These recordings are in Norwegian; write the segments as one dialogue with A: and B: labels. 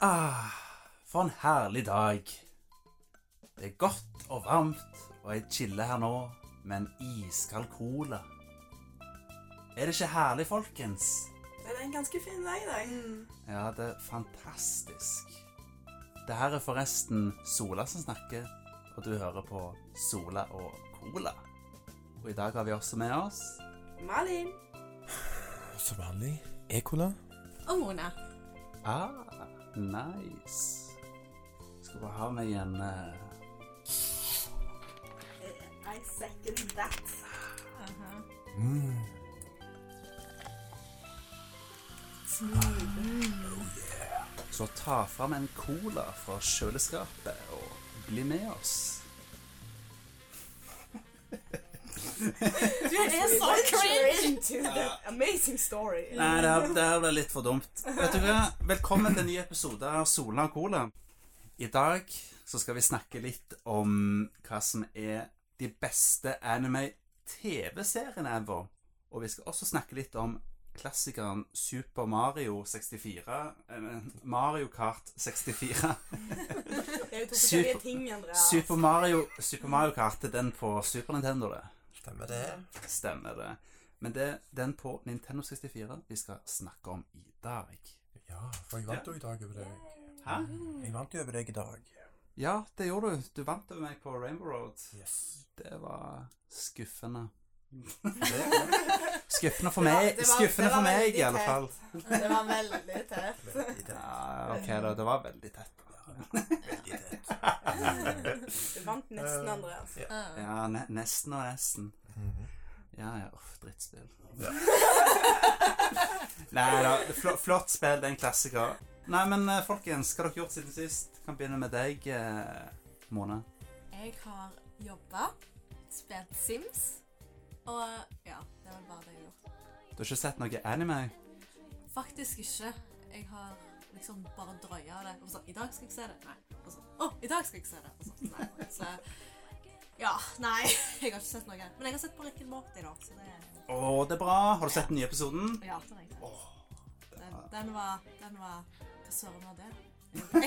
A: Ah, for en herlig dag. Det er godt og varmt, og jeg chiller her nå med en iskald cola. Er det ikke herlig, folkens?
B: Det er en ganske fin dag i dag.
A: Ja, det er fantastisk. Det her er forresten Sola som snakker, og du hører på Sola og Cola. Og i dag har vi også med oss
B: Malin.
C: Som vanlig. E-cola.
D: Og Mona.
A: Ah, nice. Skal vi ha med igjen eh,
B: I second that.
A: Så ta fram en cola fra kjøleskapet og bli med oss.
D: Du er så cringe!
B: Into the amazing story.
A: Nei, det her, det her ble litt for dumt. Vet du hva? Velkommen til en ny episode av Sola og Cola. I dag så skal vi snakke litt om hva som er de beste anime-TV-seriene ever. Og vi skal også snakke litt om klassikeren Super Mario 64 eh, Mario Kart 64.
B: Det er jo to
A: forskjellige
B: forskjellige ting, Andrea.
A: Super Mario, Super Mario Kart er den på Super Nintendo, det.
C: Stemmer det.
A: Stemmer det. Men det er den på Nintendo 64 vi skal snakke om i dag.
C: Ja, for jeg vant jo i dag over deg.
A: Hæ?
D: Mhm.
E: Mm.
C: Jeg vant jo over deg i dag.
A: Ja, det gjorde du. Du vant over meg på Rainbow Road.
C: Yes.
A: Det var skuffende. skuffende for meg,
D: det var-
A: skuffende
D: det var
A: for meg
D: veldig
A: i alle
D: tett.
A: fall.
D: Det var veldig tett.
C: Veldig tett.
A: Ja, ok da, det var veldig tett.
C: Veldig tett.
B: Du vant nesten,
C: Eh,
B: Andreas.
D: Ah.
A: Ja, ne nesten og nesten.
C: Mhm.
A: Ja, ja, uff, drittspill. Nei da, fl flott spill, det er en klassiker. Nei, men eh, folkens, hva har dere gjort siden sist? Kan begynne med deg, eh, Mona.
D: Jeg har jobba, spilt Sims, og ja, det var bare det jeg gjorde.
A: Du har ikke sett noe anime?
D: Faktisk ikke. Jeg har liksom bare drøya det. Og så, I dag skal jeg se det. Nei. Og så, å, i dag skal jeg se det. Og så, nei. Så, ja, nei. Jeg har ikke sett noe. Men jeg har sett på Rick and Morty, da. Så det
A: Å, det er bra. Har du sett den nye episoden?
D: Ja, den, har jeg sett. den,
A: var-
D: den var Den var Hva søren var det?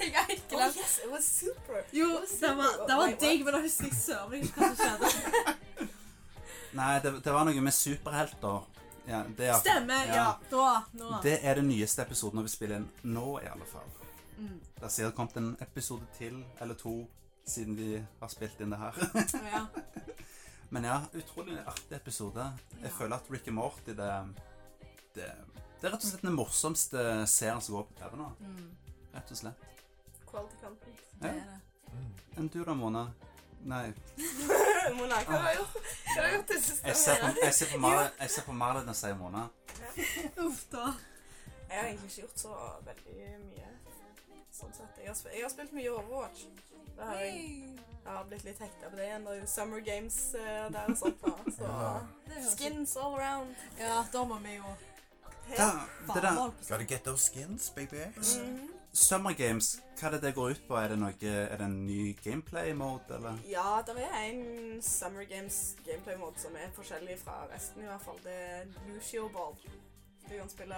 D: Jeg har helt
B: Oh,
D: glemt
B: yes, it was super.
D: Jo, det var, det var digg, men da husker jeg søren ikke hva som skjedde.
A: Nei, det, det var noe med superhelter. Ja, det, er,
D: Stemmer, ja.
A: Ja.
D: Da, nå.
A: det er den nyeste episoden vi spiller inn nå, i alle fall.
D: Mm.
A: Det har sikkert kommet en episode til eller to siden vi har spilt inn det her.
D: Ja.
A: Men ja, utrolig artig episode. Jeg
D: Ja.
A: føler at Rick and Morty det, det, det er rett og slett den morsomste serien som går på TV nå.
D: Mm,
A: Rett og slett.
B: Quality content.
D: det er det.
A: Enn du da, Mona? Nei.
B: Mona, hva har du gjort? Hva har du gjort til siste
A: Jeg ser på,
B: måned?
A: jeg ser på Marlin- jeg ser på Marlin og sier Mona.
D: Uff da.
B: Jeg har egentlig ikke gjort så veldig mye. Sånn sett. Jeg har, sp jeg har spilt mye Overwatch. Det har jeg, jeg har blitt litt hekta på det igjen. Det er jo Summer Games eh, der og sånt. da,
C: Ja.
B: Så
D: Det høres ut-
B: skins all around.
D: Ja, da må vi jo
A: Da, det der.
D: Valhall på sånn.
C: Gotta get those skins, baby.
B: Mhm.
A: Summer Games, hva er det det går ut på? Er det, noe, er det en ny gameplay-mode, eller?
B: Ja, det er en Summer Games gameplay-mode som er forskjellig fra resten, i hvert fall. Det er Lucio Ball. Du kan spille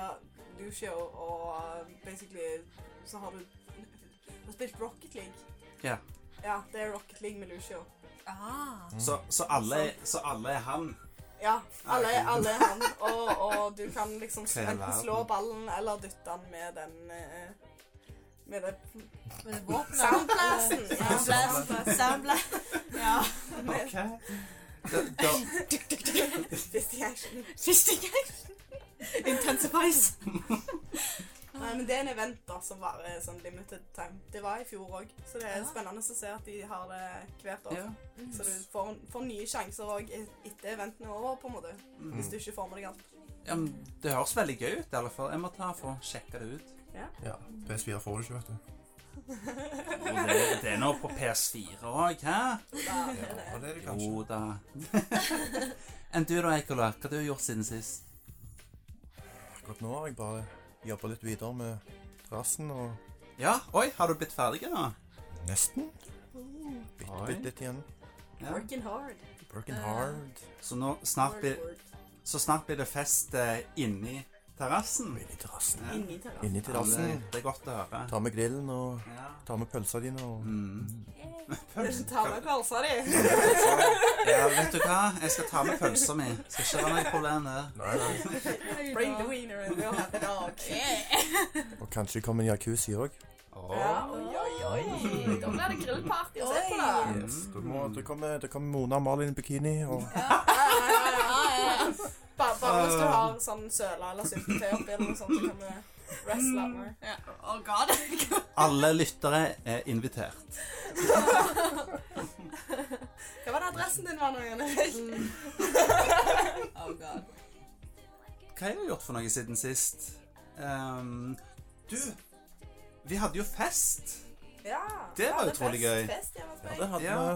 B: Lucio, og eh, basically så har du Du har spilt Rocket League.
A: Ja.
B: Ja, det er Rocket League med Lucio.
D: Ah.
A: Så, så, alle, er- så alle er han?
B: Ja, alle,
A: Ah, ok.
B: alle er han, og, og du kan liksom
A: Hele
B: enten
A: verden.
B: slå ballen eller dytte den med den eh, Med det
D: Men det våpenet
B: Soundblasten.
D: Soundblast. Soundblast. Ja.
B: med
A: Da, da,
B: fist i action.
D: Siste gang. Intensifies.
B: Nei, men det er en event da som varer sånn limited time. Det var i fjor òg, så det er
D: Ja.
B: spennende å se at de har det hvert år.
A: ja.
B: Så du får, får nye sjanser òg etter eventene er over, på en måte.
A: Mm.
B: Hvis du ikke får med deg alt.
A: ja, men det høres veldig gøy ut, i alle fall. Jeg må ta for å sjekke det ut.
C: Ja, PS4 får du ikke, vet du.
A: Jo, det, det er nå på PS4 òg, hæ?
B: Da,
C: Ja, og det er det kanskje.
A: Jo da. Enn du da, Eikola? Hva har du gjort siden sist?
C: Akkurat nå har jeg bare jobba litt videre med terrassen og
A: Ja, oi, har du blitt ferdig nå?
C: Nesten.
E: Mm.
C: Bitte,
A: Oi.
C: bitte litt igjen.
A: Ja.
B: Working hard.
C: Working hard.
A: Så, nå, snart blir, så snart blir det fest eh, inni terrassen.
C: Inni terrassen.
B: Inni terrassen.
C: Inni terrassen.
A: Det er godt å høre.
C: Ta med grillen og
A: Ja.
C: ta med pølsa dine og
A: Mm.
B: Ta med pølsa di.
A: ja, vet du hva? Jeg skal ta med pølsa mi. Skal ikke ha noe problem der.
C: Nei, nei.
B: Bring the wiener and we'll have a dog.
C: Og kanskje det kommer en jacuzzi òg.
B: Ja,
A: Åh.
B: oi, oi, oi.
E: Oi, da blir det grillparty å se på, da.
B: Oi.
A: Yes,
C: Da må- da kommer da kommer eh, Mona og Malin i bikini og
B: Bare, bare
A: Ah.
B: hvis du har sånn søla eller syltetøy oppi eller noe sånt, så kan vi wrestle med.
D: Ja. Oh god.
A: Alle lyttere er invitert.
B: Hva var det adressen din var nå, Jan Erik?
D: Oh god.
A: Hva har jeg gjort for noe siden sist? Ehm, du, vi hadde jo fest.
B: Ja.
A: Det var
B: ja,
A: utrolig
B: fest-
A: gøy.
B: Fest, ja,
C: Ja,
B: det,
C: det
B: var
C: hadde
A: Ja.
C: vi.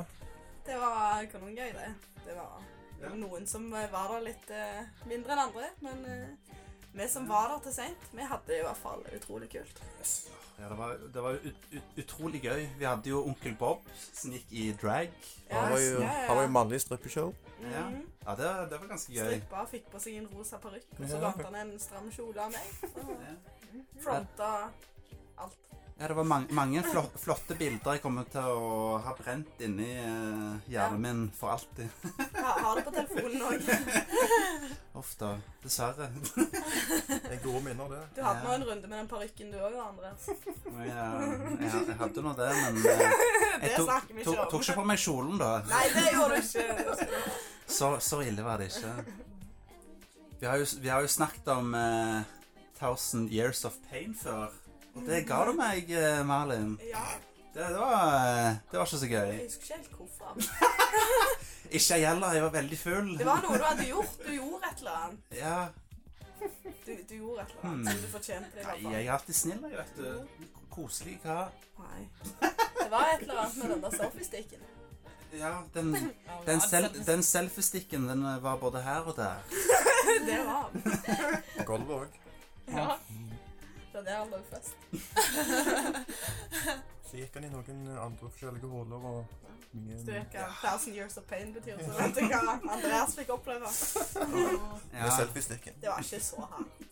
B: det var kanongøy, det. Det var det var noen som eh, var der litt eh, mindre enn andre, men eh, vi som var der til seint, vi hadde det i hvert fall utrolig kult.
A: Ja, det var, det var ut, ut, utrolig gøy. Vi hadde jo onkel Bob som gikk i drag.
C: Han var jo,
B: ja, ja, ja.
C: han var jo mannlig strippeshow.
A: Ja,
B: Mhm.
A: ja det, det var ganske gøy.
B: Strippa fikk på seg en rosa parykk, og
C: Ja.
B: så vant han en stram kjole av meg. Og
A: Ja.
B: fronta alt.
A: Ja, det var mange, mange flott, flotte bilder jeg kommer til å ha brent inni eh,
B: Ja.
A: hjernen min for alltid.
B: Ha, har det på telefonen òg.
A: Ofte. Dessverre.
C: Det er gode minner, det.
B: Du hadde
A: Ja.
B: nå en runde med den parykken du òg, Andre.
A: Ja, jeg, jeg hadde nå det, men eh,
B: Det
A: tok-
B: snakker
A: tok,
B: vi ikke
A: tok
B: om.
A: ikke på meg kjolen, da.
B: Nei, det gjorde du ikke.
A: Så, så ille var det ikke. Vi har jo, vi har jo snakket om eh, 1000 Years of Pain før. Og det ga du meg, eh, Malin.
B: Ja,
A: Det, det, var, eh, det var ikke så
B: jeg
A: gøy.
B: husker ikke helt hvorfor.
A: Ikke jeg heller. Jeg var veldig full.
B: Det var noe du hadde gjort. Du gjorde et eller annet.
A: Ja.
B: Du, du gjorde et eller
C: Hmm.
B: annet som du fortjente det i
A: Nei,
B: hvert fall.
A: jeg er alltid snill, jeg, vet du. K- Koselig hva?
B: Nei. Det var et eller annet med den der selfiesticken.
A: Ja, den,
D: Oh,
A: den, sel, den selfiestikken den var både her og der.
B: Det var han.
C: På gulvet òg.
B: Ja. Det var det han lå først.
C: Så gikk han i noen andre forskjellige huller og mye
B: Du vet hva 1000 years of pain betyr, så vet du hva Andreas fikk oppleve.
A: Ja.
C: selfiestikken.
B: Det var ikke så hardt.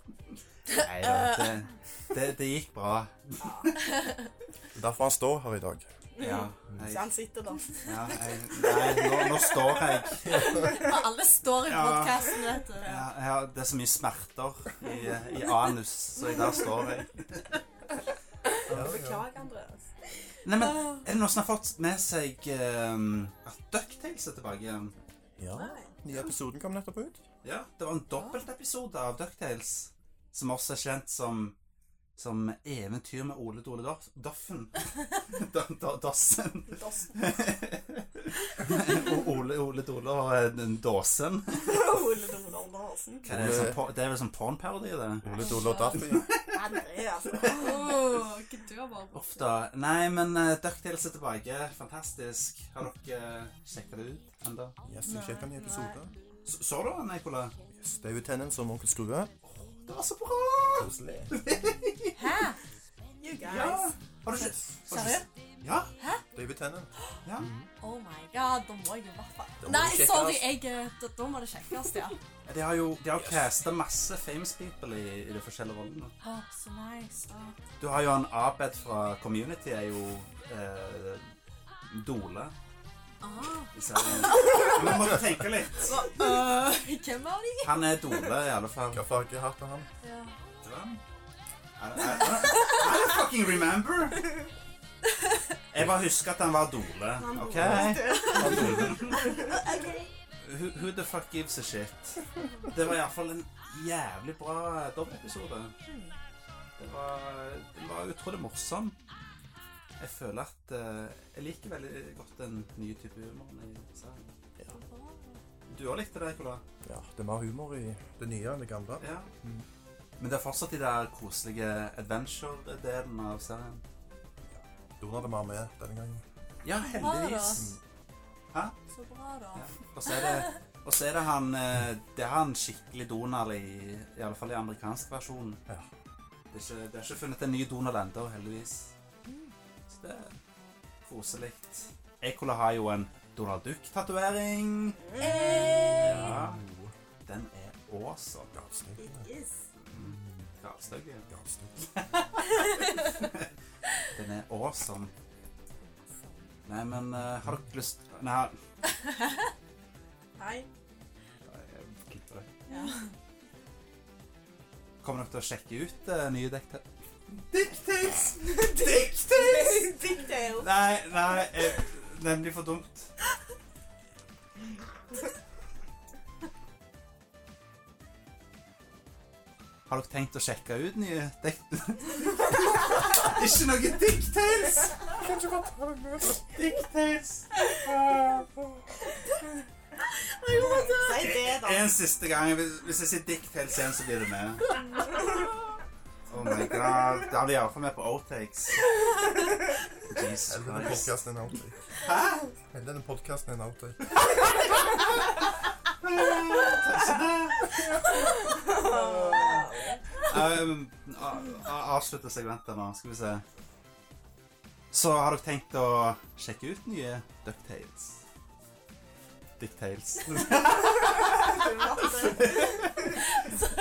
A: Nei, da, det, det, det gikk bra.
B: Ja.
C: Det er derfor han står her i dag.
A: Ja.
B: Så
A: Jeg,
B: han sitter der.
A: ja jeg, nei, nå, nå står jeg.
D: Alle står i
A: Ja.
D: podcasten, vet du.
A: Ja, jeg har, det er så mye smerter i, i anus, så jeg, der står jeg.
B: Beklager, Andreas.
A: Nei, men Er det noen som har fått med seg ehm, at Ducktails er tilbake igjen?
C: Ja.
B: Nei.
C: Nye episoden kom nettopp ut.
A: Ja, det var en dobbeltepisode av DuckTales, som også er kjent som, som Eventyr med Ole Dole Doff- Doffen. Da- da- Dossen.
B: Dossen.
A: O- Ole, Ole Dole og eh, Dåsen.
B: Ole Donald Larsen.
A: Hva er det, sånn, por- det er vel sånn pornparodi, det?
C: Ole Dole og Daffy.
B: Andreas.
D: Oh, ikke du har bare
A: Ofte. Nei, men uh, DuckTales er tilbake. Fantastisk. Har dere sjekka det ut ennå?
C: Yes, jeg sjekka ny episode.
A: Så, så du den, Nicola?
C: Yes, det er jo tennene som onkel Skrue.
A: Det var så bra!
C: Koselig.
D: Hæ?
B: You
A: Ja.
B: guys.
A: Har du ikke har du ikke-
D: Seriøst?
A: Ja.
C: David Tennant.
A: ja.
D: Oh my god, da må jeg jo i hvert
C: Da
D: fall
C: må
D: Nei,
C: det sjekkes.
D: sorry, jeg, eh, da, da må det sjekkes, ja.
A: De har jo de har casta masse famous people i, i de forskjellige rollene.
D: Å, så nice. Å.
A: Du har jo en Abed fra Community er jo eh, Dole
D: Ah.
A: i serien. Man må tenke litt.
D: Øh, hvem var de?
A: Han er Dole i alle fall.
C: Hva farge har hatten han?
D: Ja.
A: Vet du hva? I, I, I, don't- I don't fucking remember. Jeg bare husker at han var Dole. OK? Han Dole. Who, who the fuck gives a shit? Det var iallfall en jævlig bra dobbeltepisode. Det var, den var utrolig morsom. Jeg føler at eh, Jeg liker veldig godt den nye type humoren i serien. Du òg likte det, Nicola?
C: Ja, det er mer humor i det nye enn det gamle.
A: Ja.
C: Mm.
A: Men det er fortsatt de der koselige adventure-delen av serien.
C: Donald er mer med denne gangen.
A: Ja, heldigvis. Hæ?
D: Så bra, da.
A: Ja. Og så er det, og så er det han eh, Det er han skikkelig Donald i i alle fall i amerikansk versjon.
C: Ja.
A: Det er ikke, det er ikke funnet en ny Donald ennå, heldigvis. Så det er koselig. Ekola har jo en Donald Duck-tatovering.
D: Eh,
A: Ja. Den er awesome.
C: Ja, snill.
B: Yes.
A: Mm. Galstøggen.
C: Galstøgg.
A: Den er awesome. Nei, men eh, har dere lyst Nei,
B: Nei.
A: jeg klipper det.
B: Ja.
A: Kommer dere til å sjekke ut eh, nye dikter? Dicktails! Dicktails!
B: Pigtail.
A: Nei, nei, eh, den blir for dumt. Har dere tenkt å sjekke ut nye dikter? Ikke noe Dicktails!
C: Kanskje godt ha det med oss.
A: Dicktails!
B: Si det, da.
A: En siste gang. Hvis- Hvis jeg sier Dicktails igjen, så blir du med. Oh my god. Da blir jeg iallfall med på outtakes. Jesus
C: Hele denne
A: Christ.
C: podcasten er en outtake. Hele denne podcasten er en outtake.
A: Um, a- a- Avslutte segmentet nå. Skal vi se. Så har dere tenkt å sjekke ut nye Ducktales? Dicktails.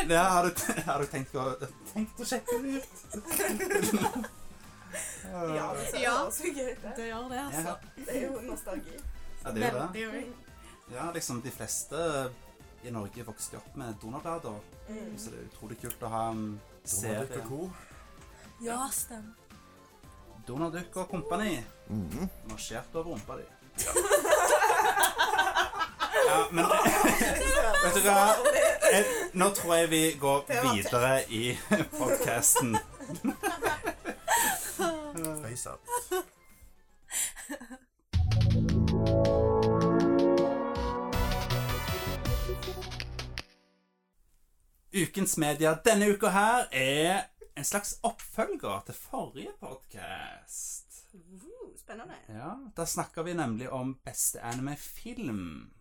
A: Ja, har du, har du tenkt, å, tenkt å sjekke det ut?
B: Ja, det ser
D: Ja.
B: også gøy ut. det.
D: Det gjør det,
A: Ja,
D: altså.
B: Det er jo nostalgi.
A: ja, det er jo det.
D: Veldig.
A: Ja, liksom de fleste i Norge vokste jo opp med donorblader,
B: Mm.
A: så det er utrolig kult å ha en
C: Donald
A: serie.
C: Duck og co.
D: Ja, stemmer.
A: Donalduk og kompani.
C: Mhm.
A: Marsjert over rumpa di. Ja, men vet du hva? Jeg- Nå tror jeg vi går
B: Det var tøft.
A: videre i podkasten.
C: Face up.
A: Ukens media denne uka her er en slags oppfølger til forrige podkast.
B: Uh, Spennende.
A: Ja, da snakker vi nemlig om beste anime-film.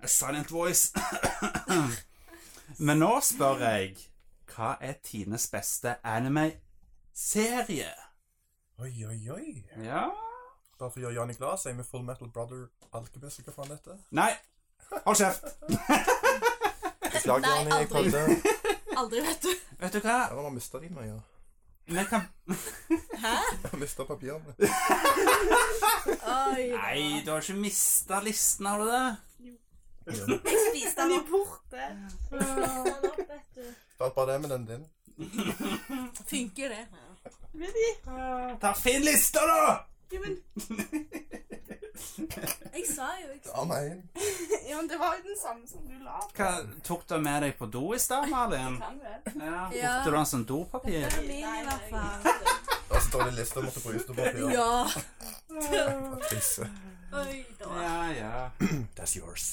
A: A silent voice. Men nå spør jeg Hva er Tines beste anime-serie?
C: Oi, oi, oi.
A: Ja
C: Bare for å gjøre Johnny glad, så er vi Full Metal Brother Alchemist, eller hva faen dette?
A: Nei! Hold kjeft!
C: Beklager,
D: Nei,
C: Johnny, jeg
D: aldri.
C: prøvde.
D: Aldri, vet du.
A: Vet du hva?
C: Jeg har mistet dine, ja.
A: Vi kan
D: Hæ?
C: Jeg har mistet papirene.
D: Oi,
A: Nei, du har ikke mista listen, har du det?
C: Ja.
B: Spis den opp.
E: borte. Den opp, vet du.
C: Bare bare det med den din.
D: Funker det?
E: Vivi,
A: Ta Finn lista, da!
E: jo, men
D: Jeg sa jo ikke
C: Amen.
B: Ja, men det var jo den samme som du la.
A: Hva, tok du med deg på do i stad, Malin?
B: Kan vel?
A: Ja,
D: Ja.
A: Brukte du den som dopapir?
D: Det er min i hvert fall.
C: Det var så dårlig liste om å få ut noe papir.
D: Ja.
C: Krise.
D: Oi, da.
A: Ja, ja.
C: That's yours.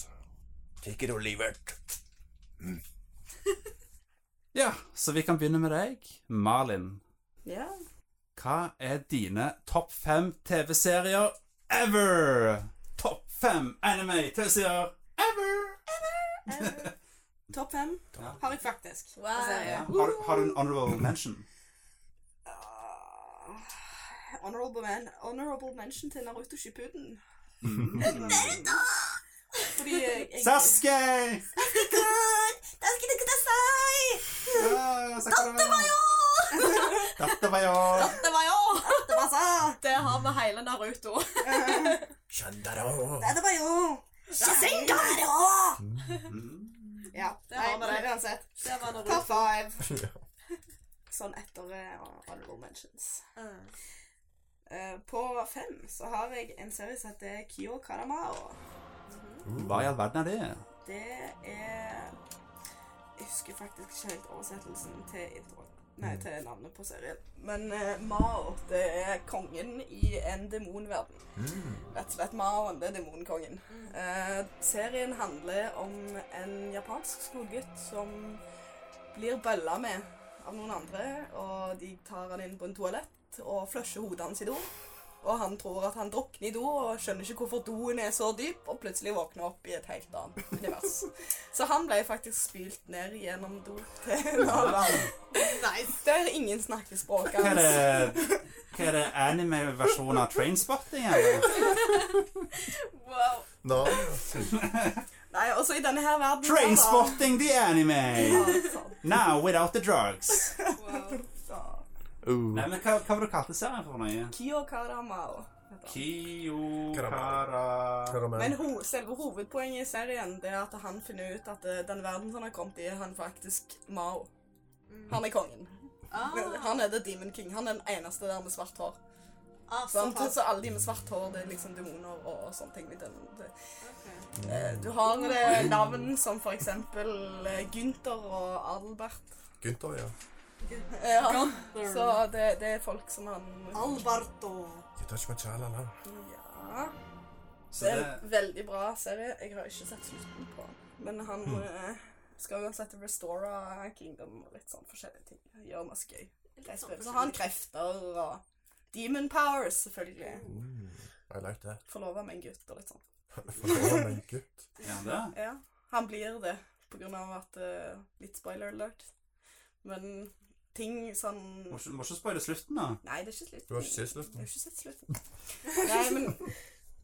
C: Take it or leave it. Mm.
A: Ja, så vi kan begynne med deg. Malin,
B: Ja.
A: hva er dine topp fem TV-serier ever? Topp fem anime-TV-serier ever!
B: Eh, Topp fem
A: Ja.
B: har jeg faktisk.
D: Wow.
B: Altså,
A: Ja. Har, du- har du en honorable mention?
B: Ah, honorable, man, honorable mention til Naruto Shippuden. Fordi jeg, jeg
A: Sasuke! Ja, Sakura! Dette var jo
D: Det var jo!
B: Det var så!
D: Det har vi hele Naruto.
C: Shandaro.
B: Nei, det var jo Shazengaro! Ja,
D: Det har vi
B: nei,
D: det.
B: uansett.
D: Det var
B: Top
D: Naruto.
B: five.
C: Ja.
B: Sånn etter eh, honorable mentions.
D: Ah.
B: Eh, på fem så har jeg en serie som heter Kyo Kanamaro.
A: Hva i all verden er det?
B: Det er Jeg husker faktisk ikke helt oversettelsen til introen. Nei, til navnet på serien. Men eh, Mao, det er kongen i en demonverden. Rett og slett Maoen, det er demonkongen. Eh, serien handler om en japansk skolegutt som blir bølla med av noen andre, og de tar han inn på en toalett og flusher hodet hans i do. Og han tror at han drukner i do, og skjønner ikke hvorfor doen er så dyp, og plutselig våkner opp i et helt annet univers. Så han ble faktisk spylt ned gjennom do til en annen.
D: Nice.
B: Der ingen snakker språket
A: Hva er
B: hans.
A: det, hva er det anime-versjonen av Trainspotting? eller?
D: Wow.
C: Nå.
B: Nei, Nei, også i denne her verden
A: Trainspotting the anime!
B: Trainspot!
A: Now without the drugs.
B: Wow. Ja.
A: Nei, men hva, hva var det du kalte serien for noe?
B: Kiyokaramao. heter han.
A: Kiyokara
B: Men ho selve hovedpoenget i serien det er at han finner ut at eh, den verden som han har kommet i, er han faktisk Mao. Han er kongen.
D: Mm. Ah,
B: Han er The Demon King. Han er den eneste der med svart hår.
D: ah,
B: Sant?
D: såpass.
B: Så alle de med svart hår, det er liksom demoner og, og sånne ting. Det- det-
D: Ok.
B: Eh, Du har eh, navn som for eksempel eh, Gunther og Adelbert.
C: Gunther, ja.
B: Ja. Så det, det er folk som han
D: Alberto.
C: You touch my child, eller?
B: Ja.
A: Så
B: Det er
A: det,
B: en veldig bra serie. Jeg har ikke sett slutten på den. Men han
A: Hmm.
B: eh, skal uansett restore Kingdom og litt sånn forskjellige ting. Gjøre masse gøy.
D: Litt sånn
B: Så har han krefter og demon powers, selvfølgelig.
C: Mm, I like that.
B: Forlova med en gutt og litt sånn.
C: Forstår meg, gutt.
A: er han det?
B: Ja, han blir det på grunn av at eh, Litt spoiler alert. Men ting sånn
A: Må ikke, må ikke spoile slutten, da.
B: Nei, det er ikke slutten.
C: Du har ikke sett slutten?
B: Jeg har ikke sett slutten. Nei, men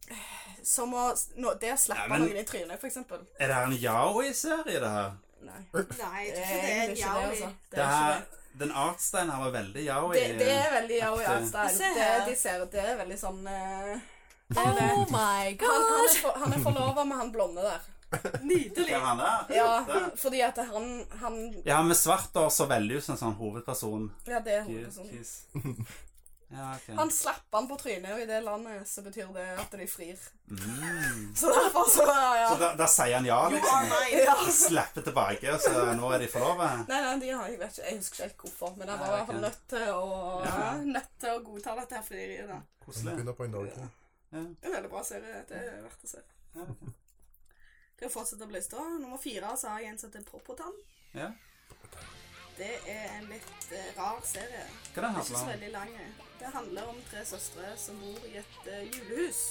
B: eh, som å, nå, Det å slappe
A: Nei, men-
B: noen i trynet, for eksempel.
A: Er det her en yaoi-serie, det her?
B: Nei.
D: Nei, Eh, jeg
B: Det er
D: tror ikke det er en
B: egentlig ikke det,
D: yaoi.
B: altså. Det
A: Det
B: er ikke
A: her,
B: det.
A: den artsteinen her var veldig yaoi.
B: Det, det er veldig Yao
A: Ekte.
B: Yao-style.
D: Se
B: Det
D: her.
B: de ser ut, det er veldig sånn eh,
D: Oh
B: Han, han
D: my god.
B: er, for, han er forlova med han blonde der.
A: Hvem er han der?
B: Ja, fordi at han, han
A: Ja, med svart hår så veldig ut som en sånn hovedperson.
B: Ja, det er hovedpersonen.
A: Kiss. Ja, ok.
B: Han slapper han på trynet, og i det landet så betyr det at de frir.
A: Mm.
B: Så derfor så ja.
A: Så da, da sier han ja, liksom.
B: ja.
A: Slapper tilbake, så nå er de forlova.
B: Nei, nei, de har, jeg vet ikke, jeg husker ikke helt hvorfor, men jeg var i
A: Nei,
B: hvert fall
A: ok.
B: nødt til å,
A: Ja.
B: nødt til å godta dette her frieriet. da.
C: Vi
A: Koselig.
C: begynner på en dag. ja.
B: Det er en veldig bra serie. Det er verdt å se.
A: Ja, ok.
B: Skal jeg fortsette å bli stå? Nummer fire så har jeg en som heter Popotan.
A: ja.
B: Det er en litt eh, rar serie.
A: Hva er det
B: Ikke så
A: handler om?
B: veldig lang. Det handler om tre søstre som bor i et eh, julehus.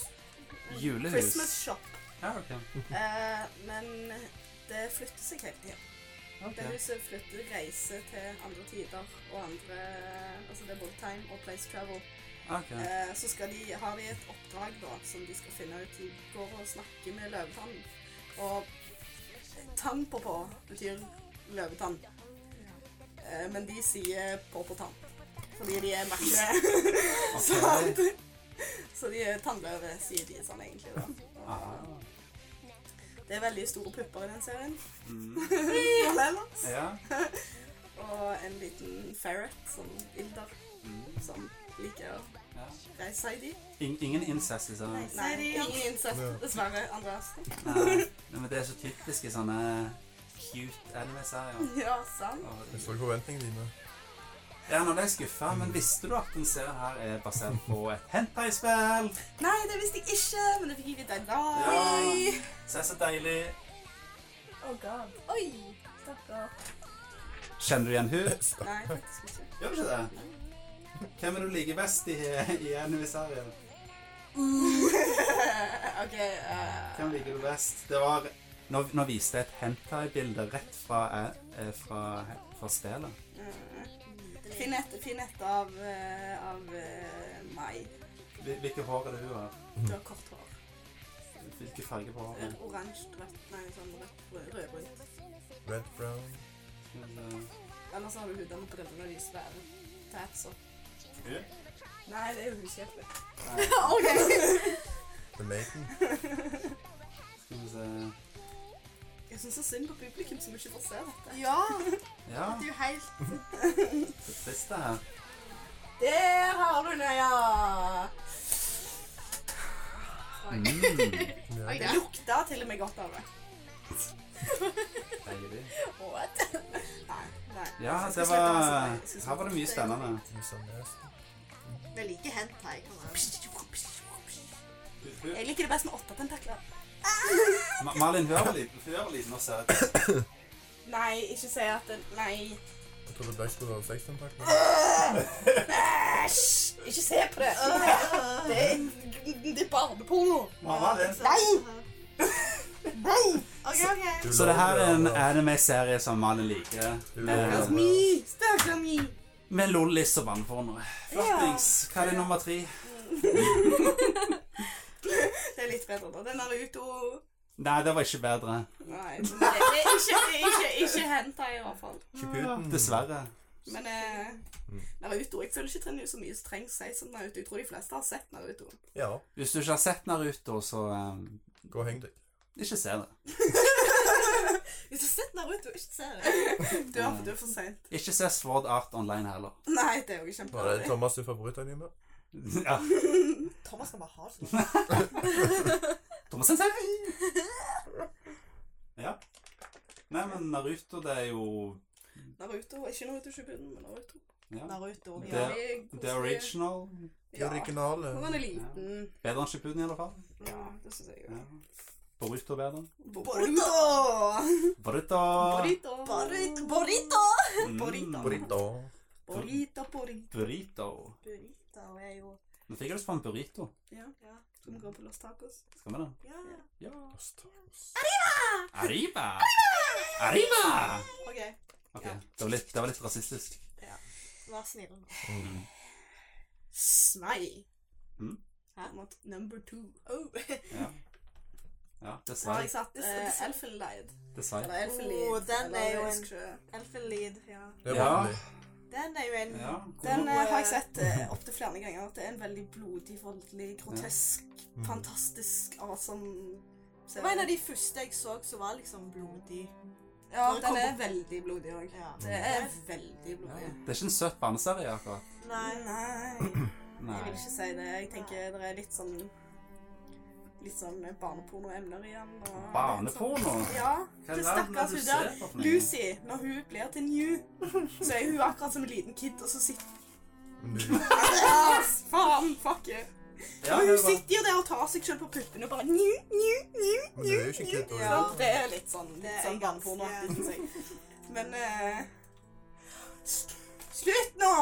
B: Christmas
A: Julehus.
B: shop.
A: Ja, ok.
B: Eh, men det flytter seg hele tiden.
A: Ok.
B: Det huset flytter reiser til andre tider og andre Altså det er både time og place travel.
A: ok.
B: Eh, så skal de, har de et oppdrag da, som de skal finne ut. De går og snakker med løvetann. Og tann på på betyr løvetann. Eh, men de sier på på tann. Fordi de er matchere.
A: Ok.
B: så de er tannløve, sier de sånn egentlig. da.
A: Aha.
B: Og det er veldig store pupper i den serien.
A: Mm.
B: Eller ellers.
A: Ja.
B: Og en liten ferret, som ilder,
A: Mm.
B: som liker å
A: ja.
B: reise seg i de.
A: In, ingen incest i sånne
B: Nei, ingen incest, dessverre, Andreas.
A: Nei, men det er så typisk i sånne cute anime-serier.
B: Ja, sant.
C: Jeg så forventningene dine.
A: Ja, nå ble jeg skuffa, men visste du at den serien her er basert på et hentai-spill?
B: Nei, det visste jeg ikke, men det fikk jeg vite i dag.
A: Ja. Så det er så deilig.
B: Oh god.
D: Oi.
B: Stakkar.
A: Kjenner du igjen hun?
B: Nei, faktisk ikke.
A: Gjør du ikke det? Hvem er du liker best i, i anime-serien?
B: OK. eh,
A: Hvem liker du best? Det var Nå, nå viste jeg et hentai-bilde rett fra, eh, fra, fra spillet.
B: eh, Finn et, finn et av, eh, av eh, meg.
A: Hvil- Hvilke hår er det hun har?
B: Du har kort hår.
A: Hvilke farger på
B: Eh,
A: håret?
B: Oransje, rødt, nei, sånn rødt, rød- rødbrunt.
C: Red, brown.
B: Eller så har du huden på brillene og de svære tatsa.
A: Hun?
B: Nei, det er jo huskjeften.
A: Nei.
C: The Maiden.
A: Skal vi se
B: Jeg syns så synd på publikum som ikke får se dette.
D: Ja,
A: Ja,
D: du er helt
A: det er trist det her.
B: Der har du det, ja!
A: Mm,
C: Ja.
D: Oi,
B: Det
D: da.
B: lukta til og med godt av det.
A: Deilig.
B: What? Nei, nei.
A: Ja,
B: Jeg skal
A: det
B: slutte
A: var,
B: å ha sånn. Jeg synes
A: her var det mye spennende.
C: Det er sånn det er.
D: Jeg liker hentai. Kom an.
B: Jeg liker det best med åtte tentakler.
A: Ma Malin, hun er vel liten- hun er vel liten og søt.
B: Nei, ikke si at det Nei.
C: Jeg trodde Black skulle ha seks tentakler.
B: Æsj! Ikke se på det! Det er, det er barneporno.
A: Ma Malin.
D: OK, OK.
C: Du
A: Så det her er en eh,
C: lover,
A: anime-serie som Malin liker.
C: Du lover.
A: Eh,
B: Mi, stakkar mi.
A: Med lollis og vannfornere. Flottings. Hva er det nummer tre?
B: Det er litt bedre, da. Den er Naruto.
A: Nei, det var ikke bedre.
B: Nei, det det er ikke, ikke, ikke hentai i hvert fall.
C: Ikke puten.
A: Dessverre.
B: Men eh,
A: Mm.
B: Naruto, jeg føler ikke det er så mye som trengs å si som Naruto. Jeg tror de fleste har sett Naruto.
C: Ja.
A: Hvis du ikke har sett Naruto, så eh,
C: Gå og heng deg.
A: ikke se det.
D: Hvis du har sett Naruto, ikke se det.
B: Du er, du er for sent.
A: Ikke se Sword Art Online heller.
B: Nei, det er jo
C: Var det
B: kjempedårlig.
C: Thomas' favorittanime?
A: Ja.
D: Thomas skal bare ha sånn.
A: Thomas Sensei! Ja. Nei, men Naruto, det er jo
B: Naruto, ikke Naruto Shippuden, men Naruto.
A: ja.
D: Naruto.
A: Det-
D: Ja.
A: The original.
C: De
B: Ja.
C: originale.
B: Når han er liten.
A: Bedre enn Shippuden, i alle fall.
B: Ja, det syns jeg
A: Ja.
B: jo.
A: Boruto bedre.
B: Boruto!
A: Boruto!
B: Burrito!
D: Burrito. Burrito.
A: Mm.
B: Burrito.
C: Burrito.
B: Burrito, burrito.
A: Burrito.
B: Burrito er jo
A: Nå fikk jeg lyst på en burrito.
B: Ja. Skal vi gå på Los Tacos?
A: Skal vi det?
D: Ja.
A: Ja.
C: Tacos.
A: Arriba! Arriba!
D: OK,
A: Ok, det var litt, det var litt rasistisk.
D: vær snill nå.
B: Snei.
A: Mm.
B: Hæ? Mot number two.
D: Oh.
A: Ja,
B: Da har
A: dessverre.
B: jeg satt
D: Det-
B: uh,
D: det-
B: Elfenlied.
A: Dessverre.
B: Eller Elfenlied.
D: Oh, den
B: eller
D: er jo en-
B: Elskjø.
D: Elfenlid. Ja.
C: Det var
A: Ja.
C: vanlig.
D: Den er jo en
A: Ja.
B: Den
D: God,
B: eh, har jeg
D: eh,
B: sett uh, opptil flere ganger. at Det er en veldig blodig, voldelig, grotesk,
C: Mm.
B: fantastisk, awesome
D: Det var en av de første jeg så som var liksom blodig.
B: Ja,
D: Når det
B: den
D: kommer-
B: er veldig blodig òg.
D: Ja.
B: Det er veldig blodig.
A: Det er ikke en søt barneserie, akkurat.
D: Nei.
B: Nei,
A: Nei.
B: jeg vil ikke si det. Jeg tenker det er litt sånn Litt sånn barnepornoemner igjen. og-
A: Barneporno?
B: Ja.
A: Hva
B: Det
A: er det
B: stakkars
A: du
B: hun der.
A: ser på for noe?
B: Lucy, når hun blir til New, så er hun akkurat som en liten kid, og så sitter
C: Men du-
B: Yes, faen, fuck you.
A: Ja,
B: og
A: det
B: hun
A: var-
B: sitter jo der og tar seg selv på puppene og bare New, new, new,
C: men det
B: new.
C: er jo ikke kødd.
D: Ja.
B: Sant? Det er litt sånn,
D: Det er
B: litt sånn
D: ganske-
B: barnepornoaktig, synes jeg. Men eh, Slutt nå!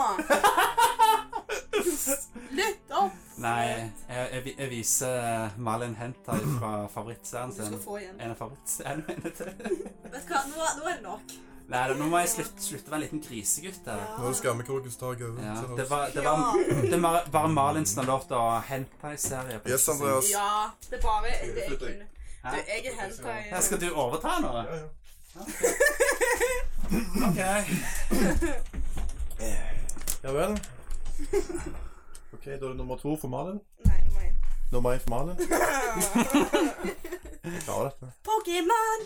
B: Slutt opp!
A: Nei, jeg, jeg, vi- jeg viser eh, Malin Hentai fra favorittserien
B: Du skal
A: sin.
B: få igjen.
A: En av favorittseriene til.
D: Vet du hva, nå, nå er det nok.
A: Nei, nå må jeg slutte, slutte å være en liten grisegutt her.
C: Nå er skammekroken som tar over.
A: Ja,
C: Sånn.
A: det var, det var, det var bare Malin som har lov til å ha hentai-serie. på
C: Yes,
A: sin side.
C: Andreas.
B: Ja, det er bare det er
C: Slutt
B: kun,
C: deg.
B: du, Jeg er helt
A: Her
B: av
A: skal du overta nå?
C: Ja, ja.
A: Ok.
C: Ja vel. Ok, da er det nummer to for Malin.
B: Nei, nå må jeg inn.
C: Nummer én for Malin. Jeg klarer dette.
B: Pokémon!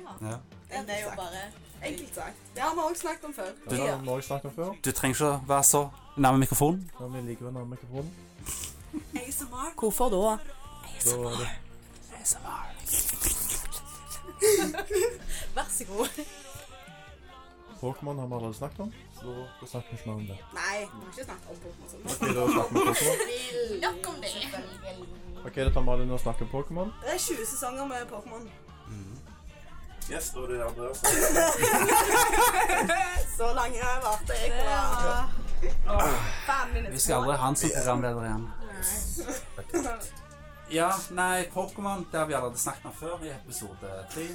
D: Ja.
A: Ja.
D: Den er jo bare
B: Enkelt sagt. Det har vi også snakket om før.
C: Det har Norge snakket om før.
A: Du trenger ikke å være så nærme mikrofonen.
C: Men vi liker å nærme mikrofonen.
D: ASMR.
B: Hvorfor da?
C: Da er det
D: Vær så god.
C: Pokémon har vi allerede snakket om, så da snakker vi ikke mer om det.
B: Nei, vi har ikke snakket om Pokémon. sånn.
C: Ok, da snakker vi Pokémon.
D: Nok om det.
C: Ok, da tar Malin og snakker om Pokémon.
B: Det er 20 sesonger med Pokémon.
C: Yes, da er det Andreas.
B: Så lange varte jeg på det. Fem minutter.
A: Vi skal aldri ha han som programleder igjen. Ja, nei, Pokémon det har vi allerede snakket om før i episode tre.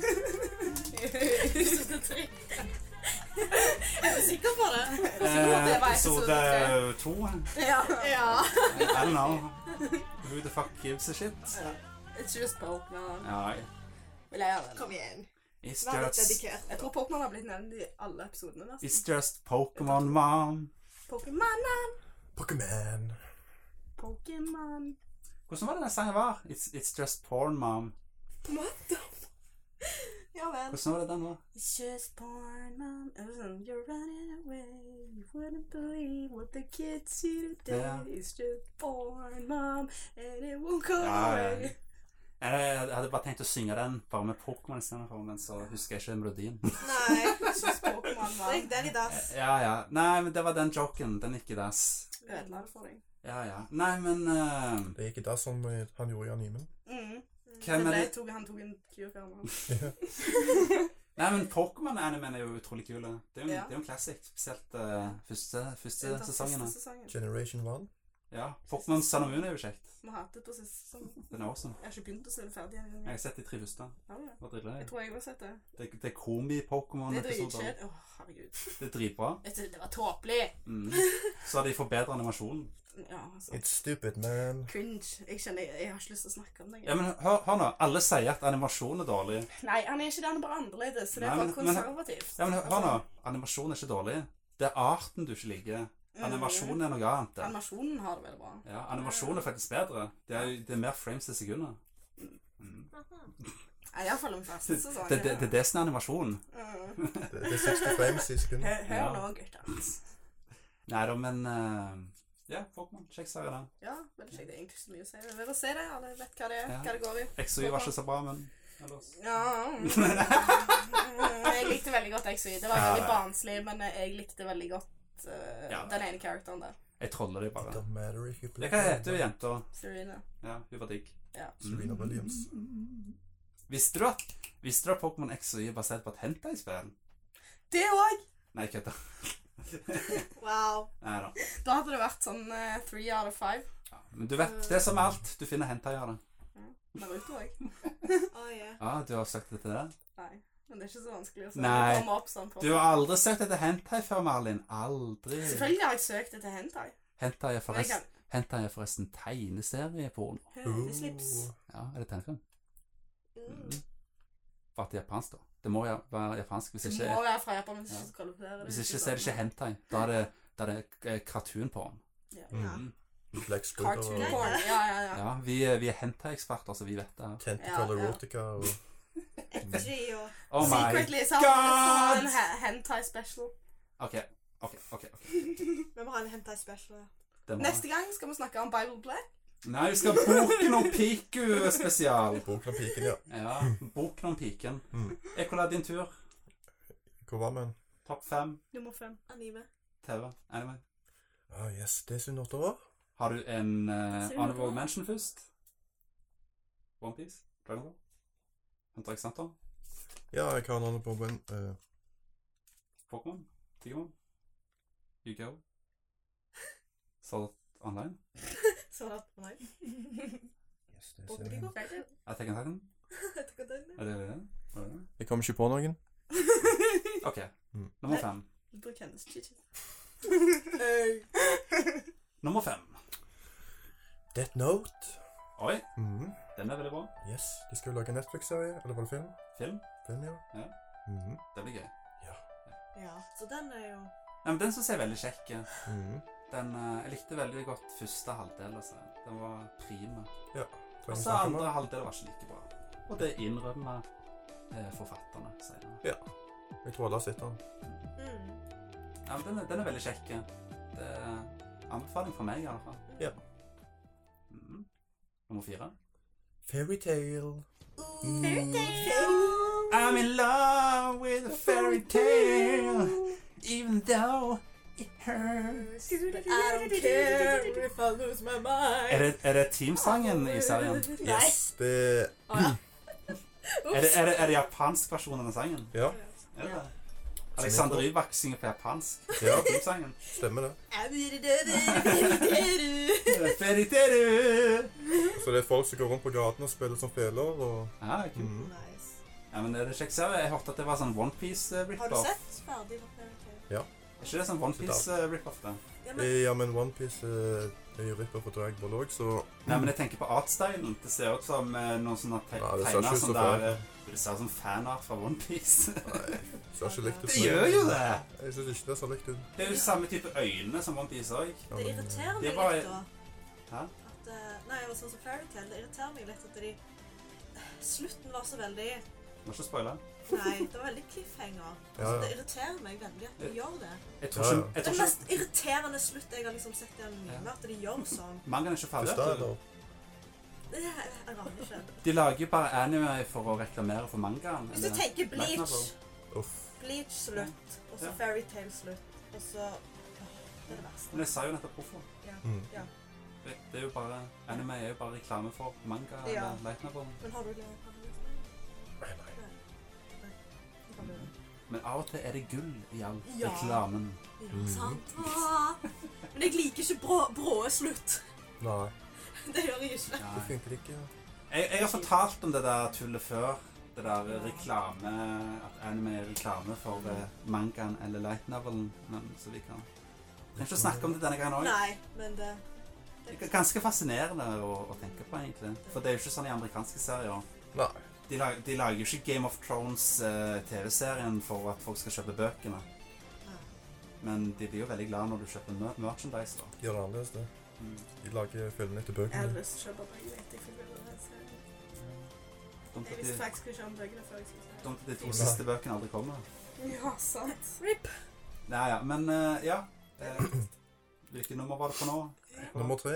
D: Sikker på det?
A: Eh,
B: det var episode
A: episode to.
B: Ja.
D: Ja.
A: I don't know. Who the fuck gives a shit?
B: It's just Pokémon.
A: Ja,
B: Vil jeg gjøre det?
D: Kom igjen.
A: it's
D: Vær litt
A: just,
D: dedikert.
B: Jeg tror Pokémon har blitt nevnt i alle episodene. nesten.
A: it's just Pokémon, mom.
B: Pokémon,
C: Pokémon.
B: Pokémon.
A: Hvordan var det den sangen var? It's, it's just porn, mom.
D: Ja vel.
A: Hvordan var det den var?
B: It's just porn, mom. It was on- You're running away. You wouldn't believe what the kids see today.
A: Ja.
B: It's just porn, mom. And it won't go
A: Ja, ja.
B: away.
A: Jeg Eh, jeg hadde bare tenkt å synge den bare med Pokémon istedenfor, men så husker jeg ikke melodien.
D: Nei.
B: It's just Pokémon,
D: Så gikk
B: mom.
D: den i dass.
A: Ja, ja. Nei, men det var den joken. Den gikk i dass.
B: Ødela det for deg.
A: Ja, ja. Nei, men eh,
C: Det gikk i dass som eh, han gjorde i animen.
B: Mm. Det
A: Hvem er
B: ble,
A: det?
B: tok, han tok en kur før meg.
A: Nei, men Pokémon-animen er jo utrolig kul. da. Det er jo en,
B: Ja.
A: det er jo en classic. Spesielt eh, første, første
B: Den
A: sesongen.
B: siste
A: da.
B: sesongen.
C: Generation 1.
A: Ja. Pokémon Sun og Moon er jo kjekt.
B: Vi hatet på siste sesongen.
A: Den er awesome.
B: Jeg har ikke begynt å se det ferdig
A: Jeg
B: engang.
A: har sett de tre første.
B: Har du det?
A: Det var dritbra.
B: Jeg tror jeg har sett det.
A: Det, det er komi-Pokémon.
B: Det er
A: episoder
B: dritkjedelig. Å, herregud.
A: Det er dritbra.
B: Vet du, det var tåpelig.
A: Mm. Så har de forbedret animasjonen.
B: Ja, altså.
C: It's stupid, man.
B: Cringe. Jeg kjenner jeg, jeg har ikke lyst til å snakke om det.
A: Ja, men hør, hør nå. Alle sier at animasjon er dårlig.
B: Nei, han er ikke det. Han er bare annerledes. Så det er
A: Nei,
B: bare
A: men- men-
B: konservativt.
A: Ja, men hør- hør nå. Animasjon er ikke dårlig. Det er arten du ikke liker. Animasjon er noe annet. det.
B: Animasjonen har det veldig bra.
A: Ja, animasjon er faktisk bedre. Det er, det er mer frames til sekundet.
B: Ja, Iallfall den første
A: Det,
B: sesongen.
A: det, det er det som er animasjon.
B: Mm.
C: Det, det er 60 frames i sekundet.
B: Hør hør
A: Ja.
B: nå, gutter.
A: Nei da, men eh, Ja, Pokémon. Kjekk serie, den.
B: Ja, veldig kjekt. Det er egentlig ikke så mye å si. Vi får se det. Alle vet hva det er,
A: Ja.
B: hva det går i.
A: XOY var ikke så bra, men ellers
B: Ja. Mm, Jeg likte veldig godt XY. Det var
A: Ja,
B: veldig
A: det.
B: barnslig, men jeg likte veldig godt eh,
A: Ja, det.
B: den ene karakteren der.
A: Jeg troller dem bare.
C: Don't matter if you
A: Ja, Hva heter hun jenta?
B: Serena.
A: Ja, hun var digg. Mm.
B: Ja.
C: Serena Williams.
B: Mm.
A: Visste du at, visste du at Pokémon XOY er basert på et hentai-spill?
B: Det òg!
A: Nei, kødda.
B: Wow.
A: Nei da.
B: Da hadde det vært sånn eh, three out of five.
A: Ja, men du vet, det er som alt. Du finner hentai av det.
B: Naruto òg.
D: Oh, yeah.
A: Ja, du har søkt etter det?
B: Nei. Men det er ikke så vanskelig å se.
A: Nei.
B: Det kommer opp sånn på.
A: Du har aldri søkt etter hentai før, Marlin. Aldri.
B: Selvfølgelig har jeg søkt etter hentai.
A: Hentai er
B: Men jeg
A: forresten, hentai er forresten tegneserieporno.
B: kan Det slips.
A: Ja, er det tegnefilm? Mm. Bare til japansk, da. Det må ja- være japansk. Hvis
B: Det
A: ikke,
B: må være fra Japan hvis
A: Ja.
B: ikke så kaller det det.
A: hvis ikke så er det ikke hentai. Da er det, da er det eh, cartoon-porn.
C: Mm.
D: Ja.
C: Black Squid
B: Cartoon
C: og
B: porn. Ja, ja, ja.
A: Ja, vi, er- vi er hentai-eksperter, så vi vet det. her.
C: Tentacle
B: Ja, ja.
C: Erotica og Mm.
E: FG og
A: Oh my
B: Secretly så har
A: God!
B: så har en he- hentai special.
A: OK, OK. ok, ok.
E: Vi må ha en hentai special. ja.
A: Det må
B: Neste gang skal vi snakke om Bible Black.
A: Nei, vi skal ha Boken om Piku-spesial.
C: Boken om piken, ja.
A: Ja, Boken om piken.
C: Mm.
A: Ekola, din tur.
C: Hvor var man?
A: Topp fem
E: Nummer fem. Anime.
A: TV. Anyway.
C: Ah, yes, det er siden åtte år.
A: Har du en eh,
E: Ser du
A: honorable
E: noe?
A: mention først? Onepiece? Dragon Ball? Hunter x Hunter?
C: Ja, jeg har noen på men, eh,
A: Pokémon? Digimon? Yu-Gi-Oh? Sword Art Online?
E: Sånn at Nei.
C: yes, det er
E: Og
C: serien.
E: Digo.
A: Attack on Titan?
E: Jeg tenker den, ja.
A: Er det det? Var det det?
C: Jeg kommer ikke på noen.
A: OK.
C: Mm.
A: Nummer fem.
B: Bruk hennes chichi.
A: Nummer fem.
C: Death Note.
A: Oi,
C: Mhm.
A: den er veldig bra.
C: Yes, de skal jo lage en Netflix-serie, eller var det film?
A: Film?
C: Film, ja.
A: Ja.
C: Mhm.
A: Det blir gøy.
E: ja. Så den er jo
A: Nei, men Den syns jeg er veldig kjekk.
C: Mhm.
A: Den, eh, jeg likte veldig godt første halvdel. Altså. Den var prima.
C: Trenger
A: Og
C: vi
A: så
C: snakke om
A: andre
C: den?
A: halvdel var ikke like bra. Og det innrømmer eh, forfatterne senere.
C: Jeg tror alle har sett den.
E: mm.
A: Ja, men den, er- den er veldig kjekk. Det er anbefaling fra meg, i alle fall.
C: Ja.
A: Mm. Nummer fire.
C: Fairytale. Mm.
A: I'm in love with a fairy tale, even though it hurts.
B: if I lose my mind.
A: Er det, er det teamsangen i serien?
C: Yes, det er...
A: Er det, er det, er det japansk versjon av den sangen?
C: Ja,
A: Er det det? Alexander Rybak synger på japansk.
C: ja,
A: Teamsangen.
C: stemmer det.
A: Feriteru!
C: Så Altså, det er folk som går rundt på gaten og spiller som feler, og...
A: Ja, Ah, kult.
C: Mhm.
E: Nice.
A: Ja, men er det kjekk serie? Jeg hørte at det var sånn
E: Har du
A: OnePiece-rip-off.
E: sett ferdig på Fairy Tail?
A: Er ikke det sånn OnePiece-rip-off, det?
E: Ja, men
C: Eh, Ja, men OnePiece er jo ripper på Drag Ball også, så...
A: Nei, men jeg tenker på artstylen. Det ser ut som eh, noen sånne te
C: Nei, det ser
A: tegner
C: ikke ut
A: som
C: som
A: der
C: fan.
A: eh, Det ser ut som fanart fra OnePiece.
C: Så jeg har ikke likt det.
A: Det gjør jo det!
C: Jeg synes ikke det er så likt ut.
A: Det er jo samme type øyne som OnePiece òg.
C: Ja,
E: det
C: men-
E: irriterer
A: Eh,
E: meg
A: Det var-
E: litt, da.
A: Hæ?
E: At, eh, nei, det var sånn som Fairy Tail. Det irriterer meg litt at de Slutten var så veldig
A: Må ikke spoile.
E: Nei, det var veldig cliffhanger.
C: Ja,
E: Det
C: ja.
E: irriterer meg veldig
A: Eh.
E: at de gjør det.
A: Jeg tror ikke, jeg
E: Det
A: tror
E: mest irriterende slutt jeg har liksom sett i anime,
A: Ja.
E: at de gjør sånn.
A: ikke Mangaen er ikke ferdig.
C: Første
A: vet du.
C: eller?
E: Jeg jeg aner ikke.
A: De lager jo bare anime for å reklamere for mangaen.
E: Hvis du
A: eller-
E: tenker
A: Light
E: Bleach,
A: Novel.
C: Uff.
E: Bleach slutt, og så
A: Ja.
E: Fairytale slutt, og så Åh, Det er det
A: eh, Men
E: verste.
A: jeg sa jo nettopp hvorfor.
C: Mm.
A: Det, det er jo bare, anime er jo bare reklame for manga
E: Ja.
A: eller light novel.
E: Men har du det? Har du det?
C: Nei, nei.
E: Har du det?
A: Men av og til er det gull i all
E: Ja.
A: reklamen.
E: Ja,
A: Mm.
E: sant. Åh. Men jeg liker ikke brå, bråe slutt.
C: Nei,
E: Det gjør jeg ikke.
C: det funker ikke.
A: Jeg, jeg har fortalt om det der tullet før. Det der reklame At anime er reklame for eh, mangaen eller light novelen. Men så vi kan Trenger ikke å snakke om det denne gangen òg.
E: Nei, men det
A: Det er Ganske fascinerende å, å tenke på, egentlig. For det er jo ikke sånn i amerikanske serier.
C: Nei.
A: De lager, de lager jo ikke Game of Thrones-TV-serien for at folk skal kjøpe bøkene. Men de blir jo veldig glad når du kjøper mer- merchandise, da. Mm.
C: Gjør det annerledes, det. De lager filmene etter
B: Jeg hadde
C: bøkene.
B: lyst til å kjøpe bøkene etter jeg fikk vite det. så
A: Dumt
B: Jeg
A: at
B: visste
A: de,
B: faktisk ikke om bøkene før jeg skulle
A: dumt at de to
C: Nei.
A: siste bøkene aldri kommer.
B: se. Ja, sant.
A: Nei, ja, men eh, ja. Eh, Hvilket nummer var det på nå?
C: Nummer tre.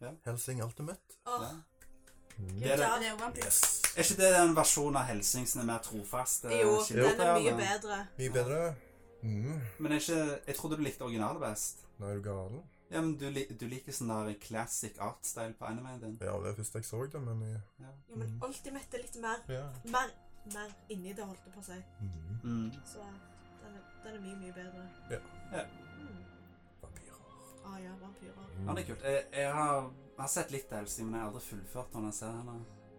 A: Ja.
C: Helsing Ultimate.
A: Ja.
D: Åh,
A: Det er, det,
D: Ja.
F: Det er jo vant.
C: Yes.
A: er ikke det den versjonen av Helsingsen er mer trofast? eh,
D: jo, den er mye
A: kildetrene?
D: bedre.
C: Mye bedre. Mm.
A: Men er ikke, jeg trodde du likte originalet best.
C: Nå er du galen.
A: Ja, men du, li- du liker sånn der classic art-style på animeen din.
C: Ja, det er først jeg så det, men jeg...
D: Ja, men
C: Mm.
D: Ultimate er litt mer,
C: Ja.
D: mer, mer inni det, holdt jeg på å si.
C: Mm.
A: Mm.
D: Så eh, den er, den er mye, mye bedre.
C: Ja.
A: Ja.
D: Mm.
C: Vampyrer.
D: Ah, ja, vampyrer.
A: Ja, det er kult. Jeg, jeg, har, jeg har sett litt Elsie, men jeg har aldri fullført når jeg ser henne.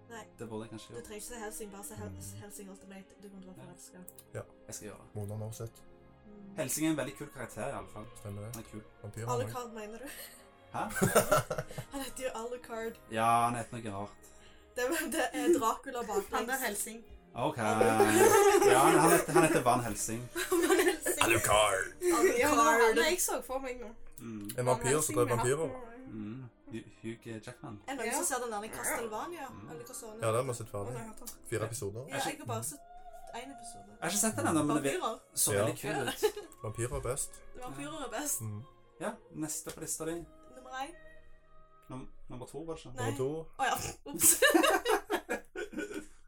D: Nei.
A: Det burde jeg kanskje
D: Du
A: gjort.
D: trenger ikke se Helsing, bare se Hel
C: Mm.
D: Helsing Ultimate. Du kommer til å bli forelska.
A: Jeg skal gjøre det.
C: Måneden har sett.
D: Mm.
A: Helsing er en veldig kul karakter, iallfall.
C: Stemmer det.
A: Han er kul.
C: Vampyrer. har jeg.
D: Alucard, mener du?
A: Hæ?
D: Han heter jo Alucard.
A: Ja, han heter noe rart.
D: Det, er- det er Dracula
B: Han er
D: baklengs.
B: Helsing.
A: OK. Ja, han han heter, han heter Van Helsing.
C: Alucard!
B: Ja, det var han
D: Alucard.
B: jeg så for meg nå.
A: Mm.
C: En vampyr som dreper vampyrer.
A: Mm. Hu- Hugh Jackman.
D: Er det noen
B: Ja.
D: som ser den der i Castlevania?
A: Mm.
D: Eller hva sånn?
C: Ja, det har vi sett ferdig.
B: Hva
C: Fire episoder.
D: Ja, jeg har bare sett én episode.
A: Jeg har ikke sett den ennå, men det vir-
D: Vampyrer.
A: så
C: Ja.
A: veldig kul ut.
C: Vampyrer er best.
D: Vampyrer er best.
C: Mm.
A: Ja, neste på lista di.
D: Nummer én.
A: Num nummer to, var det ikke?
D: Nei.
C: Nummer to,
D: Å ja. Ops.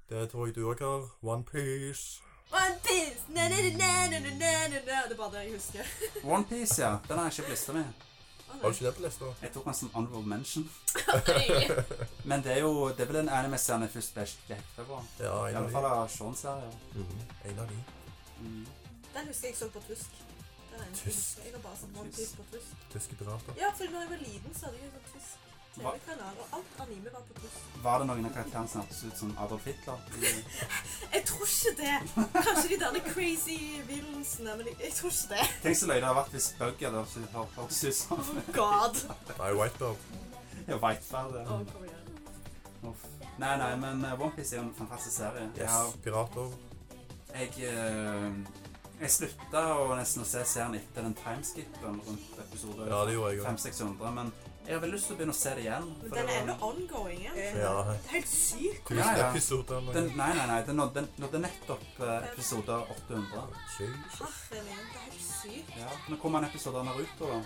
C: det tror jeg du òg har. One Piece.
D: One Piece! Na, na, na, na, na, na, na, na. Det er bare det jeg husker.
A: Onepiece, ja. Den har jeg ikke på lista mi.
D: Å,
C: Har
D: nei.
C: du ikke det på lista?
A: Jeg tok den som honorable mention.
G: Nei.
A: Men det er jo det er vel den anime-serien jeg først ble skikkelig hekta på.
C: Ja,
A: I
C: en
A: alle
C: av
A: fall
C: de.
A: av Sean-serier.
C: Mhm. En av de.
A: Mm.
D: Den husker jeg så på tysk. Den er en
C: Tysk.
D: tysk. Jeg har bare sett One Piece på tysk.
C: Tyske pirater.
D: Ja, for når jeg var liten, så hadde jeg en sånn tysk
A: Hva?
D: TV-kanal, og alt anime var på tysk.
A: Var det noen av karakterene som hørtes ut som Adolf Hitler?
D: Jeg tror ikke det! Kanskje de der crazy villainsene, men jeg, jeg tror ikke det.
A: Tenk så løy det hadde vært hvis Buggy hadde hørtes- hørtes ut som
D: Oh god.
C: Nei, Whitebeard.
A: Ja, Whitefall. eller-
D: Oh, kom igjen.
A: Uff. Nei, nei, men eh, One Piece er jo en fantastisk serie. Jeg
C: Yes.
A: har-
C: Pirater.
A: Jeg, eh, jeg slutta å nesten å se serien etter den timeskipen rundt episode
C: Ja, det gjorde jeg òg.
A: 500-600, men jeg har vel lyst til å begynne å se det igjen.
D: Men
A: for
D: den
A: det var-
D: er ennå ongoing. Ja.
C: Ja.
D: Det er helt sykt.
C: Tusen
A: Ja, ja.
C: episoder. men-
A: den, nei, nei, nei, den nådde, den nådde nettopp eh, episode 800.
C: Jesus.
D: Herre min, det er helt sykt.
A: Ja. Nå kommer en episode av Naruto. da.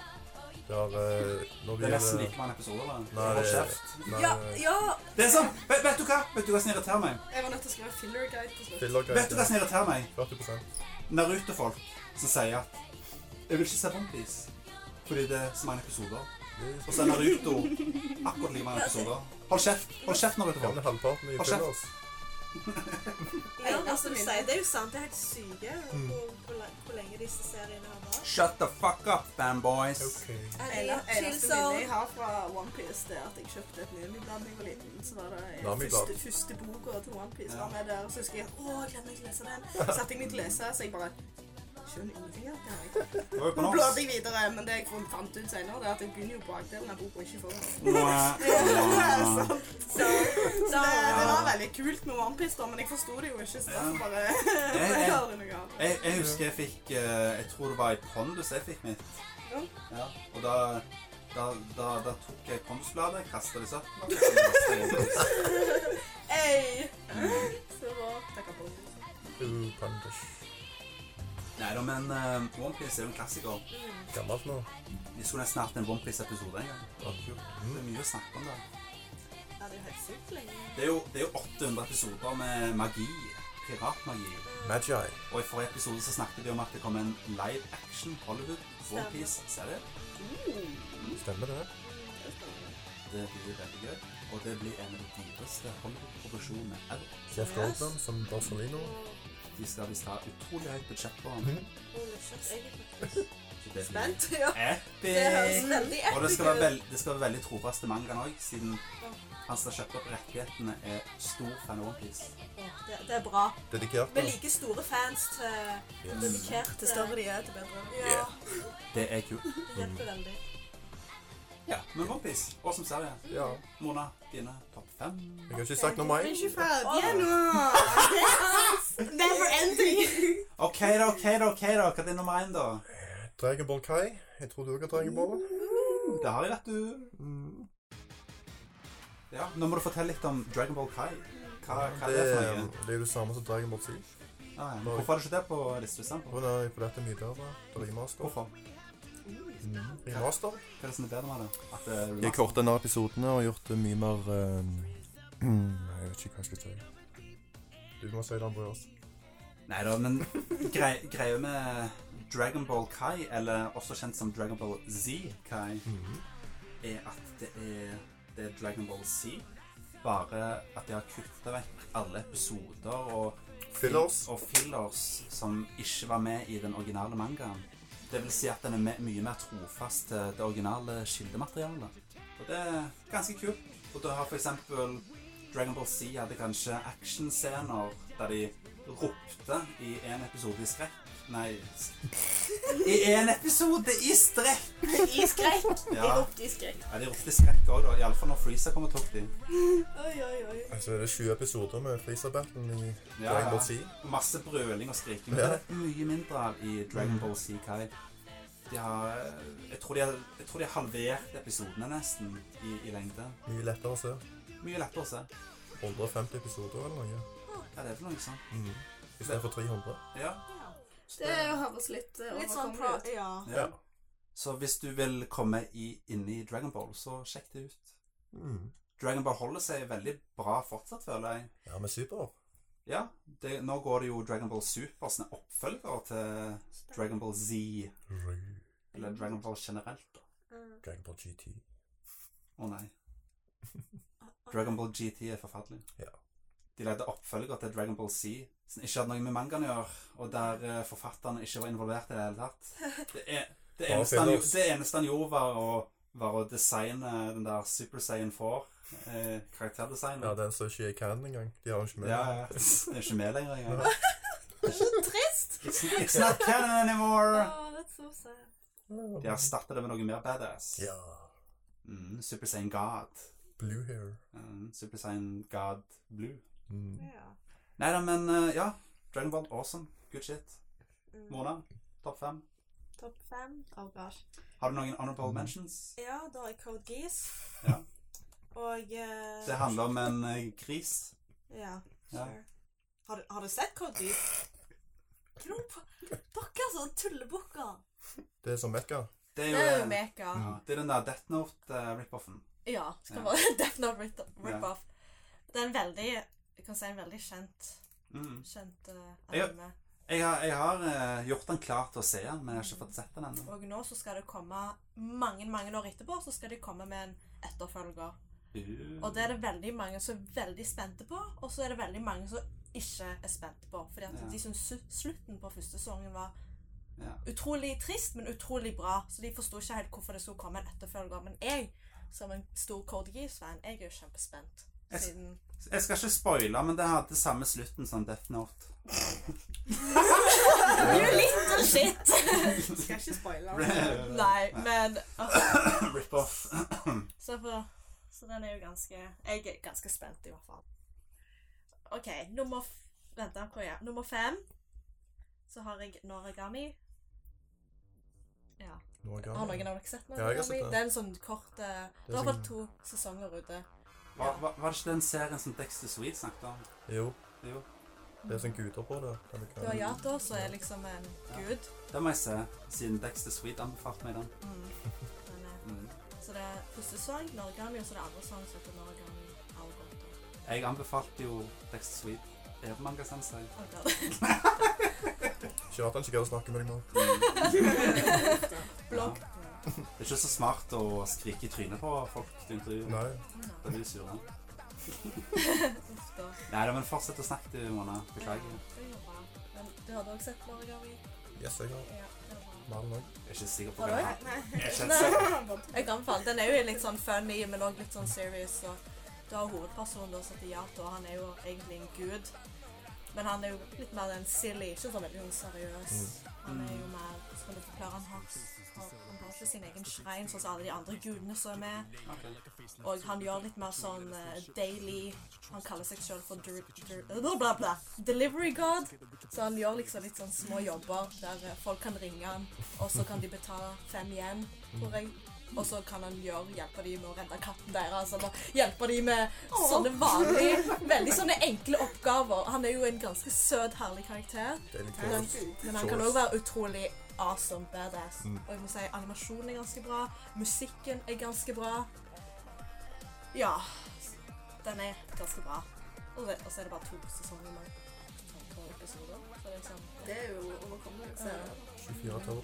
C: Det er eh, Når
A: Det er nesten
C: vi
A: like mange episoder. da.
C: Nei, eh,
A: Hold
C: det-
A: kjeft.
D: Ja, ja.
A: Det er sånn! Vet, vet du hva Vet du hva som irriterer meg?
B: Jeg var nødt til å skrive filler guide på slutt.
C: Filler
A: Vet du hva som irriterer meg?
C: 40
A: Naruto-folk som sier at Jeg vil ikke se Onepiece fordi det er så mange episoder. Og så er Naruto akkurat like mange episoder. Hold kjeft! Hold kjeft,
C: Kan
A: Naruto-folk.
C: halvparten i
A: Hold kjeft.
C: fillers.
D: ja altså, du sier, det er jo sant. Det er helt syke hvor, hvor, la- hvor lenge disse seriene har vært.
A: Shut the fuck up, fanboys.
C: Ok.
D: Eller,
B: Ene-
D: chill
B: Eneste minnet jeg
D: zone.
B: har fra OnePiece, er at jeg kjøpte et Nami-blad da jeg var liten. Så var det eh,
C: Nami-blad.
B: første, første boka til OnePiece var med der. Og så husker jeg å, jeg glemmer jeg å lese den. Så satte jeg meg til å lese, så jeg bare skjønner ingenting av det. her.
A: Det var jo på
B: Nå bladde
A: norsk.
B: jeg videre, men det jeg fant ut senere, det er at jeg begynner jo bakdelen av boka, ikke foran.
A: Mwah.
B: Så, så det, det var veldig kult med OnePiece, da, men jeg forsto det jo ikke. Så derfor bare
A: Jeg- jeg-
B: hører jeg noe av.
A: Jeg, jeg husker jeg fikk eh, Jeg tror det var i Pondus jeg fikk mitt.
B: Ja.
A: Ja. Og da, da, da, da tok jeg Pondus-bladet, kasta det i søpla og så kastet jeg det i Pondus.
D: Ey!
B: Så det var takka på.
C: Uh, Pandish.
A: Nei da, men eh, One Piece er jo en klassiker.
B: Mm.
C: Gammelt nå.
A: Vi skulle nesten hatt en OnePiece-episode en gang.
C: Ja.
A: Det er mye å snakke om der.
D: Ja, det er jo helt sykt lenge.
A: Det er jo, det er jo 800 episoder med magi. Piratmagi.
C: Magi.
A: Og i forrige episode så snakket vi om at det kom en live action Hollywood One Piece-serie.
C: Stemmer det?
A: Det blir veldig gøy. Og det blir en av de dyreste Hollywood-produksjonene ever.
C: Jeff Goldblum som Barcelino.
A: De skal visst ha utrolig høyt budsjett på
C: Mhm.
A: den.
D: Holy shit, jeg er faktisk
A: Så det blir
D: Mhm. spent. Ja. Det høres
A: epic!
D: veldig
A: Og det
D: epic
A: skal være,
D: ut.
A: veld, det skal være veldig trofast til mangaen òg, siden han som har kjøpt opp rettighetene, er stor fan av One Piece.
D: Ja, Det, det er bra.
C: Dedikert
D: Vi
C: da.
D: liker store fans til
C: Yes.
D: dedikerte.
B: Til større de er, til bedre.
D: Ja,
C: Yeah.
A: Det er kult.
D: det hjelper veldig.
A: Ja, men OnePiece, og som serie.
C: Ja.
A: Mona, dine topp fem.
C: Jeg har ikke sagt noe mer.
D: Men ikke ferdig ennå! Never ending!
A: OK, da, OK, da, ok da. Hva er din nummer én, da?
C: Dragon Ball Kai. Jeg tror du òg har Dragon Ball.
A: Det har jeg, vet du. Mm. Ja, Nå må du fortelle litt om Dragon Ball Kai. Hva, hva er det for noe?
C: det er jo det samme som Dragon Ball Z.
A: Ah, ja. men Hvorfor er det ikke det på listelistempen?
C: Og nå er jeg på dette mye bedre. Det er remaster.
A: Hvorfor?
C: Mm. Remaster.
A: Hva er det som er bedre med det? At det er
C: Jeg
A: remaster?
C: korta ned episodene og gjort det mye mer eh, Jeg vet ikke hva jeg skal si. Du må si det, Andreas.
A: Nei da, men grei, greia med Dragon Ball Kai, eller også kjent som Dragon Ball Z Kai,
C: Mhm.
A: er at det er, det er Dragon Ball Z. Bare at de har kutta vekk alle episoder og
C: Fillers.
A: og fillers som ikke var med i den originale mangaen. Det vil si at den er me- mye mer trofast til det originale kildematerialet. Og det er ganske kult. Og da har for eksempel Dragon Ball Z hadde kanskje actionscener der de ropte i en episode i skrekk. Nei s- I en episode i strekk!
D: I skrekk. Jeg
A: Ja,
D: ropte i skrekk.
A: ja de ropte i skrekk òg, da. Iallfall når Freezer kom og tok dem.
D: Oi, oi, oi.
C: Altså, det er 20 episoder med Freezer-battlen i
A: Ja,
C: Dragon
A: ja.
C: Ball Z.
A: Masse brøling og skriking. men
C: Ja.
A: Det er mye mindre av i Dragon Ball Z Kai. De har, jeg, tror de har, jeg tror de har halvert episodene nesten i, i lengde.
C: Mye lettere å se.
A: Mye lettere å se.
C: 150 episoder eller noe.
A: Ja, det er vel noe sånt.
C: Mm. Istedenfor 300.
A: Ja. Så
D: Det høres litt eh,
B: Litt sånn
D: overkommelig
B: pro...
D: ut.
B: Ja.
A: ja. Så hvis du vil komme i, inn i Dragon Ball, så sjekk det ut.
C: Mm.
A: Dragon Ball holder seg veldig bra fortsatt, føler jeg.
C: Ja, men super.
A: Ja, det, nå går det jo Dragon Ball Super, som er oppfølger til Dragon Ball Z,
C: Ru-
A: eller Dragon Ball generelt. da.
C: Dragon Ball GT.
A: Å nei. Dragon Ball GT er forferdelig.
C: Ja.
A: De lagde oppfølger til Dragon Ball Z, som ikke hadde noe med mangaen å gjøre, og der eh, forfatteren ikke var involvert i det hele tatt. Det, er, det,
C: Bare
A: eneste, han,
C: fillers.
A: gjo- det eneste han gjorde, var å, var å designe den der Super Saiyan 4-karakterdesignen.
C: Ja, den som ikke jeg kan engang. De har den ikke med.
A: ja, ja. Den er ikke med lenger engang.
C: Nei.
D: Trist!
A: It's, it's not canon anymore!
D: Oh, that's so sad.
A: De erstattet det med noe mer badass.
C: Ja.
A: Mm, Super Saiyan God.
C: Blue hair.
A: Mm, Super Saiyan God Blue.
C: Mm.
H: Ja.
A: Nei da, men eh, ja. Dragon Ball, awesome. Good shit.
H: Mm.
A: Mona, topp fem.
D: Topp fem. Oh gosh.
A: Har du noen honorable mentions?
D: Ja, da er Code Geass.
A: Ja.
D: Og eh,
A: Det handler om en eh, gris.
D: Ja,
A: Ja.
D: sure.
H: Har, du- har du sett Code Geass?
B: Dere sånn tullebukker.
C: Det er som Mekka.
A: Det
B: Det er
A: er
B: jo
A: jo eh,
B: meka.
A: ja, Det er den der Death eh, Note-rip-offen.
B: Ja. Skal
A: Ja.
B: være Death Note rip-
A: Ja.
B: rip-off. Det er en veldig jeg kan si en veldig kjent,
A: Mm.
B: kjent eh,
A: Ja.
B: anime.
A: Jeg har, jeg har eh, gjort den klar til å se den, men jeg har ikke fått sett den ennå.
B: Og nå så skal det komme mange mange år etterpå så skal de komme med en etterfølger. Og det er det veldig mange som er veldig spente på, og så er det veldig mange som ikke er spente på. Fordi at
A: Ja.
B: de syns su- slutten på første sesongen var
A: Ja.
B: utrolig trist, men utrolig bra. Så de forsto ikke helt hvorfor det skulle komme en etterfølger. Men jeg, som en stor Code Geass-fan, jeg er jo kjempespent.
A: Jeg s-
B: Siden
A: Jeg skal ikke spoile, men det hadde samme slutten som Death Note.
B: You little shit!
I: Skal ikke spoile.
B: Nei, men åh,
A: Rip-off.
B: så, for, så den er jo ganske Jeg er ganske spent, i hvert fall. OK, nummer f Vent, da, hvor er jeg? Nummer fem. Så har jeg Noragami. Ja.
C: Nå er
B: Har noen
C: jeg
B: av dere sett den?
C: Ja, jeg har sett
B: Jeremy?
C: den.
B: Det er en sånn kort eh, Det er
C: sånn-
B: i hvert fall to sesonger ute.
A: Var, var, var det ikke den serien som Dexter Sweet snakket om?
C: Jo,
A: Jo.
C: det er sånn guder på det. Kan du
B: Mm. Du har Yato, som er liksom en
A: Ja.
B: gud.
A: Det må jeg se, siden Dexter Sweet anbefalte meg den.
B: Mm. Men, eh,
A: Mm.
B: så det er første sang Noragami, og så er det andre sang som heter Noragami Algoto.
A: Jeg anbefalte jo Dexter Sweet. Er det manga sensei?
B: Oh God.
C: Ikke rart han ikke gidder å snakke med deg nå.
B: Blogg.
A: Det er ikke så smart å skrike i trynet på folk du intervjuer.
C: Nei.
A: Da blir de sure.
B: Uff da.
A: Nei, da, men fortsett å snakke, du, Mona. Beklager.
B: Det går bra. Men du hadde også sett Noragami?
C: Yes, jeg har
B: Ja, det var bra.
C: mannen òg.
A: Jeg er ikke sikker på hva
B: Har du?
A: jeg har. Jeg er ikke helt sikker.
B: Nei. Jeg anbefaler. Den er jo litt sånn funny, men også litt sånn serious. Og du har hovedpersonen da, som heter Yato, og han er jo egentlig en gud. Men han er jo litt mer den silly, ikke så veldig sånn seriøs. Han er jo mer med Luftepleieren har, har han blåser sin egen schrein, sånn som alle de andre gudene som er med. Og han gjør litt mer sånn eh, daily Han kaller seg selv for dur, dur, bla, bla, bla, delivery god. Så han gjør liksom litt sånn små jobber der eh, folk kan ringe han, og så kan de betale fem igjen, tror jeg. Og så kan han gjøre, hjelpe de med å redde katten deres, eller hjelpe de med
D: Sånn.
B: sånne vanlige, veldig sånne enkle oppgaver. Han er jo en ganske søt, herlig karakter.
C: Det er litt
B: Men,
C: kult.
B: men han kan
C: Source.
B: òg være utrolig awesome badass.
C: Mm.
B: Og jeg må si animasjonen er ganske bra. Musikken er ganske bra. Ja. Den er ganske bra. Og, det, og så er det bare to sesonger med tolv episoder. Så det er sånn.
D: Det er jo overkommelig. Så.
C: 24 tall.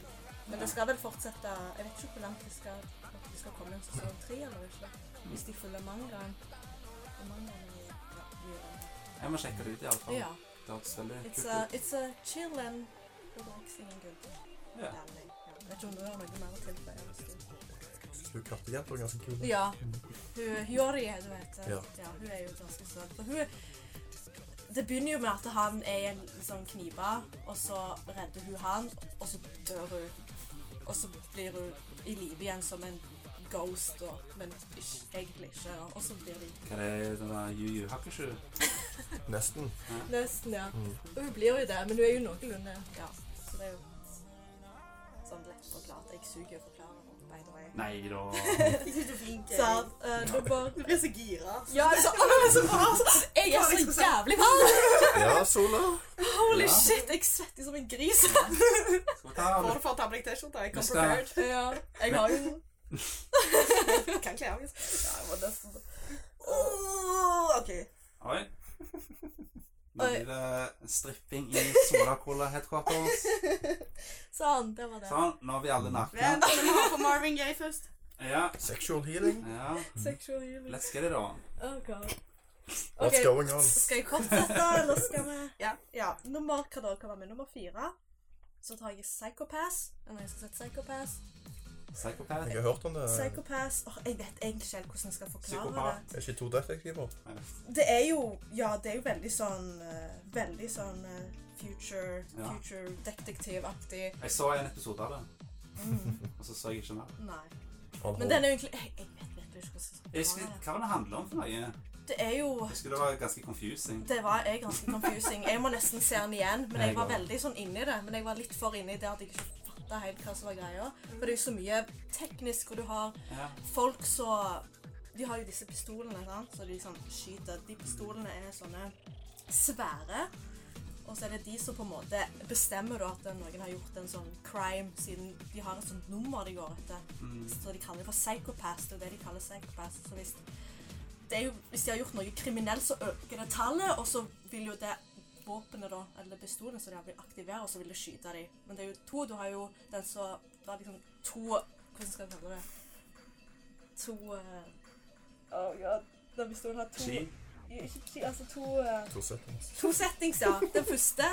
B: Men det skal vel fortsette Jeg vet ikke hvor langt det skal, at det skal komme en sesong tre eller ikke. Hvis de følger mangaen. Og mangaen er jo- ja, mye lenger.
A: Jeg må sjekke det ut, i alle fall.
B: Ja.
A: Det hørtes veldig
B: It's a,
A: kult ut.
B: it's a chill and relaxing and good.
A: Ja.
B: Ja. Jeg vet ikke om du har noe mer å tilføye. Kristin?
C: Hun kattejenta er ganske kul.
B: Ja. Hun Hyori, du heter.
C: Ja.
B: Ja. hun er jo ganske søt. For hun Det begynner jo med at han er i en sånn knipe, og så redder hun han, og så dør hun. Og så blir hun i live igjen som en ghost, og, men ikke, egentlig ikke. og- Og så blir de
A: Hva er det den der Yu Yu Hakushu?
C: Nesten.
B: Nesten, ja.
C: Mm.
B: Og hun blir jo det, men hun er jo noenlunde Ja, så det er jo sånn lett forklart. Jeg suger å forklare, by the way.
A: Nei da.
D: Ikke så flink. jeg.
B: Så, eh, du bare
D: Du blir så gira.
B: Ja, jeg er så, Åh, jeg er så bra! Jeg er så jævlig varm!
C: Ja, Sola.
B: Ah, Holy
A: Ja.
B: shit, jeg svetter som en gris.
A: Skal vi ta
D: Får du for å ta på deg T-skjorta? Jeg
A: Vi
D: kom
A: skal-
D: prepared.
B: ja, jeg har jo
D: Kan kle av. liksom.
B: ja, jeg må nesten
D: Åh, OK.
A: Oi. Nå blir det stripping i Sola Cola Headquarters.
B: Sånn, det var det.
A: Sånn, nå er vi alle
D: Vent,
A: nakne.
D: vi må ha på Marvin Gaye først.
A: Ja,
C: Sexual healing.
A: ja.
B: Sexual healing.
A: Let's get it on.
B: Mm. Oh god.
C: What's
B: Ok,
C: going on?
B: Skal jeg fortsette, eller skal vi
D: Ja.
B: ja. Nummer, hva da? Hva var med nummer fire? Så tar jeg Psychopass. Eller jeg skal sette Psychopass.
A: Psychopath.
C: Jeg har hørt om det. Er
B: Psychopass. Åh, jeg vet egentlig ikke helt hvordan jeg skal forklare
A: Psykopat.
B: det.
C: ikke to detektiver?
B: Det er jo Ja, det er jo veldig sånn eh, Veldig sånn eh, future,
A: Ja.
B: future detektivaktig.
A: Jeg så en episode av det,
B: Mm,
A: og så så jeg ikke mer.
B: nei.
C: Han
B: Men den er jo egentlig Jeg, jeg vet virkelig ikke hva som
A: Jeg husker, hva var det handlet om for noe? Jeg
B: Det er jo
A: husker det var ganske confusing.
B: Det var jeg ganske confusing. Jeg må nesten se den igjen, men jeg var veldig sånn inni det. Men jeg var litt for inni det at jeg ikke fatta helt hva som var greia. For det er jo så mye teknisk, og du har
A: Ja.
B: folk så De har jo disse pistolene, sant? så de liksom skyter. De pistolene er sånne svære. Og så er det de som på en måte bestemmer da at noen har gjort en sånn crime, siden de har et sånt nummer de går etter.
A: Mm.
B: Så de kaller det for psychopath. Det er det de kaller psychopath. Så hvis, det er jo, hvis de har gjort noe kriminelt, så øker det tallet, og så vil jo det våpenet, da, eller pistolen, som de har vil aktivere, og så vil det skyte dem. Men det er jo to. Du har jo den som Det er liksom to Hvordan skal jeg kalle det? To eh, Oh god. Den pistolen har to
A: Ski.
B: Ikke ski, altså to eh,
C: To settings.
B: To settings, ja. Den første,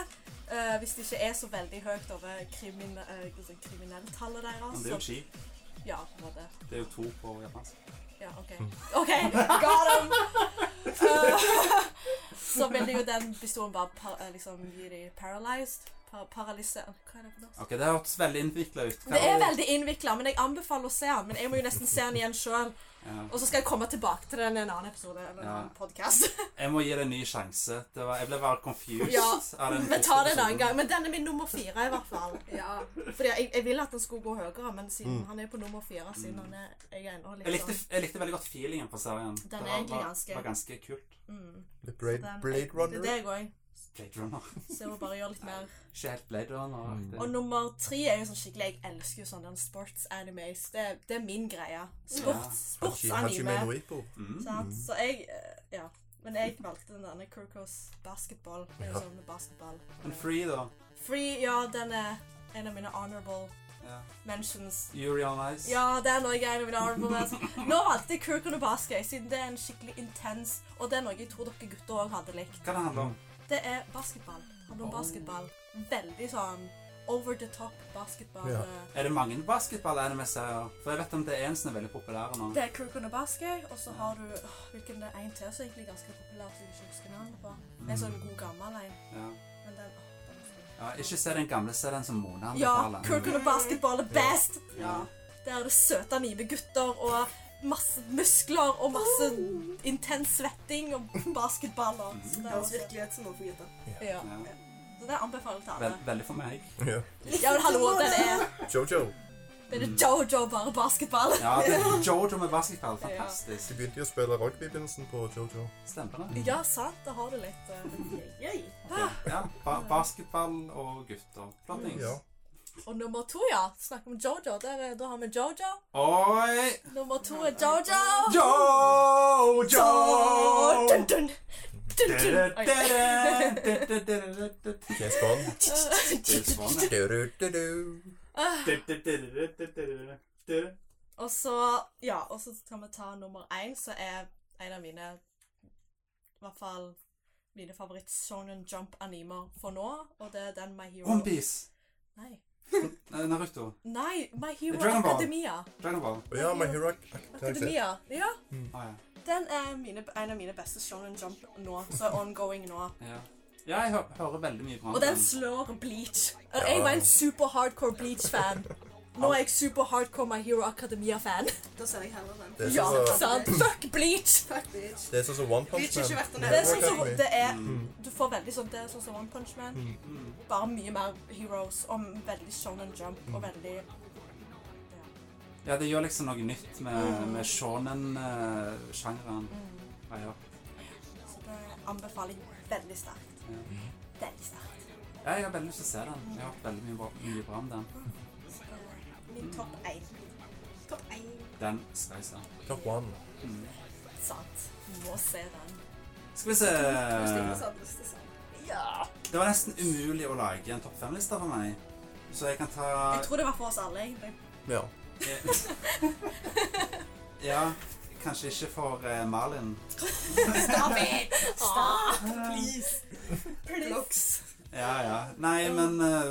B: eh, hvis det ikke er så veldig høyt over krimin eh, sånn kriminelltallet
A: Men det er jo
B: deres,
A: ski.
B: så Ja, på en måte.
A: Det er jo to på japansk.
B: Ja, OK. OK, got him! Eh, så vil jo den pistolen bare par, eh, liksom gi dem paralyzed. Par paralyse... Hva er det for noe?
A: Ok, det hørtes veldig innviklet ut. Hva
B: Det er
A: var-
B: veldig innvikla, men jeg anbefaler å se den. Men jeg må jo nesten se den igjen sjøl.
A: Ja.
B: Og så skal jeg komme tilbake til den i en annen episode eller en
A: Ja.
B: annen podcast.
A: Jeg må gi det en ny sjanse. Det var, jeg ble bare confused.
B: Ja,
A: av den
B: Vi tar det en annen
A: episoden.
B: gang. Men den er min nummer fire, i hvert fall. Fordi jeg, jeg ville at den skulle gå høyere, men siden han er på nummer fire siden han er jeg er ennå litt
A: Jeg likte,
B: sånn-
A: jeg likte veldig godt feelingen på serien.
B: er
A: det var,
B: egentlig
A: var,
B: ganske-
A: var ganske kult.
B: mm.
C: The Blade,
B: Så den-
C: Blade
B: Det er
C: Runner.
B: det jeg òg.
A: Blade Runner.
B: Så jeg må bare gjøre litt mer.
A: Ikke helt Blade Runner.
B: Og nummer tre er jo sånn skikkelig Jeg elsker jo sånne sports animes. Det, det er min greie.
A: Ja.
B: Sport,
C: Hachi- Hachime no
B: Sportsanime.
C: Ippo.
A: Mm.
B: Sant? Så jeg eh, Ja. Men jeg valgte den derne Kirkos basketball. Det er jo
C: Ja.
B: sånn med basketball.
A: Men Free, da.
B: Free, ja, den er en av mine honorable
A: Ja.
B: mentions.
A: Yuri on Ice.
B: Ja, det er noe jeg vil arve Nå valgte jeg Kirk and the Basket, siden det er en skikkelig intens Og det er noe jeg tror dere gutter òg hadde likt.
A: Hva det handler om?
B: Det er basketball. Handler om
A: Oh.
B: basketball. Veldig sånn over the top basketball. eh,
C: Ja.
A: Er det mange basketball-anime-serier? For jeg vet om det er en som er veldig populær nå.
B: Det er Kirk and the Basket, og så har du åh, Hvilken det er en til som egentlig er ganske populær, som jeg ikke husker navnet på. En sånn god gammel en.
A: Mm. Ja.
B: Men den, åh, den er fin.
A: Ja, ikke se den gamle serien som Mona
B: Ja,
A: anbefaler.
B: Kirk and the Basketball er best!
A: Ja.
B: Der er det søte anime-gutter og masse muskler og masse intens svetting og basketballer. Så det,
D: Det
B: er
D: høres
B: også,
D: virkelighet som noe for gutter.
B: ja.
A: Ja.
B: så det anbefaler jeg til alle.
A: Vel- veldig for meg.
C: Ja.
B: Ja, men hallo, den er,
C: Jojo.
B: den er jojo, bare basketball.
A: Ja, det er Jojo med basketball. Fantastisk.
C: De begynte jo å spille rugby i begynnelsen på Jojo.
A: Stemmer det.
B: Ja, sant, da har du litt eh,
D: Yay.
B: Ah.
A: Ja, ba basketball og gutter. Flott ting.
C: Ja.
B: Og nummer to, ja. Snakk om jojo. Der, er- da har vi jojo.
A: Oi!
B: Nummer to er jojo.
A: Jojo!
B: Dun, dun. Dun, dun. Oi.
C: James Bond. Du-du-du-du.
B: Og så, ja, og så kan vi ta nummer én, som er en av mine I hvert fall mine favoritt Shonen Jump-animer for nå, og det er den My Hero
A: Onepiece.
B: Nei.
A: Eh, Naruto.
B: Nei, My Hero
A: Dragon Ball.
B: Academia.
A: Dragon Ball.
C: Å ja, My Hero Ac- Academia.
B: Academia. Ja.
A: Ah, ja.
B: Den er mine, en av mine beste Shonen Jump nå, som er ongoing nå.
A: Ja. ja, jeg hø hører veldig mye bra om
B: Og den slår Bleach. Og Jeg
C: Ja.
B: var en super hardcore Bleach-fan. Nå er jeg super hardcore My Hero Academia-fan.
D: Da ser jeg heller den.
C: Det er
B: Ja,
C: sånn som-
B: sant? Fuck Bleach!
D: Fuck, bitch.
C: det er sånn som One Punch
D: Bitch, ikke
C: Man.
D: vært der
B: Det
D: nede.
B: er sånn som
C: Academy. Mm.
B: det er
A: Mm.
B: Du får veldig sånn Det er sånn som One Punch Man. Bare mye mer heroes og veldig shonen jump og veldig
A: Ja, det gjør liksom noe nytt med, med eh, shonen-sjangeren. Ja, ja.
B: mm. Så det anbefaler jeg veldig sterkt.
A: Ja.
B: Veldig sterkt.
A: ja, jeg har veldig lyst til å se den. Jeg har hørt veldig mye bra, mye bra om den.
B: Så det er Min topp én.
D: Topp én.
A: Den skal jeg se.
C: Top One.
A: Mm.
B: Sant. Må se den.
A: Skal vi se
D: Stikkelse hadde lyst til å se.
A: Det var nesten umulig å lage en topp fem-liste for meg. Så jeg kan ta
B: Jeg tror det var for oss alle, egentlig.
C: Ja.
A: Ja, kanskje ikke for eh, Malin.
B: Stop it! Stop!
D: Plugs.
A: Ja, ja. Nei, men eh,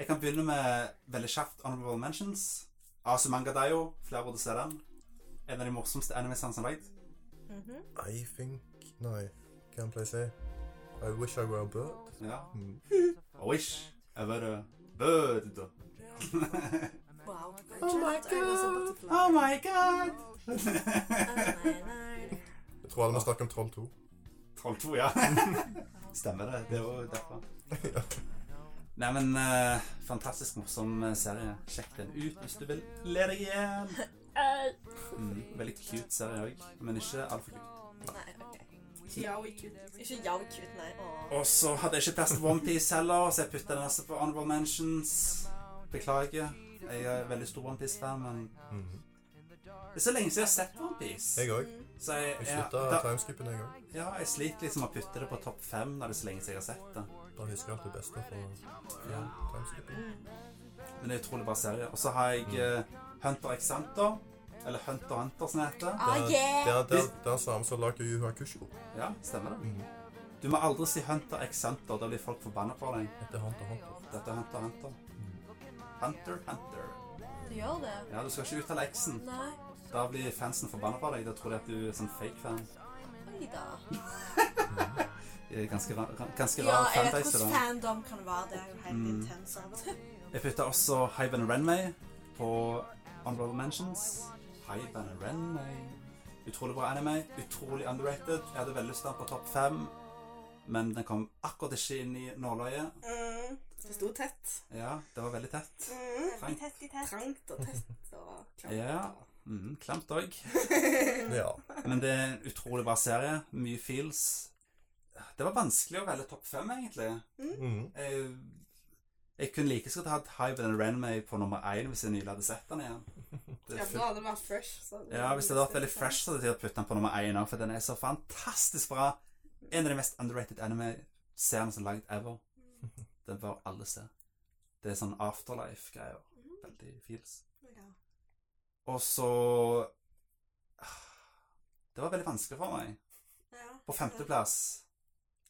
A: jeg kan begynne med veldig kjapt Honorable Mentions. Asu Mangadayo. Flere burde se den. En av de morsomste animesene som er lagd.
B: Mhm.
C: I think Nei, Can play say I wish I were a bird.
A: Ja.
C: Mm.
A: I wish I were a bird.
B: Wow.
A: Oh my god. Oh my god.
C: Jeg tror alle må snakke om Troll 2.
A: Troll 2, ja. Stemmer det. Det var derfor.
C: Ja.
A: Nei, men eh, fantastisk morsom eh, serie. Sjekk den ut hvis du vil le deg igjen. Mm, veldig cute serie òg, men ikke altfor cute.
B: Nei, ok.
D: Tiao i kutt.
B: Ikke jævlig cute, nei. Åh.
A: Og så hadde jeg ikke plass til Onepiece heller, så jeg putta den også på Honorable Mentions. Beklager. Jeg er veldig stor Onepiece-fan, men
C: Mhm.
A: det er så lenge siden jeg har sett Onepiece.
C: Jeg òg.
A: Så jeg,
C: Jeg
A: jeg,
C: slutta
A: da,
C: timeskipen, jeg òg.
A: ja, jeg sliter liksom med å putte det på topp fem når det er så lenge siden jeg har sett det.
C: Da husker jeg alt det beste fra
A: Ja.
C: timeskipen.
A: Men det er utrolig bra serie. Og så har jeg eh, Hunter x Hunter. Eller Hunter Hunter, som det heter.
B: Ah,
C: Det er-
B: yeah!
C: Det er- det er- det er samme som lager Yu Hakusho.
A: Ja, stemmer det.
C: Mhm.
A: Du må aldri si Hunter x Hunter. Da blir folk forbanna på deg.
C: Etter Hunter x Hunter.
A: Dette er Hunter Hunter. Hunter Hunter.
B: Du gjør det?
A: Ja, du skal ikke uttale X-en.
B: Nei.
A: Da blir fansen forbanna på deg. Da tror de at du er sånn fake-fan.
B: Oi da.
A: Det er Ganske rar, ra- ganske
B: Ja,
A: rar
B: jeg vet
A: fanbase.
B: hvordan
A: da.
B: fandom kan være. Det er jo helt
A: Mm.
B: intens av og til.
A: Jeg putta også Hyben Renmay på Honorable Mentions. Hyben Renmay. Utrolig bra anime. Utrolig underrated. Jeg hadde veldig lyst til den på topp fem, men den kom akkurat ikke inn i nåløyet.
D: Mm. Det sto tett.
A: Ja, det var veldig tett.
D: Mm.
A: Fint.
D: Trangt og tett og klamt.
A: Ja. Mm, klemt òg.
C: Ja.
A: Men det er en utrolig bra serie. Mye feels. Det var vanskelig å velge topp fem, egentlig.
C: Mhm.
A: Jeg, Eh, jeg kunne like så godt hatt Hyben Renmay på nummer én hvis jeg nylig hadde sett den igjen. Det
D: Ja,
A: er
D: for da hadde det vært fresh. Så
A: Ja, hvis det hadde vært veldig fresh, så hadde jeg puttet den på nummer én òg, for den er så fantastisk bra. En av de mest underrated anime-seriene som er lagd ever. Den bør alle se. Det er sånn afterlife-greier.
D: Mm.
A: Veldig feels. Og så ah, Det var veldig vanskelig for meg. På femteplass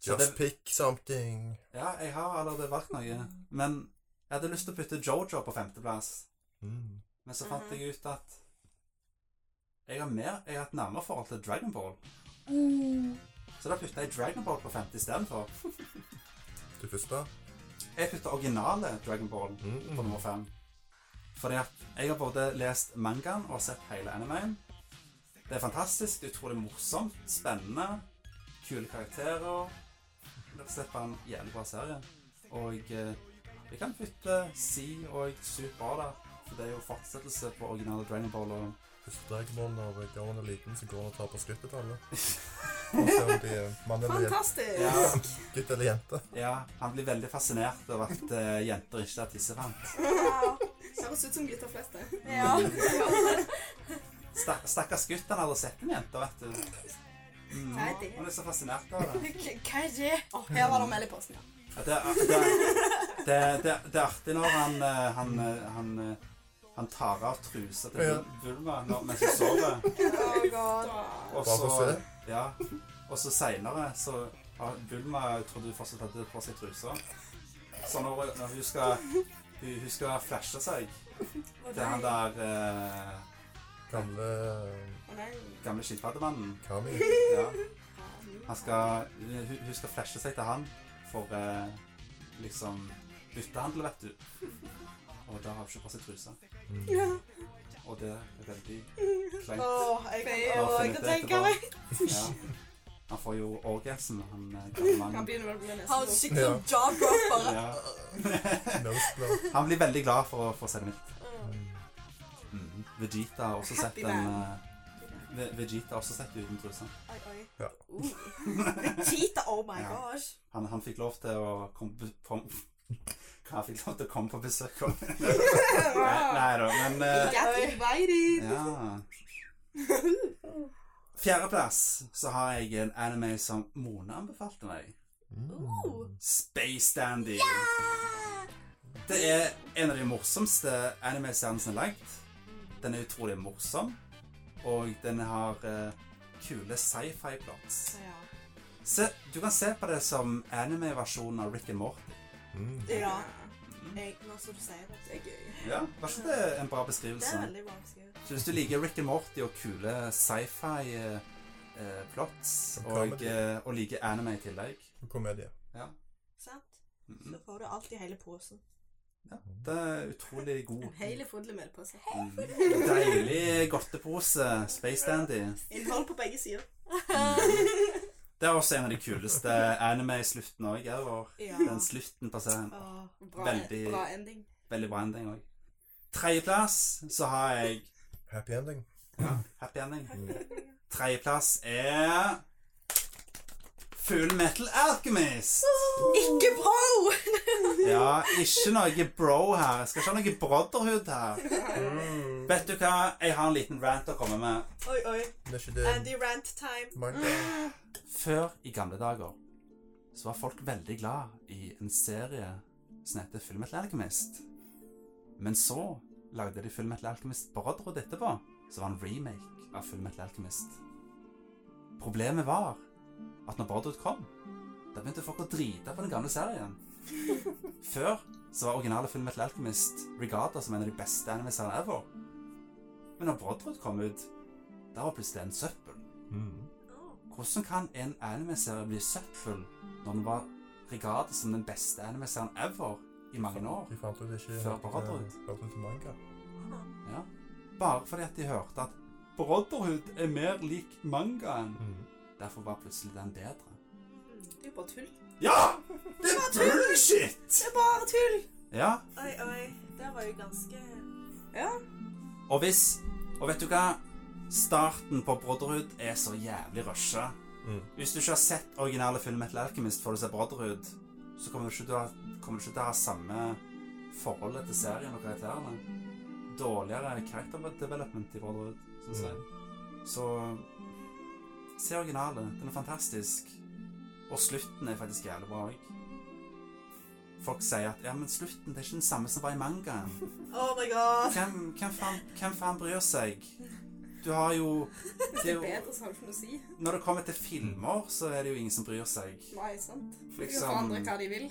A: Så
C: Just
A: det-
C: pick something.
A: Ja, jeg har allerede valgt noe, men jeg hadde lyst til å putte Jojo på femteplass.
C: Mm.
A: Men så fant jeg ut at jeg har, mer, jeg har et nærmere forhold til Dragon Ball.
J: Mm.
A: Så da putta jeg Dragon Ball på 50 istedenfor.
C: Det første Hmm.
A: Jeg putter originale Dragon Ball på nummer fem. Fordi at jeg har både lest mangaen og sett hele animeen. Det er fantastisk, det er utrolig morsomt, spennende, kule karakterer. Rett og slett bare en jævlig bra serie. Og eh, vi kan putte Si og Super Bra der, for det er jo fortsettelse på originale Dragon Ball. Og
C: Husker Dragonborn når Garn er liten, så går han og tar på skrittet til alle. Og ser om de er mann eller jente.
J: Fantastisk!
A: ja,
C: Gutt eller jente.
A: ja, han blir veldig fascinert over at eh, jenter ikke er tissefant.
J: Høres ut som gutter flest, det.
E: Ja.
A: Stak stakkars gutt, han hadde sett en jente, vet du. Mm,
J: Nei, det-
A: han er så fascinert av det.
E: Hva er det?
J: Å, her var det mel i posten, ja.
A: Ja, Det, er- det, er- det, er- det, er- det er artig når han, eh, han, eh, han, eh, han tar av trusa til
C: Ja.
A: Vulma når- mens hun sover.
J: Oh, God.
A: Og
C: Bare for å
A: så,
C: se.
A: ja, og så senere så har Bulma trodde hun fortsatt hadde på seg trusa. Så når, når hun, skal, hun, hun skal flashe seg til han der eh,
C: Gamle eh,
J: Å, nei.
A: gamle skilpaddemannen
C: Kami.
A: ja. Han skal, hun, hun skal flashe seg til han for eh, liksom byttehandel, vet du. Og da har hun ikke på seg trusa.
C: Mm.
A: Og det er veldig
E: Å, jeg kan,
A: kleint. Han har
E: å, jeg
A: funnet
E: kan
A: det
E: tenke meg.
A: etterpå. Ja. Han får jo orgasm, han eh, gamle
J: Han
A: mannen.
J: begynner vel å bli
D: Har
J: nesten
D: skikkelig
C: Ja.
D: jaw drop bare.
A: Ja.
C: Noseblad.
A: Han blir veldig glad for å få se det mitt.
C: Mm.
A: Mm. Vegeta har også sett
J: Happy
A: en
J: man.
A: eh, Ve- Vegeta har også sett uten truse.
E: Oi, oi.
C: Ja.
E: Uh. Cheetah, oh my
A: Ja.
E: gosh.
A: Han, han fikk lov til å komme på, på Han fikk lov til å komme på besøk. nei, nei da, men eh,
J: Get invited!
A: Ja. Fjerdeplass så har jeg en anime som Mona anbefalte meg.
C: Mm.
A: Space Dandy. Det er en av de morsomste anime-seriene som er lagd. Den er utrolig morsom, og den har eh, kule sci-fi-plots.
E: Ja.
A: Se, du kan se på det som anime-versjonen av Rick and Morty.
C: Mm.
E: ja.
A: Mhm.
E: Jeg, nå som du sier det,
J: Det er gøy.
A: Ja, Var ikke det en bra
E: det er
A: beskrivelse?
E: veldig bra beskrevet.
A: Så hvis du liker Rick and Morty og kule sci-fi-plots,
C: Og
A: og,
C: comedy.
A: eh, og liker anime i tillegg
C: Komedie.
E: Sant?
A: mm,
E: Så får du alltid hele posen.
A: ja, Det er utrolig god.
J: En hel full med på seg.
A: Mm. Deilig godtepose. Space Dandy. Mm.
E: Innhold på begge sider.
A: Det er også en av de kuleste anime-sluttene òg.
E: Ja.
A: Den slutten på serien.
E: Åh.
J: Bra,
A: Veldig-
J: bra ending.
A: Veldig bra ending òg. Tredjeplass så har jeg
C: Happy ending.
A: Happy ending.
C: Mm.
A: Tredjeplass er Full Metal Alchemist.
E: Ikke bro!
A: Ja, ikke noe bro her. Jeg skal ikke ha noe brotherhood her. Vet du hva, jeg har en liten rant å komme med.
E: Oi, oi.
C: Det er ikke
A: Um,
C: det
E: Andy rant time.
C: Minecraft.
A: Før i gamle dager så var folk veldig glad i en serie som heter Full Metal Alchemist. Men så lagde de Full Metal Alchemist Brotherhood etterpå, som var en remake av Full Metal Alchemist. Problemet var at når Brotherhood kom, da begynte folk å drite på den gamle serien. Før så var originale Full Metal Alchemist Regatta som en av de beste anime-seriene ever. Men når Brotherhood kom ut, da var plutselig en søppel.
C: Mm.
A: Hvordan kan en anime-serie bli søppel når den var regarded som den beste anime-serien ever i mange år?
C: De fant ut det ikke
A: Før Brotherhood.
C: eh, fant ut manga.
A: Ja. Bare fordi at de hørte at Brotherhood er mer lik mangaen.
C: Mm.
A: Derfor var plutselig den bedre.
J: Det er jo bare tull.
A: Ja! Det er bullshit!
E: Det er bare tull!
A: Ja,
E: Oi, oi. Det var jo ganske
A: og hvis Og vet du hva? Starten på Brotherhood er så jævlig rusha.
C: Mm.
A: Hvis du ikke har sett originale Full Metal Alchemist før du ser Brotherhood, så kommer du ikke til å, kommer du ikke til å ha samme forholdet til serien og karakterene. Dårligere character development i Brotherhood, syns
C: Hmm.
A: jeg. Så se originalen. Den er fantastisk. Og slutten er faktisk jævlig bra òg. Folk sier at ja, men slutten det er ikke den samme som var i mangaen.
E: Oh my god.
A: Hvem, hvem, faen, hvem faen bryr seg? Du har jo
J: Hvis
A: det
J: det
A: er
J: er
A: jo-
J: bedre, så har du ikke noe å si.
A: Når det kommer til filmer, så er det jo ingen som bryr seg.
J: Nei, sant? De kan
A: Liksom
J: forandre hva de vil.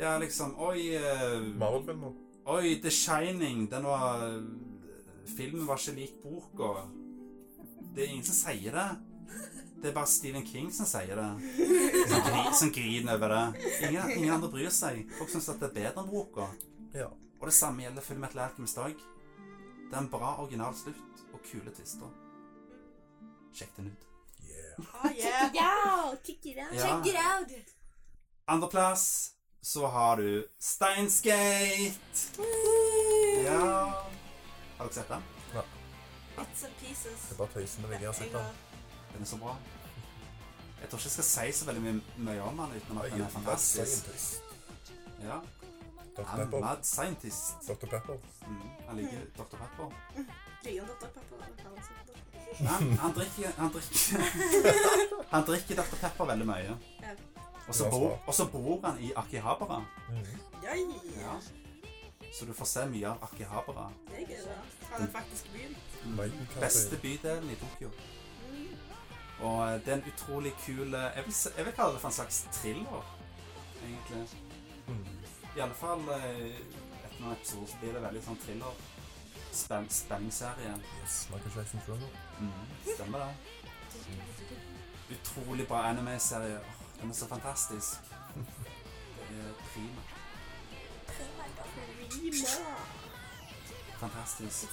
A: Ja, liksom Oi, eh,
C: Marvel-filmer.
A: oi The Shining, den var eh, Filmen var ikke lik boka. Det er ingen som sier det. Det er bare Stephen King som sier det. Som, gri, som griner over det. Ingen, ingen andre bryr seg. Folk syns at det er bedre enn boka.
C: Ja.
A: Og det samme gjelder Full Metal Alchemist Dag. Det er en bra original slutt og kule twister. Sjekk den ut.
C: Yeah.
B: Ah, yeah.
A: Ja.
D: Get out!
J: Oh
A: Andreplass så har du Steinskate. Ja. Har dere sett den?
E: Bits and pieces.
C: Det er bare tøysende Vegard sitter.
A: Den er så bra. Jeg tror ikke jeg skal si så veldig mye, mye om den utenom
C: Nei,
A: at den er
C: jeg er mad
A: fantastisk.
C: Ah, scientist.
A: Ja.
C: Dr.
A: I'm
C: Pepper.
A: mad scientist.
C: Dr. Pepper.
A: Mm. Han liker Dr. Pepper.
J: Griner Dr. Pepper eller hva han sier.
A: Han, han drikker Han drikker Han drikker Dr. Pepper veldig mye.
J: Ja.
A: Og så
C: Det var
A: bor,
C: smart.
A: og så bor han i Akihabara,
C: Mhm.
J: Ja,
A: Ja. så du får se mye av Akihabara.
J: det er gøy. da. Han er faktisk byen.
C: Maiden Cafe.
A: Beste bydelen i Tokyo. Og eh, det er en utrolig kul eh, Jeg vil, s- jeg vil kalle det for en slags thriller, egentlig.
C: Mhm.
A: I alle fall eh, etter noen episoder så blir det veldig sånn thriller. Spenn, spenningsserie.
C: Yes, Michael Jackson Thriller.
A: Stemmer det. Utrolig bra anime-serie. Åh, Den er så fantastisk. Det er prima. Fantastisk.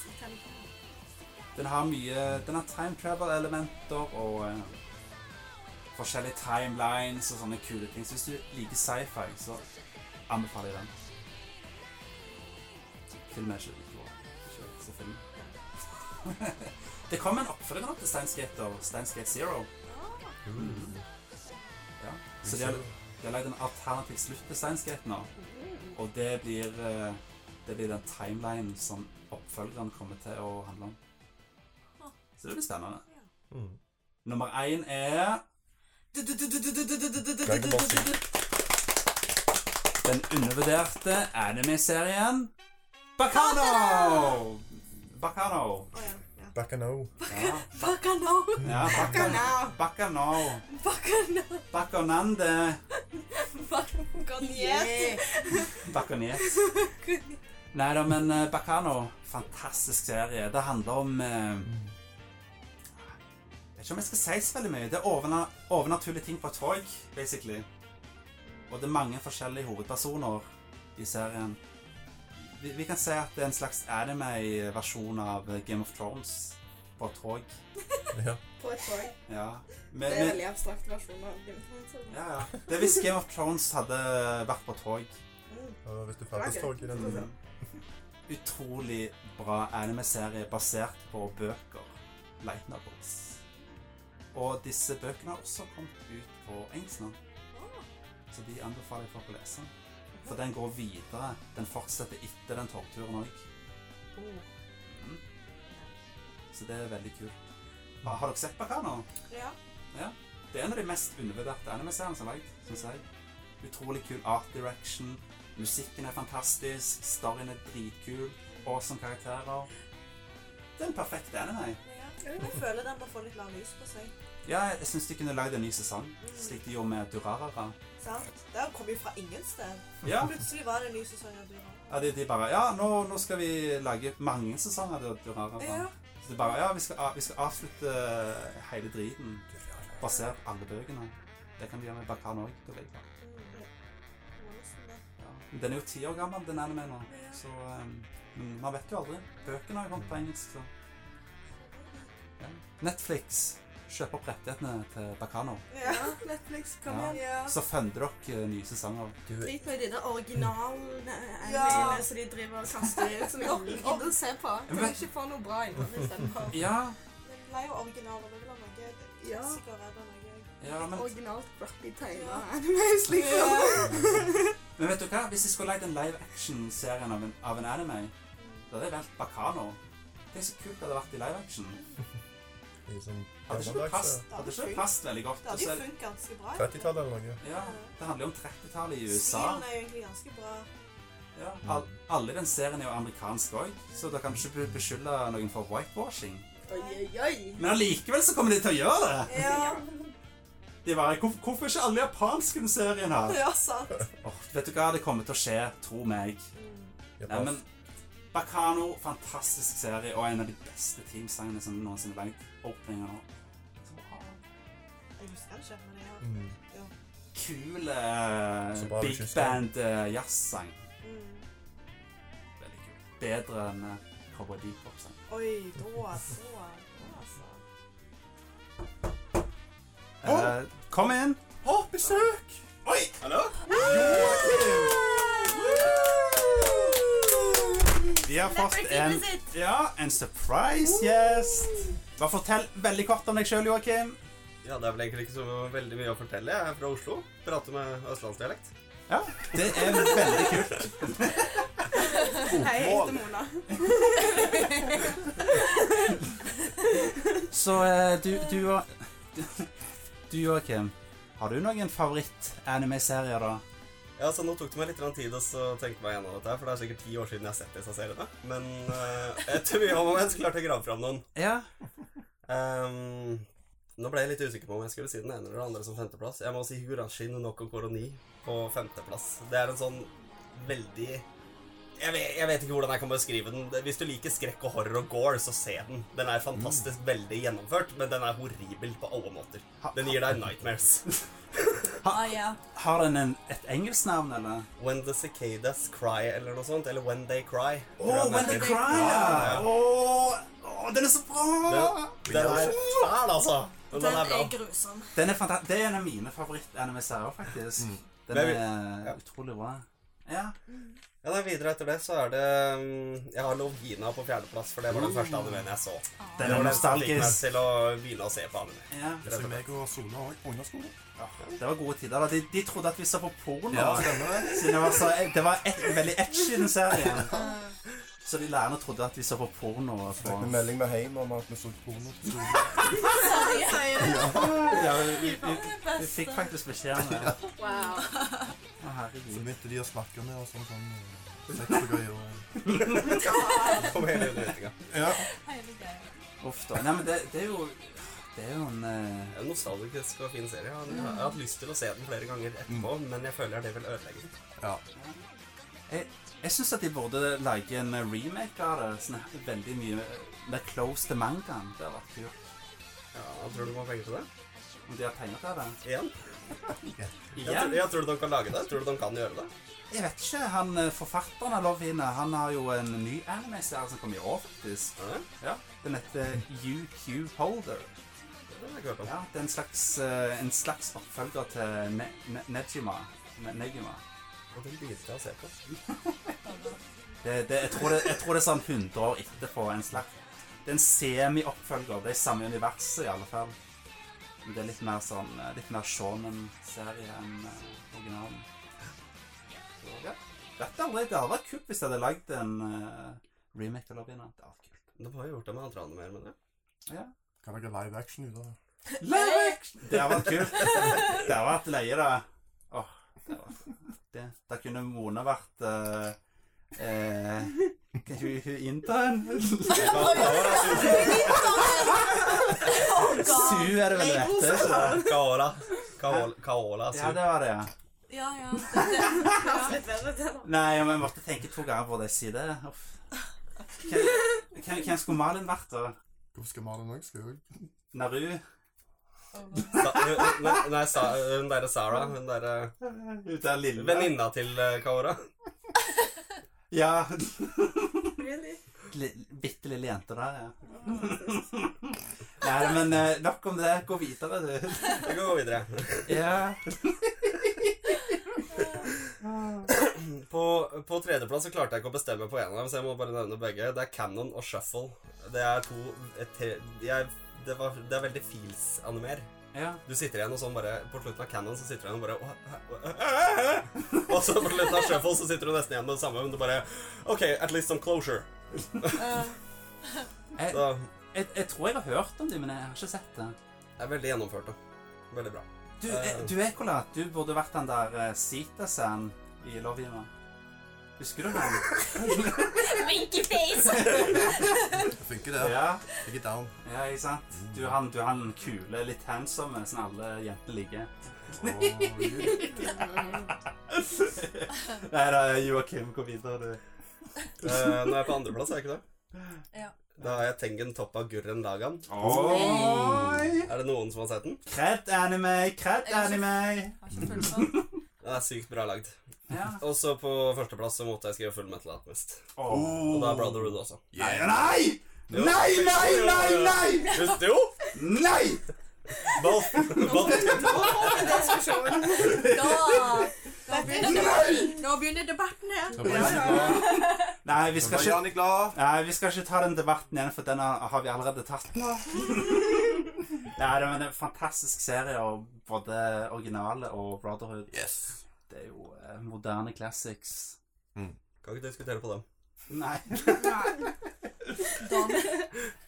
A: Den har mye Den har time travel-elementer og eh, forskjellige timelines og sånne kule ting. Så hvis du liker sci-fi, så anbefaler jeg den. Filmen er ikke like bra. Ikke så film. Det kom en oppfølger nå til Steinsgate og Steinsgate Zero.
C: Mhm.
A: Ja. Så de har, de har lagd en alternativ slutt til Steinsgate nå. Og det blir, eh, det blir den timelinen som oppfølgeren kommer til å handle om. Så det blir spennende.
C: Mhm.
A: Nummer én er
C: Dragon Ball Z.
A: den undervurderte anime-serien Bacano! Bacano.
E: Å ja. ja.
C: Back and O.
A: Ja,
D: Bacano!
A: ja Bacano. Bacano.
D: Bacano!
A: Bacanande.
E: Garnier.
A: Baconet. Nei da, men eh, Bacano. Fantastisk serie. Det handler om eh, Jeg vet ikke om jeg skal si så veldig mye. Det er overna overnaturlige ting på et tog, basically. Og det er mange forskjellige hovedpersoner i serien. Vi, vi kan si at det er en slags anime-versjon av Game of Thrones på et tog.
C: Ja.
J: På et tog.
A: Ja. Med,
J: Det er en
A: med,
J: veldig abstrakt versjon av Game of Thrones. altså.
A: ja, ja. Det er hvis Game of Thrones hadde vært på et tog.
C: Og hvis du fattes
J: Det var
C: tog i den tiden.
A: Mm. Utrolig bra anime-serie basert på bøker. Light novels. Og disse bøkene har også kommet ut på engelsk nå. Så de anbefaler jeg folk å lese. For den går videre. Den fortsetter etter den togturen òg. Så det er veldig kult. Har har dere sett Bacano?
E: Ja.
A: Ja. Det er en av de mest undervurderte anime-seriene som er lagd, syns jeg. Utrolig kul art direction. Musikken er fantastisk. Storyen er dritkul. Awesome karakterer. Det er en perfekt anime.
E: Jeg føler den må få litt mer lys på seg.
A: Ja, jeg syns de kunne lagd en ny sesong, slik de gjorde med Durarara.
E: Sant? Det kom jo fra ingen sted.
A: Ja,
E: Plutselig var det en ny sesong av Dura.
A: ja de, de bare Ja, nå, nå skal vi lage mange sesonger av
E: Ja.
A: Durarara. Så de bare Ja, vi skal, a- vi skal avslutte hele driten basert på alle bøkene. Det kan vi gjøre med Bakan òg. da vet jeg. Ja. Men Den er jo ti år gammel, den animen nå. Så ehm, men man vet jo aldri. Bøkene har jo kommet på engelsk, så ja. Netflix kjøper opp rettighetene til Bacano.
E: Ja.
J: Netflix, kom
A: Ja.
J: igjen.
E: Ja.
A: Så funder dere eh, nye sesonger.
C: Du er
J: Drit nå i de der originalene
E: Ja.
J: animene som de driver og kaster ut, som jeg
E: Ja.
J: ikke gidder å se på. Kan
A: Men-
J: vi ikke få noe bra innhold istedenfor?
A: Ja,
E: Men det er jo original, og det vil ha noe
J: Ja.
E: sikkert er det noe.
A: ja men,
J: Originalt crappy tegna
E: Ja.
J: anime, slik som
A: men vet du hva? Hvis jeg skulle lagd en live action-serien av, en- av en anime, da hadde jeg valgt Bacano. Det er så kult at det hadde vært i live action.
C: i sånn
A: Hadde ikke det
C: gammeldags,
A: passet,
C: eh,
A: hadde ikke det passet veldig godt.
E: Det hadde jo
A: Og så-
E: funket ganske bra.
C: 30-tallet eller noe.
A: ja, det handler jo om 30-tallet i USA.
E: Stilen er jo egentlig ganske bra.
A: Ja, all, alle i den serien er jo amerikansk òg, så da kan du ikke be- beskylde noen for whitewashing.
J: Oi, oi, oi.
A: Men allikevel så kommer de til å gjøre det!
E: Ja,
A: De bare, Hvor, Hvorfor er ikke alle japanske i den serien her?
E: ja sant.
A: Åh, vet du hva, det kommer til å skje. Tro meg.
D: Mm.
A: Nei, men Bacano, fantastisk serie og en av de beste teamsangene som noensinne er lagd. Openinga nå. Så bra.
E: Jeg husker det ikke, men jeg har
C: Mm.
A: Kul
C: Så
A: eh,
C: bra du
A: big
C: syns det.
A: band eh, jazzsang.
E: mm.
A: Veldig kul. Bedre enn eh, Cowboy Bebop-sang.
E: Oi, da, da, da altså.
A: Eh, kom inn!
C: Å, besøk!
A: Oi!
K: Hallo?
A: Vi har fått en, ja, en surprise gjest. Bare fortell veldig kort om deg sjøl, Joakim.
K: Ja, det er vel egentlig ikke så veldig mye å fortelle. Jeg er fra Oslo. Prater med østlandsdialekt.
A: Det er veldig kult.
J: Hei, jeg heter Mona.
A: Så eh, du, du og Du, Joakim, har du noen favoritt-anime-serier, da?
K: Ja, så Nå tok det meg litt grann tid å så tenke meg gjennom dette, her, for det er sikkert ti år siden jeg har sett disse seriene. Men eh, etter mye om og men så klarte jeg å grave fram noen.
A: Ja.
K: Ehm, nå ble jeg litt usikker på om jeg skulle si den ene eller den andre som femteplass. Jeg må si Hurashin Noko Koroni på femteplass. Det er en sånn veldig jeg vet, jeg vet ikke hvordan jeg kan beskrive den. Hvis du liker skrekk og horror og gore, så se den. Den er fantastisk
D: Mm.
K: veldig gjennomført, men den er horribel på alle måter.
A: Ha-
K: Den gir deg nightmares.
D: Ah, ja.
A: Har den en, et engelsk navn, eller?
K: When the cicadas cry, eller noe sånt. Eller When they cry. tror jeg den
D: When
K: heter.
D: They Cry,
K: Ja, ja, ja.
A: den er så bra!
K: Den, den er fæl, altså. Men
D: Den
K: den er bra.
D: er grusom.
A: Den er fanta- Det er en av mine favoritt-anime-serier, faktisk. Den
K: Mm. Men vi-
A: er
K: ja.
A: utrolig bra. Ja.
K: Ja, nei, Videre etter det så er det mm, Jeg har Lovgina på fjerdeplass, for det var den første animeen jeg så. Det
A: Den er
K: var den som fikk meg
A: nostalgisk.
K: til å begynne å se på anime.
A: Ja.
C: Så meg og Sola har også underskole.
A: Det var gode tider. da. De, de trodde at vi så på porno.
C: Ja, stemmer det.
A: Siden det var, så, det var et, veldig edgy, den serien. Så de lærerne trodde at vi så på porno. og
C: Fikk
A: på-
C: en melding med hjem om at vi så porno på skolen.
A: Ja, vi, vi, vi, vi fikk faktisk beskjed om det.
B: Wow.
A: Å,
C: Så
A: herregud.
C: begynte de å snakke med oss om sånn eh, sex og greier. og-
K: Kom hele undervisninga.
C: Ja.
D: Hele greia.
A: Uff da. Nei, men det, det er jo Det er jo en eh,
K: En nostalgisk og fin serie. Jeg har, jeg har hatt lyst til å se den flere ganger etterpå, men jeg føler det vil ødelegge den.
C: ja.
A: Jeg syns at de burde lage en remake av det. Sånn her veldig mye mer close til mangaen. Det hadde vært kult.
K: Ja, jeg tror du må ha penger til det.
A: Om de har penger til det.
K: Igjen. Jeg,
A: Igjen?
K: tror, jeg tror du de kan lage det. Tror du de kan gjøre det?
A: Jeg vet ikke. han eh, Forfatteren av Lovine han har jo en ny anime-serie som kom i år, faktisk.
K: Ja,
A: Ja, Den heter UQ Holder.
K: det har jeg ikke hørt om.
A: Ja, Det er en slags, eh, en slags oppfølger til ne ne Nejima. Ne Negima.
K: Og den begynte jeg å se på.
A: Det, det, jeg, tror det, jeg tror det er sånn 100 år etterpå. en slags. Det er en semi-oppfølger. Det er i samme universet, i alle fall. Men det er litt mer sånn, eh, litt mer shonen-serie enn eh, originalen. Så, ja. Vet aldri. Det hadde vært kult hvis jeg hadde lagd en eh, remake av Lovina. Det hadde vært kult.
K: De har jo gjort det med andre animer, mener jeg.
C: Kan lage live action ut av det.
A: Det har vært kult. Det har vært leie, da. Åh, det har vært det. Da kunne Mona vært eh, eh, Kan ikke hun- hun intern?
K: Kaora,
A: Su er det vel det heter. ikke det?
K: Kaora, Kaola, Kaola,
A: Ja, det var det, ja.
D: Ja, ja. Det, det, ja.
E: Litt bedre til da.
A: Nei, men jeg måtte tenke to ganger på det jeg sier det. Uff. Hvem, hvem- hvem skulle Malin vært, da?
C: Hvorfor skal Malin òg? Skal jo
A: Naru?
K: Sa- hun- hun- Nei, nei, sa- hun derre Sara, hun derre
A: Hun der lille
K: venninna til eh, Kaora.
A: Ja.
E: Really?
A: li- Bitte lille jente der, ja. Nei, men eh, nok om det. Gå videre, du.
K: Vi går videre.
A: Ja.
K: På, på tredjeplass så klarte jeg ikke å bestemme på en av dem, så jeg må bare nevne begge. Det er Cannon og Shuffle. Det er to et tre, de er, det, var, det er veldig feels-animer.
A: ja.
K: Du sitter igjen og sånn bare På slutten av Cannon så sitter du igjen og bare «Åh, hæ, hæ, hæ?» Og så på slutten av Shuffle så sitter du nesten igjen med det samme, men du bare OK, at least some closure.
A: Jeg,
K: Så
A: jeg, jeg tror jeg har hørt om dem, men jeg har ikke sett det.
K: det er veldig gjennomført, da. Veldig bra.
A: Du,
K: Eh.
A: eh, du Ekola, du burde vært den der eh, Sitasen i Love Hina. Husker du han?
D: Winkyface!
C: Det funker, det.
A: ja.
C: Jeg er down.
A: ja, ikke sant? Du er han, du er han kule, litt handsome, som alle jenter liker.
C: Og,
A: Nei da, Joakim, gå videre, du.
K: Eh, nå er jeg på andreplass, er jeg ikke det?
D: Ja.
K: Da har jeg Tengen Toppa Gurren Lagan.
A: Oi!
K: Er det noen som har sett den?
A: Kred anime, kred
D: Jeg har ikke-
A: anime.
D: Har ikke følt på den.
K: Den er sykt bra lagd.
A: Ja.
K: Og så på førsteplass så måtte jeg skrive Full Metal Alchemist.
A: Oh.
K: Og da er Brotherhood også.
A: Nei, nei! Nei, nei, nei, nei!
K: Just jo!
A: Nei!
K: Ball. Ball.
D: Da, da, begynner,
A: Nei!
D: da begynner debatten her.
C: Da ble jeg så glad.
A: Nei, vi
C: Da
A: skal
C: ble
A: ikke
C: Jani glad.
A: Nei, vi skal ikke ta den debatten igjen, for den har har vi allerede tatt. Nei, det er en fantastisk serie, og både originale og Brotherhood.
C: Yes.
A: Det er jo eh, moderne classics.
K: Kan ikke diskutere på dem.
A: Nei,
D: Da,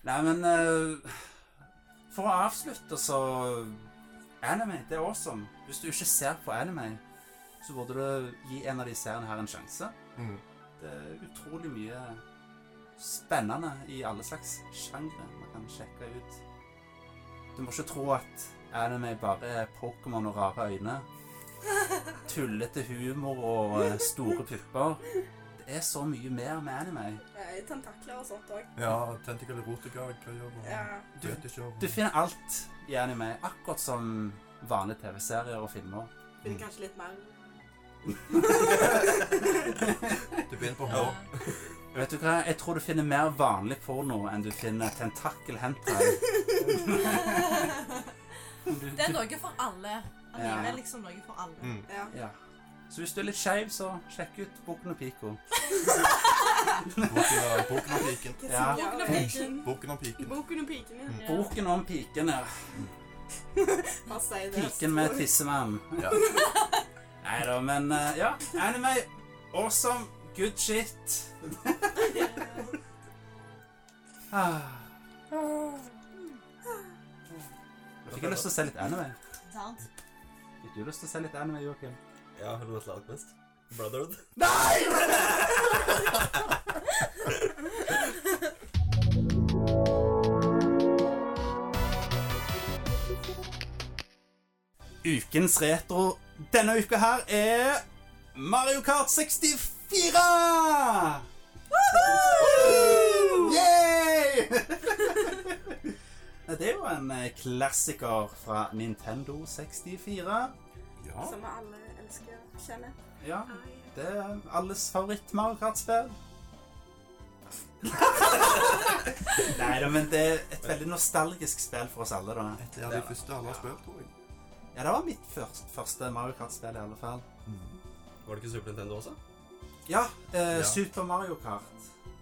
A: Nei men eh, For å avslutte, så Anime, det er awesome. Hvis du ikke ser på anime, så burde du gi en av de seriene her en sjanse.
C: Mm.
A: Det er eh, utrolig mye spennende i alle slags sjangre man kan sjekke ut. Du må ikke tro at anime bare er Pokémon og rare øyne. Tullete humor og eh, store pupper. Det er så mye mer med anime.
J: Eh, Tentakler og sånt òg.
C: Ja, tentacle erotica, hva gjør man?
J: Ja.
C: Du vet ikke om
A: Du finner alt i anime, akkurat som vanlige TV-serier og filmer.
J: Blir kanskje litt mer
C: Du begynner på H.
D: ja.
A: Vet du hva? Jeg tror du finner mer vanlig porno enn du finner tentakel-hentai. Du-
D: Det er
A: du-
D: noe for alle. Anime
A: Ja.
D: er liksom noe for alle.
C: Mm.
J: Ja.
A: Ja. Så hvis du er litt skeiv, så sjekk ut Boken og Pico.
C: Boken er- Boken om piken.
A: Ja.
J: Ja.
D: Boken og piken.
C: Boken om piken.
J: Boken og pikene.
C: Mm.
D: Ja.
A: Boken om piken, ja.
J: Hva sier det?
A: Piken med tissemann.
C: Ja.
A: Nei da, men eh, ja. Anime, awesome, good shit. Ah. Jeg fikk lyst til å se litt anime.
D: Sant?
A: Fikk du lyst til å se litt anime, Joakim?
K: Ja, Full Metal Alchemist. Brotherhood.
A: Ukens retro denne uka her er Mario Kart 64! Yay! Det er jo en eh, klassiker fra Nintendo 64.
C: Ja.
J: Som vi alle elsker å kjenne.
A: Ja, det er alles favoritt Mario Kart-spill. Nei da, men det er et veldig nostalgisk spill for oss alle, da.
C: Det er de første alle har spilt, tror jeg.
A: Ja, det var mitt først, første Mario Kart-spill, i alle fall.
K: Var det ikke Super Nintendo også?
A: Ja, Mm. eh,
C: Ja.
A: Super Mario Kart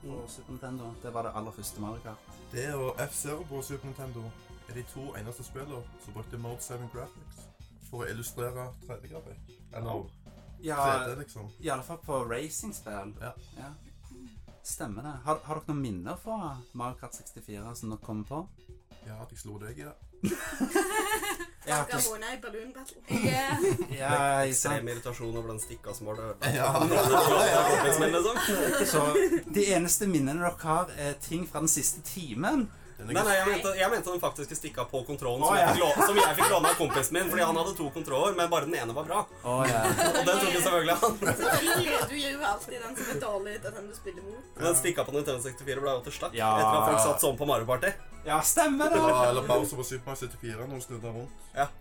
A: og Super Nintendo. Det var det aller første Mario Kart.
C: Det og F-Zero på Super Nintendo er de to eneste spillene som brukte Mode 7 Graphics for å illustrere 3D-grafikk. Eller
A: Ja,
C: 3D, liksom.
A: i alle fall på racingspill.
C: Ja.
A: Stemmer det. Har, har dere noen minner fra Mario Kart 64 som dere kommer på?
C: Ja, at jeg slo deg i det.
A: Ja,
J: Garona i Balloon Battle.
D: Jeg,
A: ja, jeg sa-
K: Ekstrem irritasjon over den stikkasmålet.
C: Ja.
K: Kompismenn, liksom.
A: Så de eneste minnene dere har, er ting fra den siste timen.
C: Den er
K: Nei, nei, jeg mente, jeg mente den faktiske stikka på kontrollen som,
A: Å,
K: jeg
A: ja.
K: fikk lå- som jeg fikk låne av kompisen min. Fordi han hadde to kontroller, men bare den ene var bra.
A: Å ja.
K: Og den tok jo selvfølgelig han.
J: Selvfølgelig, Du gir jo alltid den som er dårlig, til den du spiller mot.
K: Den stikka på Nintendo 64 ble jo til slakk
A: Ja.
K: etter at folk satt sånn på Mario Party.
A: Ja,
K: eh,
A: stemmer det.
C: Ja, eller Bowser på Super Mario 74 når du snudde den rundt.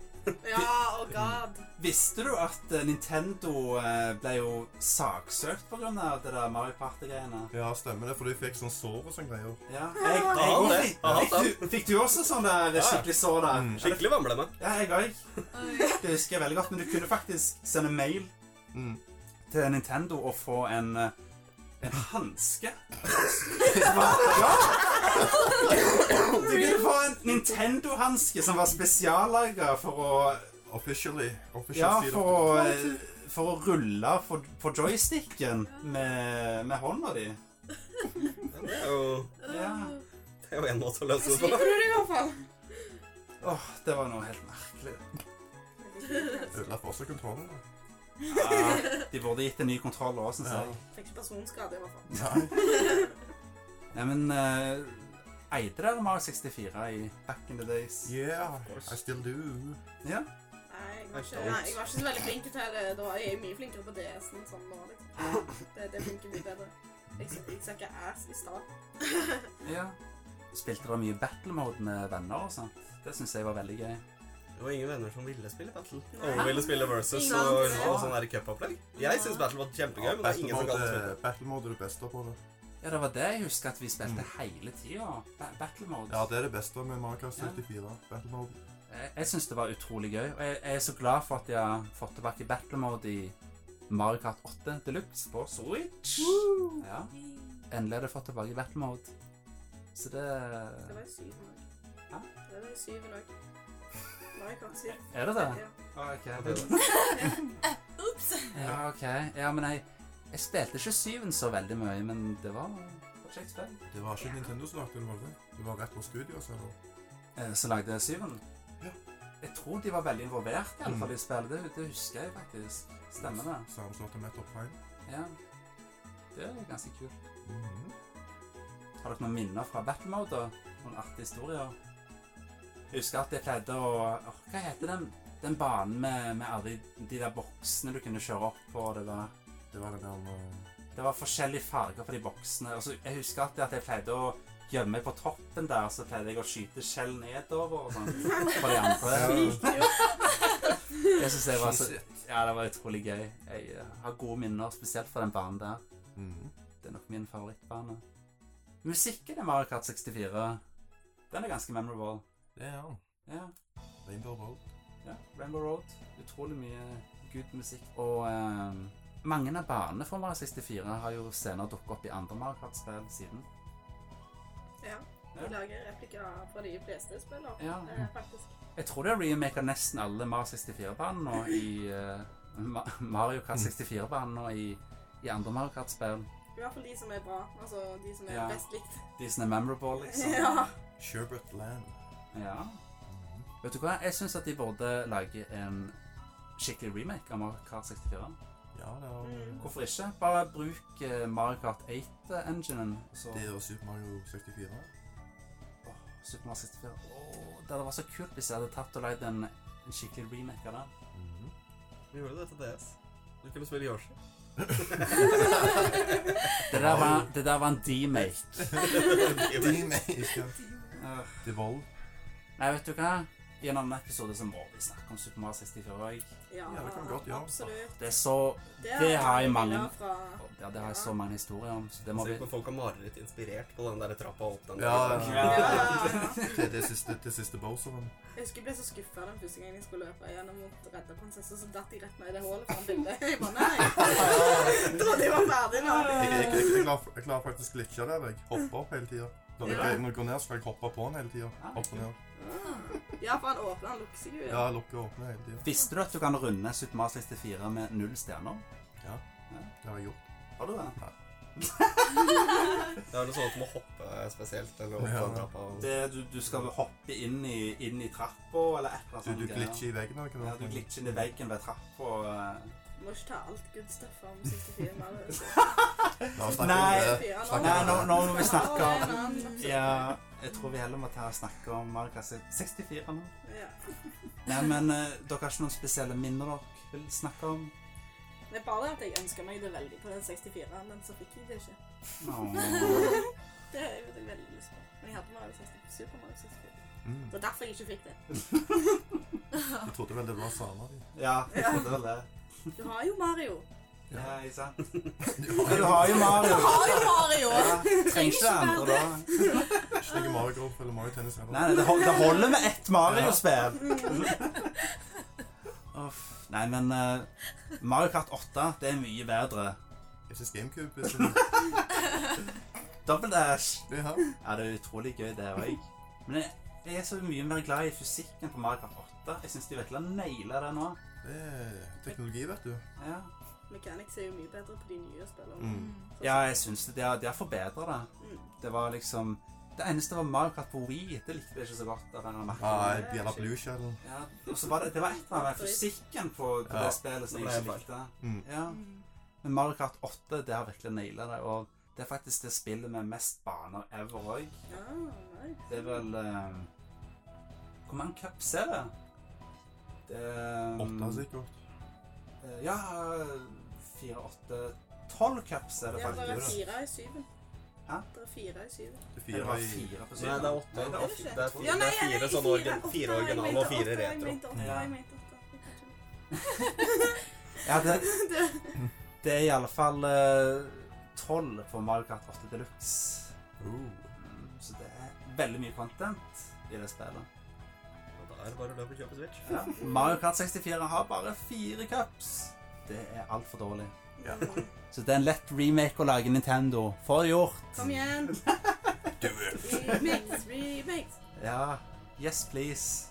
J: Ja, oh god.
A: Visste du at eh, Nintendo eh, ble jo saksøkt på grunn av det der Mario Party-greiene?
C: Ja, stemmer det, for de fikk sånn sår og sånne greier.
A: Ja, jeg, jeg,
K: Ja, han det.
A: fikk,
K: Ja, han
A: fikk, du, fikk du også sånn der
K: Ja.
A: skikkelig sår der?
C: Mm.
K: Skikkelig vamleme.
A: Ja, jeg òg. Det husker jeg veldig godt. Men du kunne faktisk sende mail
C: Mm.
A: til Nintendo og få en eh, en hanske. Ja! Du kunne få en Nintendo-hanske som var spesiallaga for å
C: Officially. Official
A: Ja,
C: side
A: for å,
C: of
A: eh, for å rulle for- på joysticken med, med hånda di.
K: Ja, Det er jo
A: Ja.
K: det er jo en måte å løse det på.
J: Slipper du det i hvert fall?
A: Åh, det var noe helt merkelig.
C: the- Ødela for seg kontrollen. da.
A: Ja, de burde gitt en ny kontroll òg, syns jeg.
J: Fikk ikke personskade i hvert fall.
C: Nei.
A: Nei, men eh, Eide dere Mario 64 i back in the days?
C: Yeah,
K: course.
C: I still do.
A: Ja.
J: Nei, jeg var, ikke,
K: Nei,
J: nei, jeg var ikke så veldig flink til det da. Jeg er mye flinkere på DS-en sånn nå, liksom. Det, det funker mye bedre. Jeg, jeg sa ikke ass i stad.
A: ja. spilte dere mye battle mode med venner og sånt. Det syns jeg var veldig gøy.
K: Det var ingen venner som ville spille Battle.
E: Nei.
K: Alle ville spille Versus
E: Ingen.
K: og, og sånn der cupopplegg. Jeg syns Battle var kjempegøy, men det er ingen som kan spille.
C: Battle mode er det beste på det.
A: Ja, det var det jeg husker at vi spilte hele tida. Ba battle mode.
C: Mm. Ja, det er det beste med Mario Kart 74. Battle mode.
A: Jeg, jeg syns det var utrolig gøy. Og jeg, jeg er så glad for at de har fått tilbake battle mode i Mario Kart 8 Deluxe på Switch. Ja. Endelig har de fått tilbake battle mode. Så det
J: Det var i syven år.
A: Hæ?
J: Det var i syven år. Nei, kanskje.
A: Er det det?
J: Ja.
A: Ah, ok.
K: det er
D: Ops!
A: Ja, ok. Ja, men jeg, jeg spilte ikke syven så veldig mye, men det var det var kjekt spill.
C: Det var ikke Nintendo som lagde det, var det? Det var rett på studio, så det
A: Eh, Så lagde jeg syven.
C: Ja.
A: Jeg tror de var veldig involvert i alle
C: Mm.
A: fall i spillet. Det, det husker jeg faktisk. Stemmer det?
C: Samme som til Metal Prime.
A: Ja. Det er ganske kult.
C: Mhm.
A: Har dere noen minner fra battle mode? da? Noen artige historier? Jeg husker at jeg pleide å Åh, Hva heter den, den banen med, med alle de- de der boksene du kunne kjøre opp på? Det var
C: Det var den der med
A: Det var forskjellige farger på de boksene. Altså, jeg husker alltid at jeg pleide å gjemme meg på toppen der, så pleide jeg å skyte skjell nedover og sånn på de andre. Jeg synes det var så Ja, det var utrolig gøy. Jeg eh, har gode minner, spesielt fra den banen der.
C: Mhm.
A: Det er nok min favorittbane. Musikken i Mario Kart 64, den er ganske memorable.
C: Det er han.
A: Ja.
C: Rainbow Road.
A: Ja, Rainbow Road. Utrolig mye good musikk. Og eh, mange av banene fra Mario 64 har jo senere dukket opp i andre Mario Kart-spill siden.
J: Ja.
A: Ja.
J: De lager replikker fra de fleste spillere.
A: Ja.
J: Eh, faktisk.
A: Jeg tror det er remake av nesten alle Mario 64-banen nå i eh, Ma Mario Kart 64-banen nå i, i andre Mario Kart-spill.
J: I hvert fall de som er bra. Altså de som er
A: Ja.
J: best likt.
A: De som er memorable, liksom.
J: Ja.
C: Sherbert Land.
A: Ja.
C: Mhm.
A: Vet du hva? Jeg syns at de burde lage en skikkelig remake av Mario Kart 64.
C: Ja, det var
J: Mm.
A: Hvorfor ikke? Bare bruk eh, Mario Kart 8-enginen. Så
C: Det er jo Super Mario 64.
A: Åh, Super Mario 64. Åh, det hadde vært så kult hvis jeg hadde tatt og lagd en, en skikkelig remake av den.
C: Mhm.
K: Vi gjorde det til DS. Du kunne spille Yoshi.
A: Det der var, det der var en demake.
C: Demake.
A: Uh,
C: Devolve.
A: Nei, vet du hva? I en annen episode så må vi snakke om Super Mario 64 også.
J: Ja,
C: Ja, det kan vi godt gjøre.
J: Absolutt.
A: Det er så Det har jeg mange- Ja, det har jeg så mange historier om, så det må vi
K: Se på folk har mareritt inspirert på den der trappa opp den
C: Ja,
K: der.
C: ja.
J: Ja.
C: Det er det siste, det siste Bowseren.
J: Jeg husker jeg ble så skuffa den første gangen jeg skulle løpe gjennom og redde prinsessa, så datt jeg rett ned i det hullet foran bildet. Jeg bare nei! Trodde jeg var ferdig nå.
C: Jeg, jeg, jeg, jeg, klarer, jeg klarer faktisk glitcha der. Jeg hopper opp hele tida. Når, jeg- når jeg går ned, skal jeg hoppe på den hele tida. Opp og ned.
J: Ja, for han åpner, han lukker seg jo.
C: Ja, lukke og åpne hele tida.
A: Visste du at du kan runde Super Mario 64 med null stjerner?
C: Det har jeg gjort.
A: Har du det?
K: Det er noe sånt som å hoppe spesielt, eller opp
C: Ja.
K: den trappa. og-
A: det du, du skal hoppe inn i, inn i trappa, eller et eller annet
C: Du, du
A: greier.
C: glitcher i veggen. eller hva
A: Ja,
C: det
A: du
C: var.
A: glitcher inn i veggen ved trappa. eh.
J: Må ikke ta alt good stuff om 64 mer.
C: La oss snakke
A: Nei.
C: om det.
J: Snakker
A: Nei, nå, nå må vi snakke
J: Ja,
A: om
J: en annen.
A: Ja, jeg tror vi heller må ta og snakke om Mario Kart 64 nå.
J: Ja.
A: Nei, men eh, dere har ikke noen spesielle minner dere vil snakke om?
J: Det er bare det at jeg ønsker meg det veldig på den 64, men så fikk jeg det ikke.
A: Åh.
J: Det er jeg veldig lyst på. Men jeg hadde Mario 64, Super Mario 64.
C: Mm.
J: Det er derfor jeg ikke fikk det.
C: Jeg trodde vel det var samer. de.
A: Ja, jeg trodde vel det.
J: Du har jo Mario.
A: Ja, ikke sant? Men du har jo Mario.
D: Har jo Mario!
A: Ja, trenger ikke det andre, da.
C: Ikke noe Mario Golf eller Mario Tennis heller.
A: Nei, nei, det, hol det holder med ett Mario-spill. Uff. Nei, men eh, Mario Kart 8, det er mye bedre.
C: Jeg synes GameCube er
A: Double Dash.
C: Det her.
A: Ja, det er utrolig gøy, det òg. Men jeg, jeg er så mye mer glad i fysikken på Mario Kart 8. Jeg syns de virkelig har naila det nå.
C: Det er teknologi, vet du.
A: Ja,
J: Mechanics er jo mye bedre på de nye spillene.
C: Mm.
A: ja jeg syns det. De har, de har forbedra det. Det var liksom Det eneste var Mario Kart på Wii. Det likte jeg ikke så godt. av en eller annen merkelig grunn.
C: Nei, Bjella Blue Shell.
A: Ja, og så var det, det var et eller annet med fysikken på, på
C: Ja.
A: det spillet som jeg
K: Det
A: ikke
K: ble
A: likte.
C: Mm.
A: Ja. Men Mario Kart 8, det har virkelig naila det. Og det er faktisk det spillet med mest baner ever òg.
J: Ja, nei.
A: Det er vel eh, Hvor mange cups er det? Det er,
C: Åtte,
K: altså.
C: sikkert.
A: eh, Ja, fire, åtte Tolv cups er det
J: Det er bare
A: faktisk.
J: fire i syven.
A: Hæ?
L: Det er fire i syv.
C: Det er
A: Eller
C: fire
A: var det
C: i
A: fire på
K: Nei,
A: syvende?
K: det er åtte.
A: Nei, det er åtte.
K: Det er
L: Ja,
K: fire, det
L: nei,
K: er fire
L: jeg-
K: sånne organ,
L: åtte
K: fire
L: var jeg mente,
K: originale og
L: åtte
K: fire
L: var jeg
K: retro.
L: mente, åtte var
A: Ja.
L: jeg mente, åtte.
A: Ja, det, det er i alle fall eh, tolv på Mario Kart 8 Deluxe.
C: Oh.
A: Mm, Så det er veldig mye content i det spillet.
K: Og Da er det bare å løpe og kjøpe Switch.
A: Ja. Mario Kart 64 har bare fire cups. Det er altfor dårlig.
C: Ja.
A: Så det er en lett remake å lage Nintendo. Få det gjort.
L: Kom igjen. Remakes, remakes.
A: Ja. Yes, please.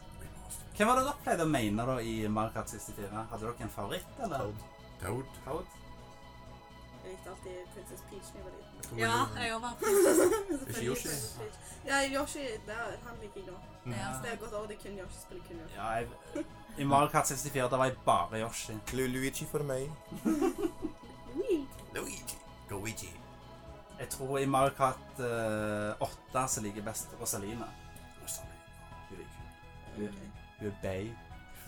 A: Hvem var det dere pleide å mene da i Mario Kart 64? Hadde dere en favoritt, eller?
K: Toad.
C: Toad.
A: Toad?
L: Jeg likte alltid Princess Peach da jeg var liten.
C: Jeg tror
M: Ja,
C: jeg-
M: jeg òg.
C: Ikke Yoshi.
L: Princess Peach. Ja, Yoshi, det er, han liker jeg nå.
A: Ja.
L: Det har gått over, det er kun Yoshi spiller kun Yoshi.
A: Ja, jeg, I Mario Kart 64 da var jeg bare Yoshi.
C: Lu- Luigi for meg.
L: Ui.
C: Luigi. Luigi.
A: Jeg tror i Mario Kart eh, 8 så liker jeg best Rosalina. Hun er kul. Hun er- Hun er bay.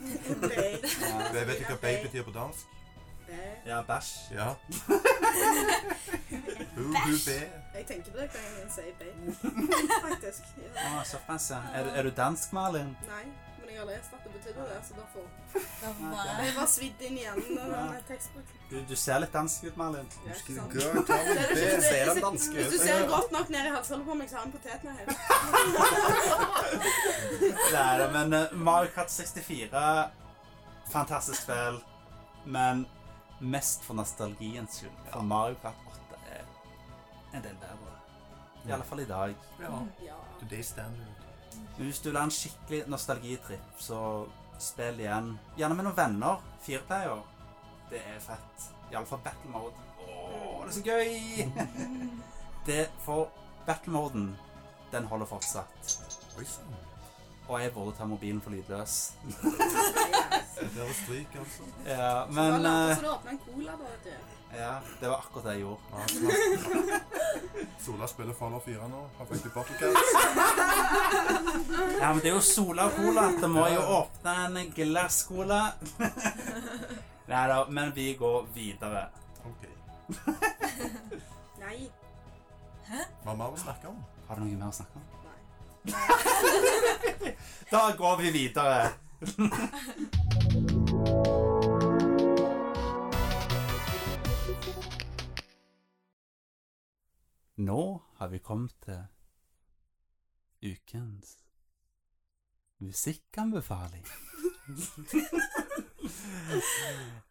L: Nei.
A: Ja,
C: Jeg vet ikke hva bay betyr på dansk.
L: Nei.
A: ja bæsj.
C: Ja. Hun hun bay.
L: Jeg tenker på det hver gang jeg sier babe. Faktisk. Ja.
A: Å, så fancy. Er, du- er du dansk, Malin?
L: Nei, men jeg har lest at det betydde det, så derfor
A: bare-
L: Jeg var svidd inn i hjernen av denne tekstboken.
A: Du, du ser litt dansk ut, Malin.
L: Ja, ikke sant?
C: Girl, ta med
L: Det er
C: bay.
L: ikke-
K: Ser
L: det-
K: han danske
L: Hvis
K: ut?
L: du ser godt nok ned i halsholdet på meg, så har han potetene her.
A: Det er det, men eh, Mario Kart 64 Fantastisk spill. Men mest for nostalgiens skyld. For Mario Kart 8 er en del bedre. I alle fall i dag.
C: Ja.
L: Ja.
C: Today standard.
A: Men hvis du vil ha en skikkelig nostalgitripp, så spill igjen. Gjerne med noen venner. Fireplayer. Det er fett. Iallfall battle mode. Åh, det er så gøy! det For battle moden, den holder fortsatt.
C: Oi sann.
A: Og jeg burde ta mobilen for lydløs.
C: Det er å stryke, altså.
A: Ja,
L: Men
A: men
L: uh,
A: eh,
L: Så du åpner en cola, da, vet du.
A: Ja, det var akkurat det jeg gjorde.
C: Ja, snart. Sola spiller Fallout 4 nå. Har fått litt bottlecats.
A: Ja, men det er jo Sola og Cola. Da må jeg jo åpne en glasscola. Nei da, men vi går videre.
C: Ok.
L: Nei.
C: Hva mer å snakke om?
A: Har du noe mer å snakke om? Nei. da går vi videre. Nå har vi kommet til ukens musikkanbefaling.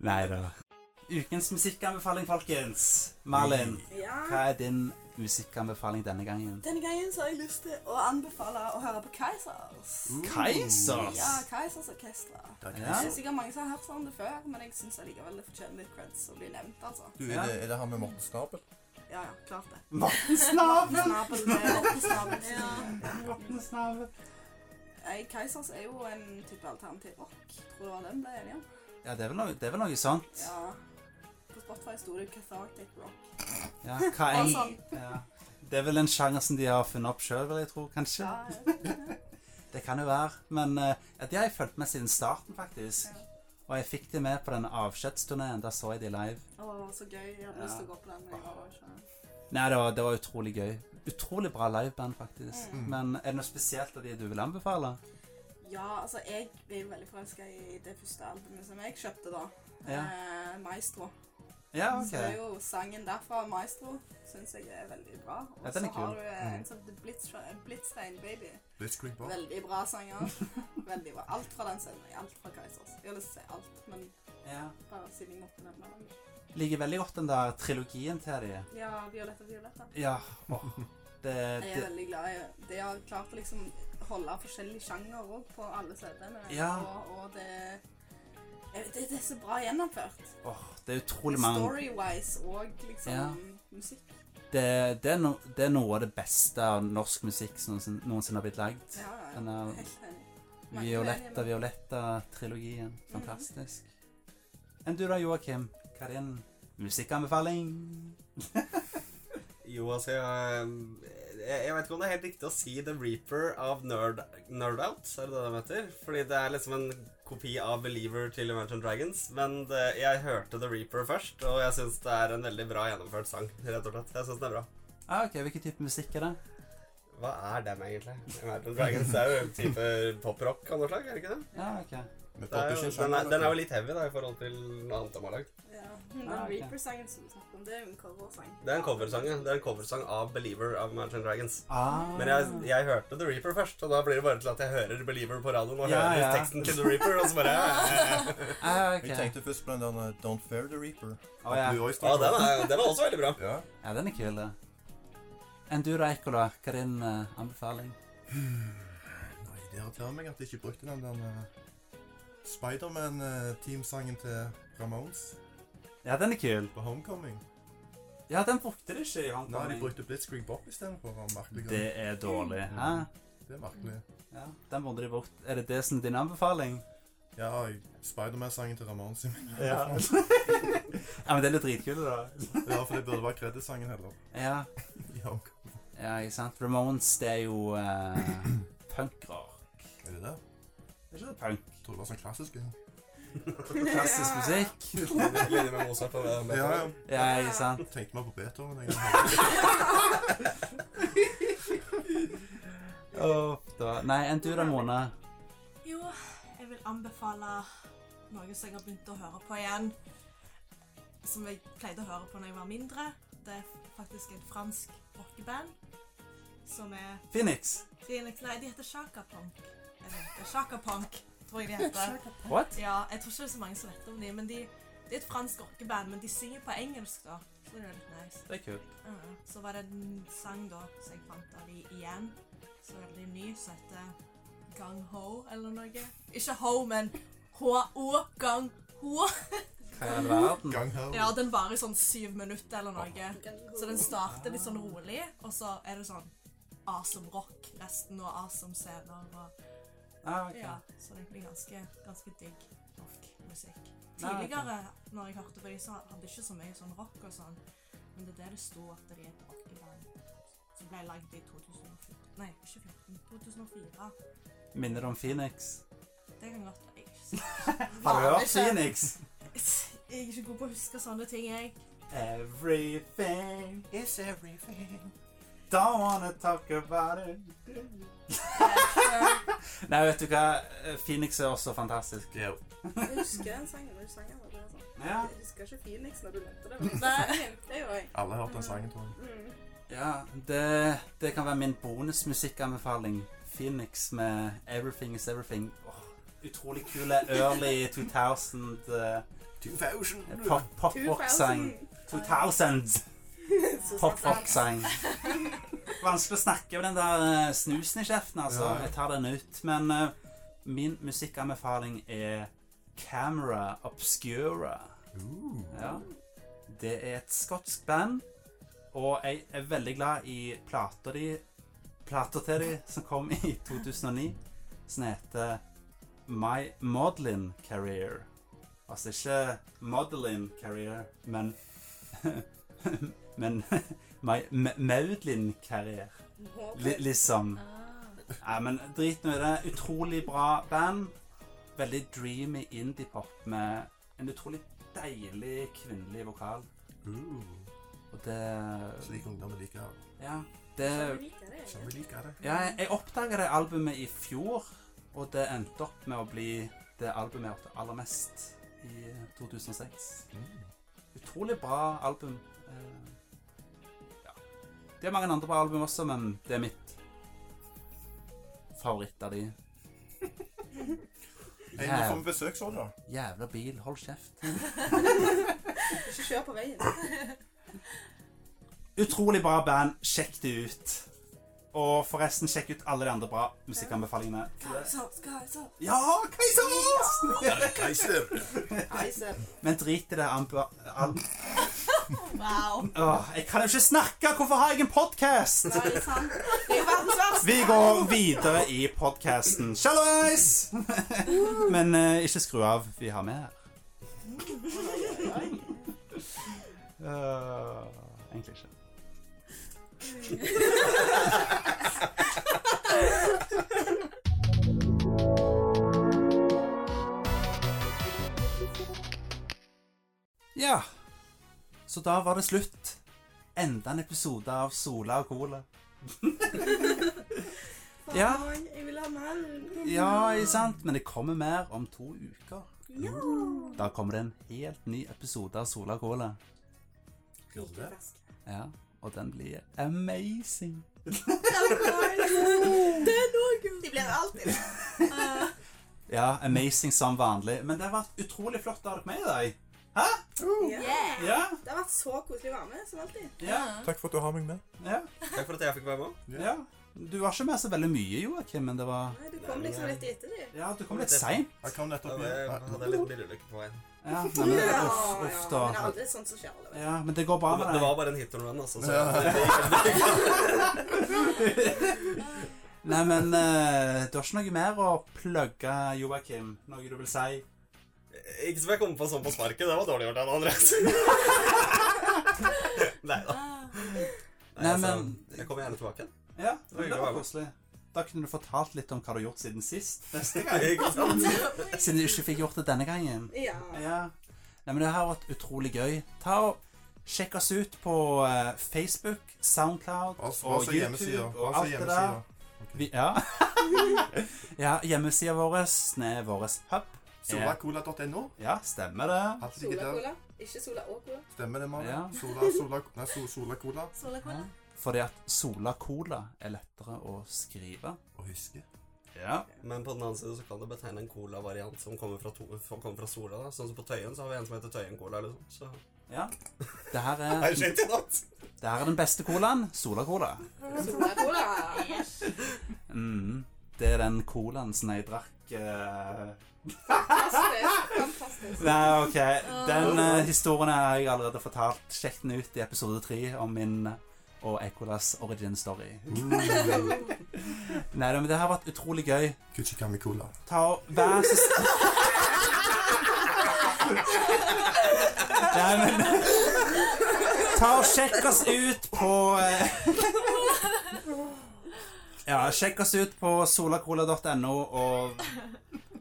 A: Nei da. Ukens musikkanbefaling, folkens. Malin,
L: Ja.
A: hva er din musikkanbefaling denne gangen?
B: Denne gangen så har jeg lyst til å anbefale å høre på Kaizers.
A: Kaisers?
B: Ja, Kaizers orkester.
C: Det
A: Ja.
C: er
B: Det
C: Kaiser.
B: er sikkert mange som har hørt om det før, men jeg syns allikevel det fortjener litt creds å bli nevnt, altså.
C: Du, er det, er det han med Morten Snabel?
B: Ja, ja, klart det.
A: Morten Snabel!
B: Snabel med hoppesnabel.
A: Morten Snabel.
B: Nei, Kaizers er jo en type alternativ rock. Tror det var den ble enig om.
A: Ja, det er vel noe, det er vel noe sånt.
B: Ja. På Spotify sto det Cathartic Rock.
A: Ja, hva
B: Og
A: en,
B: sånn.
A: ja. Det er vel en sjanger som de har funnet opp sjøl, vil jeg tro. Kanskje.
B: Ja, jeg vet ikke.
A: Det kan jo være. Men eh, ja, de har jeg fulgt med siden starten, faktisk. Og jeg fikk de med på den avskjedsturneen. Da så jeg de live.
B: Å, så gøy. Jeg hadde lyst til å gå på den. men jeg var bare ikke...
A: Nei, det var, det var utrolig gøy. Utrolig bra liveband, faktisk.
C: Mm.
A: Men er det noe spesielt av de du vil anbefale?
B: Ja, altså jeg ble jo veldig forelska i det første albumet som jeg kjøpte da.
A: Ja.
B: Eh, Maestro.
A: Ja,
B: Så det er
A: OK.
B: jo sangen derfra, Maestro, syns jeg er veldig bra. Og
A: Ja, den er
B: så har
A: kul.
B: du eh,
A: Mm.
B: en sånn The Blitz- Blitzstein Baby.
C: Blitzkrieg Bar.
B: Veldig bra sanger. Veldig bra. Alt fra den scenen. Alt fra Kaizers. Jeg har lyst til å si alt, men
A: Ja.
B: bare siden jeg måtte nevne den.
A: Liker veldig godt den der trilogien til de.
B: Ja, Violetta Violetta.
A: Ja. Åh. Det,
B: Jeg
A: det,
B: er veldig glad i De har klart å liksom holde forskjellige sjanger òg på alle CD-ene.
A: Ja.
B: Og, og det, jeg vet, det Det er så bra gjennomført.
A: åh, det er utrolig mange
B: Story-wise og liksom
A: Ja.
B: musikk.
A: det, det, er no, det er noe av det beste av norsk musikk som noensin- noensinne har blitt lagd.
B: Ja, ja,
A: Den er
B: helt enig. Merkelig
A: Violetta
B: enig,
A: Violetta-trilogien. Fantastisk. Enn du da, Joakim? Hva er din musikkanbefaling?
K: Jo, altså jeg, eh, jeg, jeg vet ikke om det er helt riktig å si The Reaper av Nerd, Nerd Out, er det det de heter? Fordi det er liksom en kopi av Believer til Imagine Dragons. Men det, jeg hørte The Reaper først, og jeg syns det er en veldig bra gjennomført sang, rett og slett. Jeg syns den er bra.
A: Ah, ok, Hvilken type musikk er det?
K: Hva er dem, egentlig? Imagine Dragons er jo en type poprock av noe slag, er det ikke det?
A: Ja, Ah, ok.
C: Vi
K: det
C: popper
K: er
C: ikke
K: jo,
C: en
K: den,
C: sjanger,
K: er, den er
C: vet
K: jo litt heavy da, i forhold til noe annet de har lagd.
J: Ja, Den
A: Ah, ok.
J: Reaper-sangen som du snakket om, det er jo en coversang.
K: Det er en coversang, ja. Det er en coversang av Believer av Imagine Dragons.
A: Ah.
K: Men jeg, jeg hørte The Reaper først, og da blir det bare til at jeg hører Believer på radioen og
A: Ja,
K: hører
A: ja.
K: teksten til The Reaper, og så bare
A: ah,
C: du.
A: ok.
C: Vi tenkte først på den der eh, Don't Fear the Reaper.
A: Å, Oh, ja.
C: Blue Oyster
K: Ja, den
C: Cult.
K: er, den er også veldig bra.
C: Ja.
A: ja, den er kul, det. Enn du da, Ekkola? Hva er din eh, anbefaling?
C: Nei, det irriterer meg at jeg ikke brukte den der eh, Spiderman-teamsangen til eh, Ramones
A: Ja, den er kul.
C: på Homecoming.
A: Oh, Ja, den brukte de ikke i
C: Nei, de
A: Hongkong.
C: brukte Blitzkrieg Bop istedenfor. av merkelige
A: Det
C: grunner.
A: er dårlig. Hæ?
C: Det er merkelig.
A: Ja, den burde de bort. Er det det som er din anbefaling?
C: Ja, jeg- Spiderman-sangen til Ramones.
A: Ja. ja, men den er dritkul, da.
C: Ja, for det burde være kredisangen heller.
A: Ja,
C: I Homecoming.
A: ja ikke sant. Ramones, det er jo uh, punkrock.
C: Er det det?
A: Er ikke det punk?
C: Jeg tror det var sånn klassisk. Ja,
A: Klassisk musikk.
K: Linje med Mozart og det med.
C: ja.
A: Ja, ikke sant.
C: Tenkte meg på Beethoven. egentlig.
A: Da, nei, enn du da, Mona?
D: Jo, jeg vil anbefale noe som jeg har begynt å høre på igjen. Som jeg pleide å høre på når jeg var mindre. Det er faktisk et fransk rockeband som er
A: Phoenix.
D: Phoenix Nei, de heter Shaka Punk. Jeg vet det. Shaka Punk, tror jeg de heter.
A: What?
D: Ja, jeg tror ikke det er så mange som vet om de, men de, det er et fransk rockeband, men de synger på engelsk, da. Så det er litt nice.
A: Det er kult.
D: Mm. Så var det en sang da som jeg fant av de igjen, som er veldig ny, som heter Gang Ho eller noe. Ikke Ho, men H-O Gang Ho.
A: Hva i all verden?
C: Gang her.
D: Ja, den varer i sånn syv minutter eller noe. Så den
J: den
D: starter litt sånn rolig, og så er det sånn awesome rock resten, og awesome scener. Og,
A: Ah, ok.
D: ja, så det blir ganske, ganske digg rockmusikk.
A: Nei, ok.
D: Tidligere, når jeg hørte på dem, så hadde de ikke så mye sånn rock og sånn. Men det er der det sto at de er et rockeband som ble lagd i 2014 Nei, ikke 14, 2004.
A: Minner om Phoenix.
D: Det kan godt være. Jeg er ikke så-
A: Har du
D: Vaner
A: hørt
D: ikke.
A: Phoenix?
D: Jeg er ikke god på å huske sånne ting, jeg.
A: Everything is everything. Don't wanna talk about it. Nei, vet du hva? Phoenix er også fantastisk.
C: Ja.
J: Jeg husker den sangen når du sang den. og
B: altså.
J: det var sånn.
A: Ja.
J: Jeg husker ikke
B: liksom,
J: Phoenix når du nevnte det. Men jeg nevnte jo jeg.
C: Alle har hørt den sangen, tror jeg.
J: Mm.
A: ja det, det kan være min bonusmusikkanbefaling. Phoenix med 'Everything Is Everything'. Åh, utrolig kule early 2000 eh,
C: 2000!
A: pop- pop-rock-sang. 2000s pop-rock-sang. Vanskelig å snakke med den der eh, snusen i kjeften, altså.
C: Ja, ja.
A: Jeg tar den ut. Men eh, min musikkanbefaling er Camera Obscura.
C: Uh,
A: Ja. Det er et skotsk band, og jeg er veldig glad i plata de Plata til de som kom i 2009, som heter My Modelin Career. Altså ikke Modelin Career, men Men My M- Maudlin Career, li, liksom.
B: Ah,
A: Nei, men drit nå i det. Utrolig bra band. Veldig dreamy indie-pop med en utrolig deilig kvinnelig vokal.
C: uh.
A: Og det
C: Slik ungdommer liker det.
A: Ja, det
C: Som vi liker det.
A: Ja, jeg, jeg oppdaga det albumet i fjor, og det endte opp med å bli det albumet jeg hørte aller mest i 2006.
C: Mm.
A: Utrolig bra album. Eh, Ja. Det er mange andre bra album også, men det er mitt favoritt av de.
C: Hei, nå får
A: Jæv,
C: vi besøksår, da.
A: jævla bil, hold kjeft.
J: Ikke kjør på veien.
A: Utrolig bra band, sjekk det ut. Og forresten, sjekk ut alle de andre bra musikkanbefalingene. Ja, Keiser!
C: Keiser!
A: Men drit i det anbe- al-
D: Wow.
A: Åh, jeg kan jo ikke snakke! Hvorfor har jeg en podkast?
J: Nei, det er sant. Det er jo verdens verste.
A: Vi går videre i podkasten. Shallows! Men eh, ikke skru av. Vi har med her. Eh, egentlig ikke. Ja, så da var det slutt enda en episode av Sola og Cola. Ja.
E: Faen, Jeg vil ha mer.
A: Ja, ikke sant? Men det kommer mer om to uker. Da kommer det en helt ny episode av Sola og Cola.
C: Gjorde det?
A: Ja, og den blir amazing.
E: De blir alltid det.
A: Ja, amazing som vanlig. Men det har vært utrolig flott å ha dere med i dag.
E: Yeah.
A: Ja,
E: Det har vært så koselig å være med, som alltid.
A: ja,
C: Takk for at du har meg med.
A: ja.
K: Takk for at jeg fikk være med.
A: ja. Du var ikke med så veldig mye, Joakim, men det var
E: Nei, Du kom liksom litt etter dem.
A: Ja, du kom litt seint.
C: Jeg kom
K: Da
C: nettopp
K: hadde jeg hadde jeg
C: igjen.
K: litt bilulykke på veien.
A: Ja, nei, men uff, uff,
E: Men det er
A: da.
E: aldri
B: sånn
E: sånt som skjer. eller?
A: Ja, men det går bra
K: Det
A: med
K: var- det var
A: deg.
K: bare en hit and run, altså. Så
C: Ja.
K: det gikk
A: Nei, men eh, du har ikke noe mer å plugge, Joakim? Noe du vil si?
K: Ikke som jeg kom på sånn på sparket. Det var dårlig gjort av den andre. altså. Neida. Nei
A: Nei,
K: da. Altså,
A: men-
K: jeg kommer gjerne tilbake.
A: Ja,
K: Det var
A: men
K: hyggelig
A: det
K: å være
A: var
K: med.
A: koselig. Da kunne du fortalt litt om hva du har gjort siden sist. Neste gang.
K: Ikke sant?
A: Siden du ikke fikk gjort det denne gangen.
E: Ja.
A: Ja. Nei, men det har vært utrolig gøy. Ta og Sjekk oss ut på eh, Facebook, Soundcloud
C: Altså,
A: og
C: altså
A: YouTube
C: hjemmesider.
A: og
C: Altså
A: alt det der.
C: hjemmesider.
A: Vi, ja. ja, hjemmesida vår er vår hub.
C: Solacola.no.
A: Ja, stemmer det.
C: Alt ligger
J: Sola
C: der.
J: Cola. Ikke Sola og Cola.
C: Stemmer det, Mari?
A: Ja.
C: Sola, sola, nei, so, sola cola.
D: Sola Cola.
A: Fordi at Sola Cola er lettere å skrive.
C: Og huske.
A: Ja.
K: Men på den annen side så kan det betegne en colavariant som kommer fra, to, som kommer fra sola. da. Sånn som på Tøyen så har vi en som heter Tøyen Cola. eller sånn. Så
A: ja. Det her
K: Nei,
A: er,
K: shit, i natt.
A: det her er den beste colaen. Sola Cola.
J: Sola Cola.
A: Mm. Det er den colaen som jeg drakk eh,
J: Fantastisk. Fantastisk.
A: Nei, ok. Den eh, historien har jeg allerede fortalt. Sjekk den ut i episode tre om min og Ekolas origin story. Nei, men det har vært utrolig gøy.
C: Kuchikami cola.
A: Ta og Vær så snill Nei, men Ta og sjekk oss ut på eh, Ja, sjekk oss ut på solacola.no, og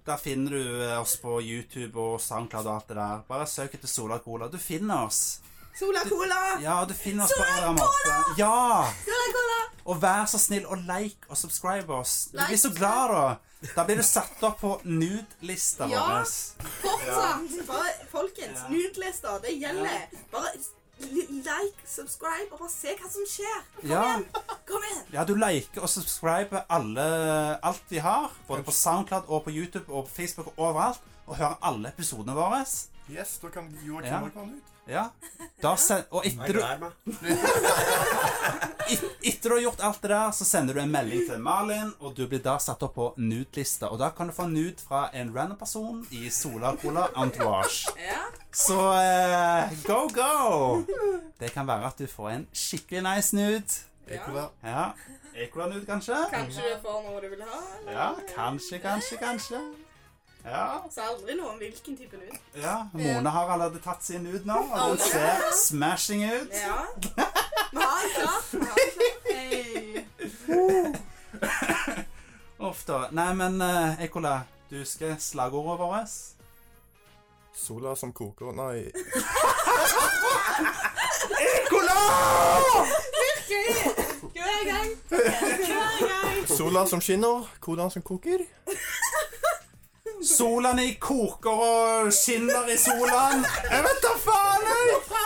A: der finner du eh, oss på YouTube og SoundCloud og alt det der. Bare søk etter Sola Cola. Du finner oss.
E: Sola Cola!
A: Ja, du finner oss på alle måter. Ja! Og vær så snill å like og subscribe oss. Du blir så glad, da. Da blir du satt opp på nude-lista
E: Ja.
A: vår.
E: Fortsatt! Bare, folkens,
A: Ja.
E: nudelister, det gjelder. Bare li- like, subscribe, og bare se hva som skjer.
A: Ja.
E: Kom igjen!
A: ja, du liker og subscriber alle, alt vi har. Både på SoundCloud og på YouTube og på Facebook og overalt. Og hører alle episodene våre.
C: Yes, da kan Joakim
A: Ja.
C: ja. komme ut.
A: Ja. Da sen og
K: Jeg
A: etter du,
K: gleder meg.
A: et- etter du har gjort alt det der, så sender du en melding til Malin, og du blir da satt opp på nude-lista. Og da kan du få nude fra en random person i Sola Cola Entourage.
J: Ja.
A: Så eh, go, go! Det kan være at du får en skikkelig nice nude.
C: Ekola.
A: Ja. Ekola-nude, kanskje?
J: Kanskje du får noe du vil ha? eller?
A: Ja, kanskje, kanskje, kanskje. Ja.
E: Sa aldri noe om hvilken type lyd.
A: ja. Mone har allerede tatt sin nude nå, og den ser smashing ut.
E: Ja. Vi har det klart. Vi har det klart.
D: Hey.
A: Uff da. Nei, men eh, Ekola, du husker slagordet vårt?
C: Sola som koker. Nei.
A: Ekola!
E: Hver gang. Hver gang.
C: Sola som skinner. Cola som koker.
A: Solene i koker og skinner i solen. Jeg vet da faen, jeg!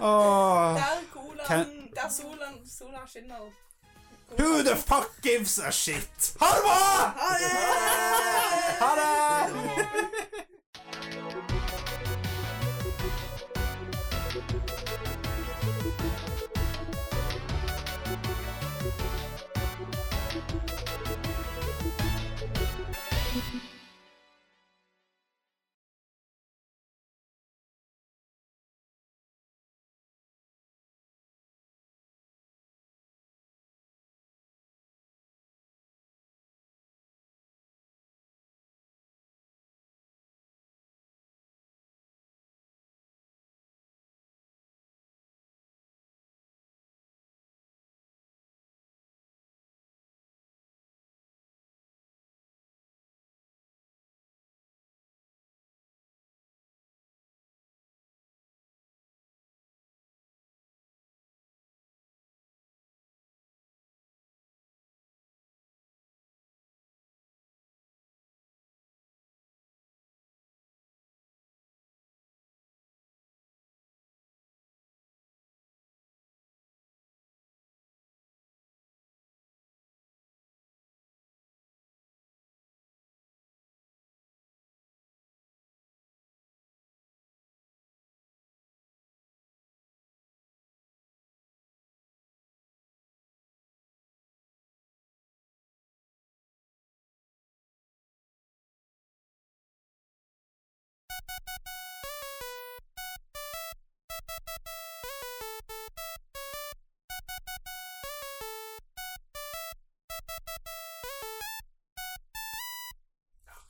A: Åh.
E: Der colaen,
A: Kan-
E: der solen, sola skinner.
A: Who the fuck gives a shit? Ha det bra!
E: Ha det!
A: Ha det!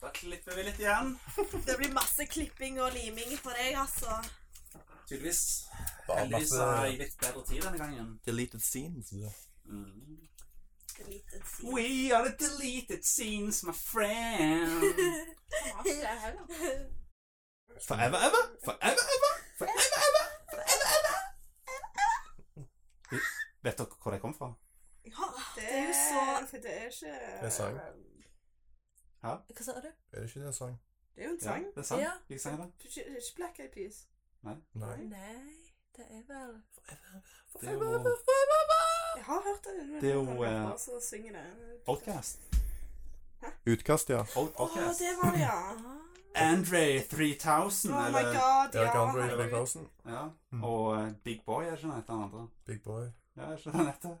A: Da klipper vi litt igjen.
E: Det blir masse klipping og liming for deg, altså.
A: Tydeligvis.
C: Bare
A: Heldigvis
C: masse-
A: har jeg litt bedre tid denne gangen.
C: Deleted scenes. Ja.
A: Mm.
E: Deleted scene.
A: We are the deleted scenes, my friend.
J: Faen, det er her, da.
A: Forever ever, forever ever, forever ever, forever ever. Vet dere hvor det kom fra?
E: Ja, det er jo så
B: Det er ikke
C: er sang.
D: Hva sa du?
C: Er det ikke det en sang?
B: Det er jo en sang.
A: det er sant.
D: Ja.
A: Hvilken sang er det?
B: Ikke, ikke Black Eyed Peas.
C: Nei.
D: Nei, det er vel
A: Det er jo
B: Jeg har hørt den. men
A: Det er jo,
B: han rapper,
A: eh,
B: Og så synger den.
A: Outcast.
C: Utkast, ja.
A: Out-
B: Å,
A: Outcast.
B: det var det, ja.
D: Ah.
A: Andre 3000,
B: Oh my
A: eller
B: god, ja.
C: Eric Andre
B: herregud.
C: Eric Larsen.
A: Ja.
C: Mm.
A: Og eh, Big Boy, er ikke det den andre?
C: Big Boy.
A: Ja, er ikke det den heter?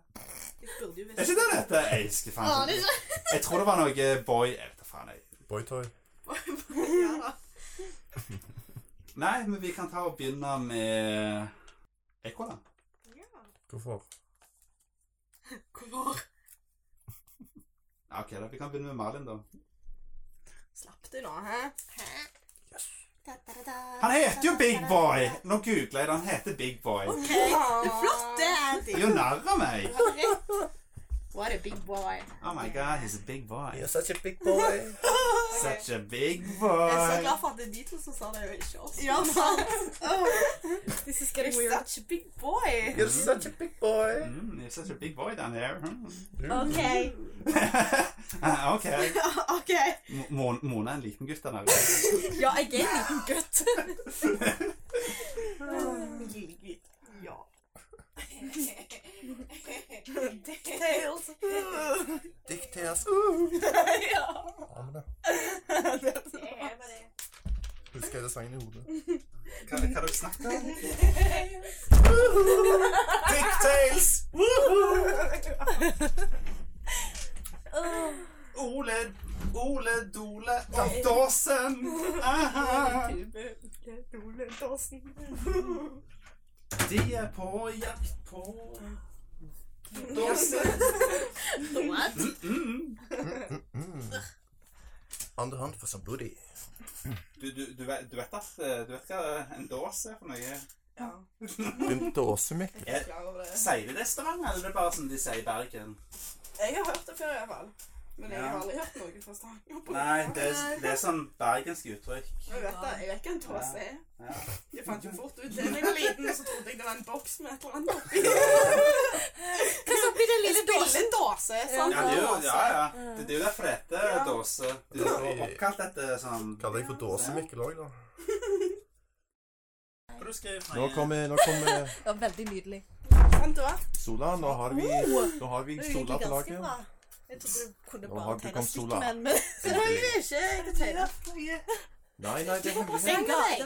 B: Jeg burde jo
A: Er
B: visst
A: ikke det den heter? Jeg husker faen ikke. Jeg tror det var noe eh, Boy Jeg vet da faen, jeg.
C: Boytoy.
E: Ja da.
A: Nei, men vi kan ta og begynne med Ekola.
C: Hvorfor?
D: Hvorfor?
A: Ja, ok, da. Vi kan begynne med Malin, da.
B: Slapp det nå, hæ?
A: Han heter jo Big Boy! Nå googler jeg det. Han heter Big Boy.
E: Ok, det er flott det, Andy.
A: Gjør narr av meg!
J: What a big boy.
A: Oh my god, he's a big boy.
C: You're such a big boy.
A: Such a big
B: Jeg er så
A: boy.
B: glad for at det er de to som sa det, og ikke oss.
E: Ja, sant.
B: This is getting weird. Such a big boy.
C: You're such a big boy.
A: Mm, you're such a big boy down there. Mm.
E: Ok.
A: Ah, ok.
E: Ok.
A: Mo- Mon- Mona er en liten gutt der nede.
D: Ja, jeg er en liten gutt.
B: Ja.
E: Tails.
C: Dikteres. Husker jeg det sangen i hodet?
A: Hva hva dere snakker om? Dicktails! Ole, Ole Dole Dåsen! Aha.
B: Ole Dawson.
A: De er på jakt på Dåsen.
D: What?
A: Mm.
C: On the hunt for some booty.
A: Du, du, du, vet, du, vet at, eh, du vet hva en dås er for noe?
B: Ja,
C: Din dåsemikk.
B: jeg er klar over det.
A: Sier de det i Stavanger, eller er det bare som de sier i Bergen?
B: Jeg har hørt det før, i hvert fall. Men jeg
A: Ja.
B: har aldri hørt noe fra Stavanger. på
A: Nei,
B: det.
A: det, er- det er sånn bergensk uttrykk.
B: Jeg vet det, jeg vet ikke hva en tåse er.
A: Ja.
B: Jeg fant jo fort ut det da jeg var liten, og så trodde jeg det var en boks med et eller annet oppi.
D: Hva så blir den lille dåsen?
B: en dåse, sant?
A: Ja, det er jo, ja, ja. Det, det er jo derfor det heter
B: Ja.
A: dåse. Det er jo oppkalt etter sånn
C: Kaller jeg for dåsemikkel òg, da?
A: Hva du skrev for
C: Nå
A: noe?
C: kommer, nå kommer
D: Det var veldig nydelig.
B: Sant, det var?
C: Sola. Nå har vi, nå har vi
D: Det er jo
C: Sola
D: egentlig
C: på
D: ganske
C: laget.
D: bra. Jeg trodde du kunne
C: Nå har
D: bare
C: du
D: tegne
C: kommet Sola.
D: stikkmenn, men
C: Nei,
E: Ikke jeg tegner.
C: nei, det er hemmelighet.
D: jeg ga en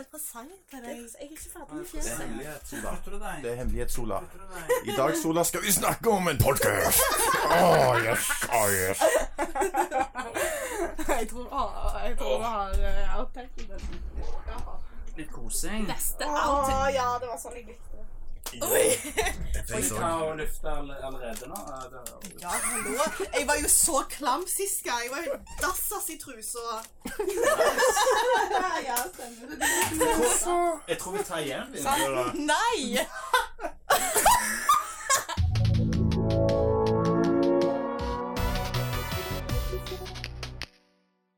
D: presang til
E: Jeg
D: deg.
E: er ikke ferdig med
C: Det er
E: fjeset.
C: hemmelighet, Sola.
A: Flytter du deg?
C: Det er hemmelighet, Sola.
A: Flytter du deg?
C: I dag, Sola, skal vi snakke om en podkast. Oh, yes, oh, yes.
J: Jeg tror jeg tror vi har uh, outtaken den.
A: Litt kosing.
D: Beste
B: Å,
D: outing.
B: ja, det var sånn jeg likte det.
A: Jeg tar og lufter all- allerede nå. Ja, det er-
E: Ja, hallo. Jeg var jo så klam sist gang. Jeg var jo dassas i trusa.
B: Ja, ja, stemmer det.
A: Jeg tror vi tar igjen. vi, da.
E: Nei!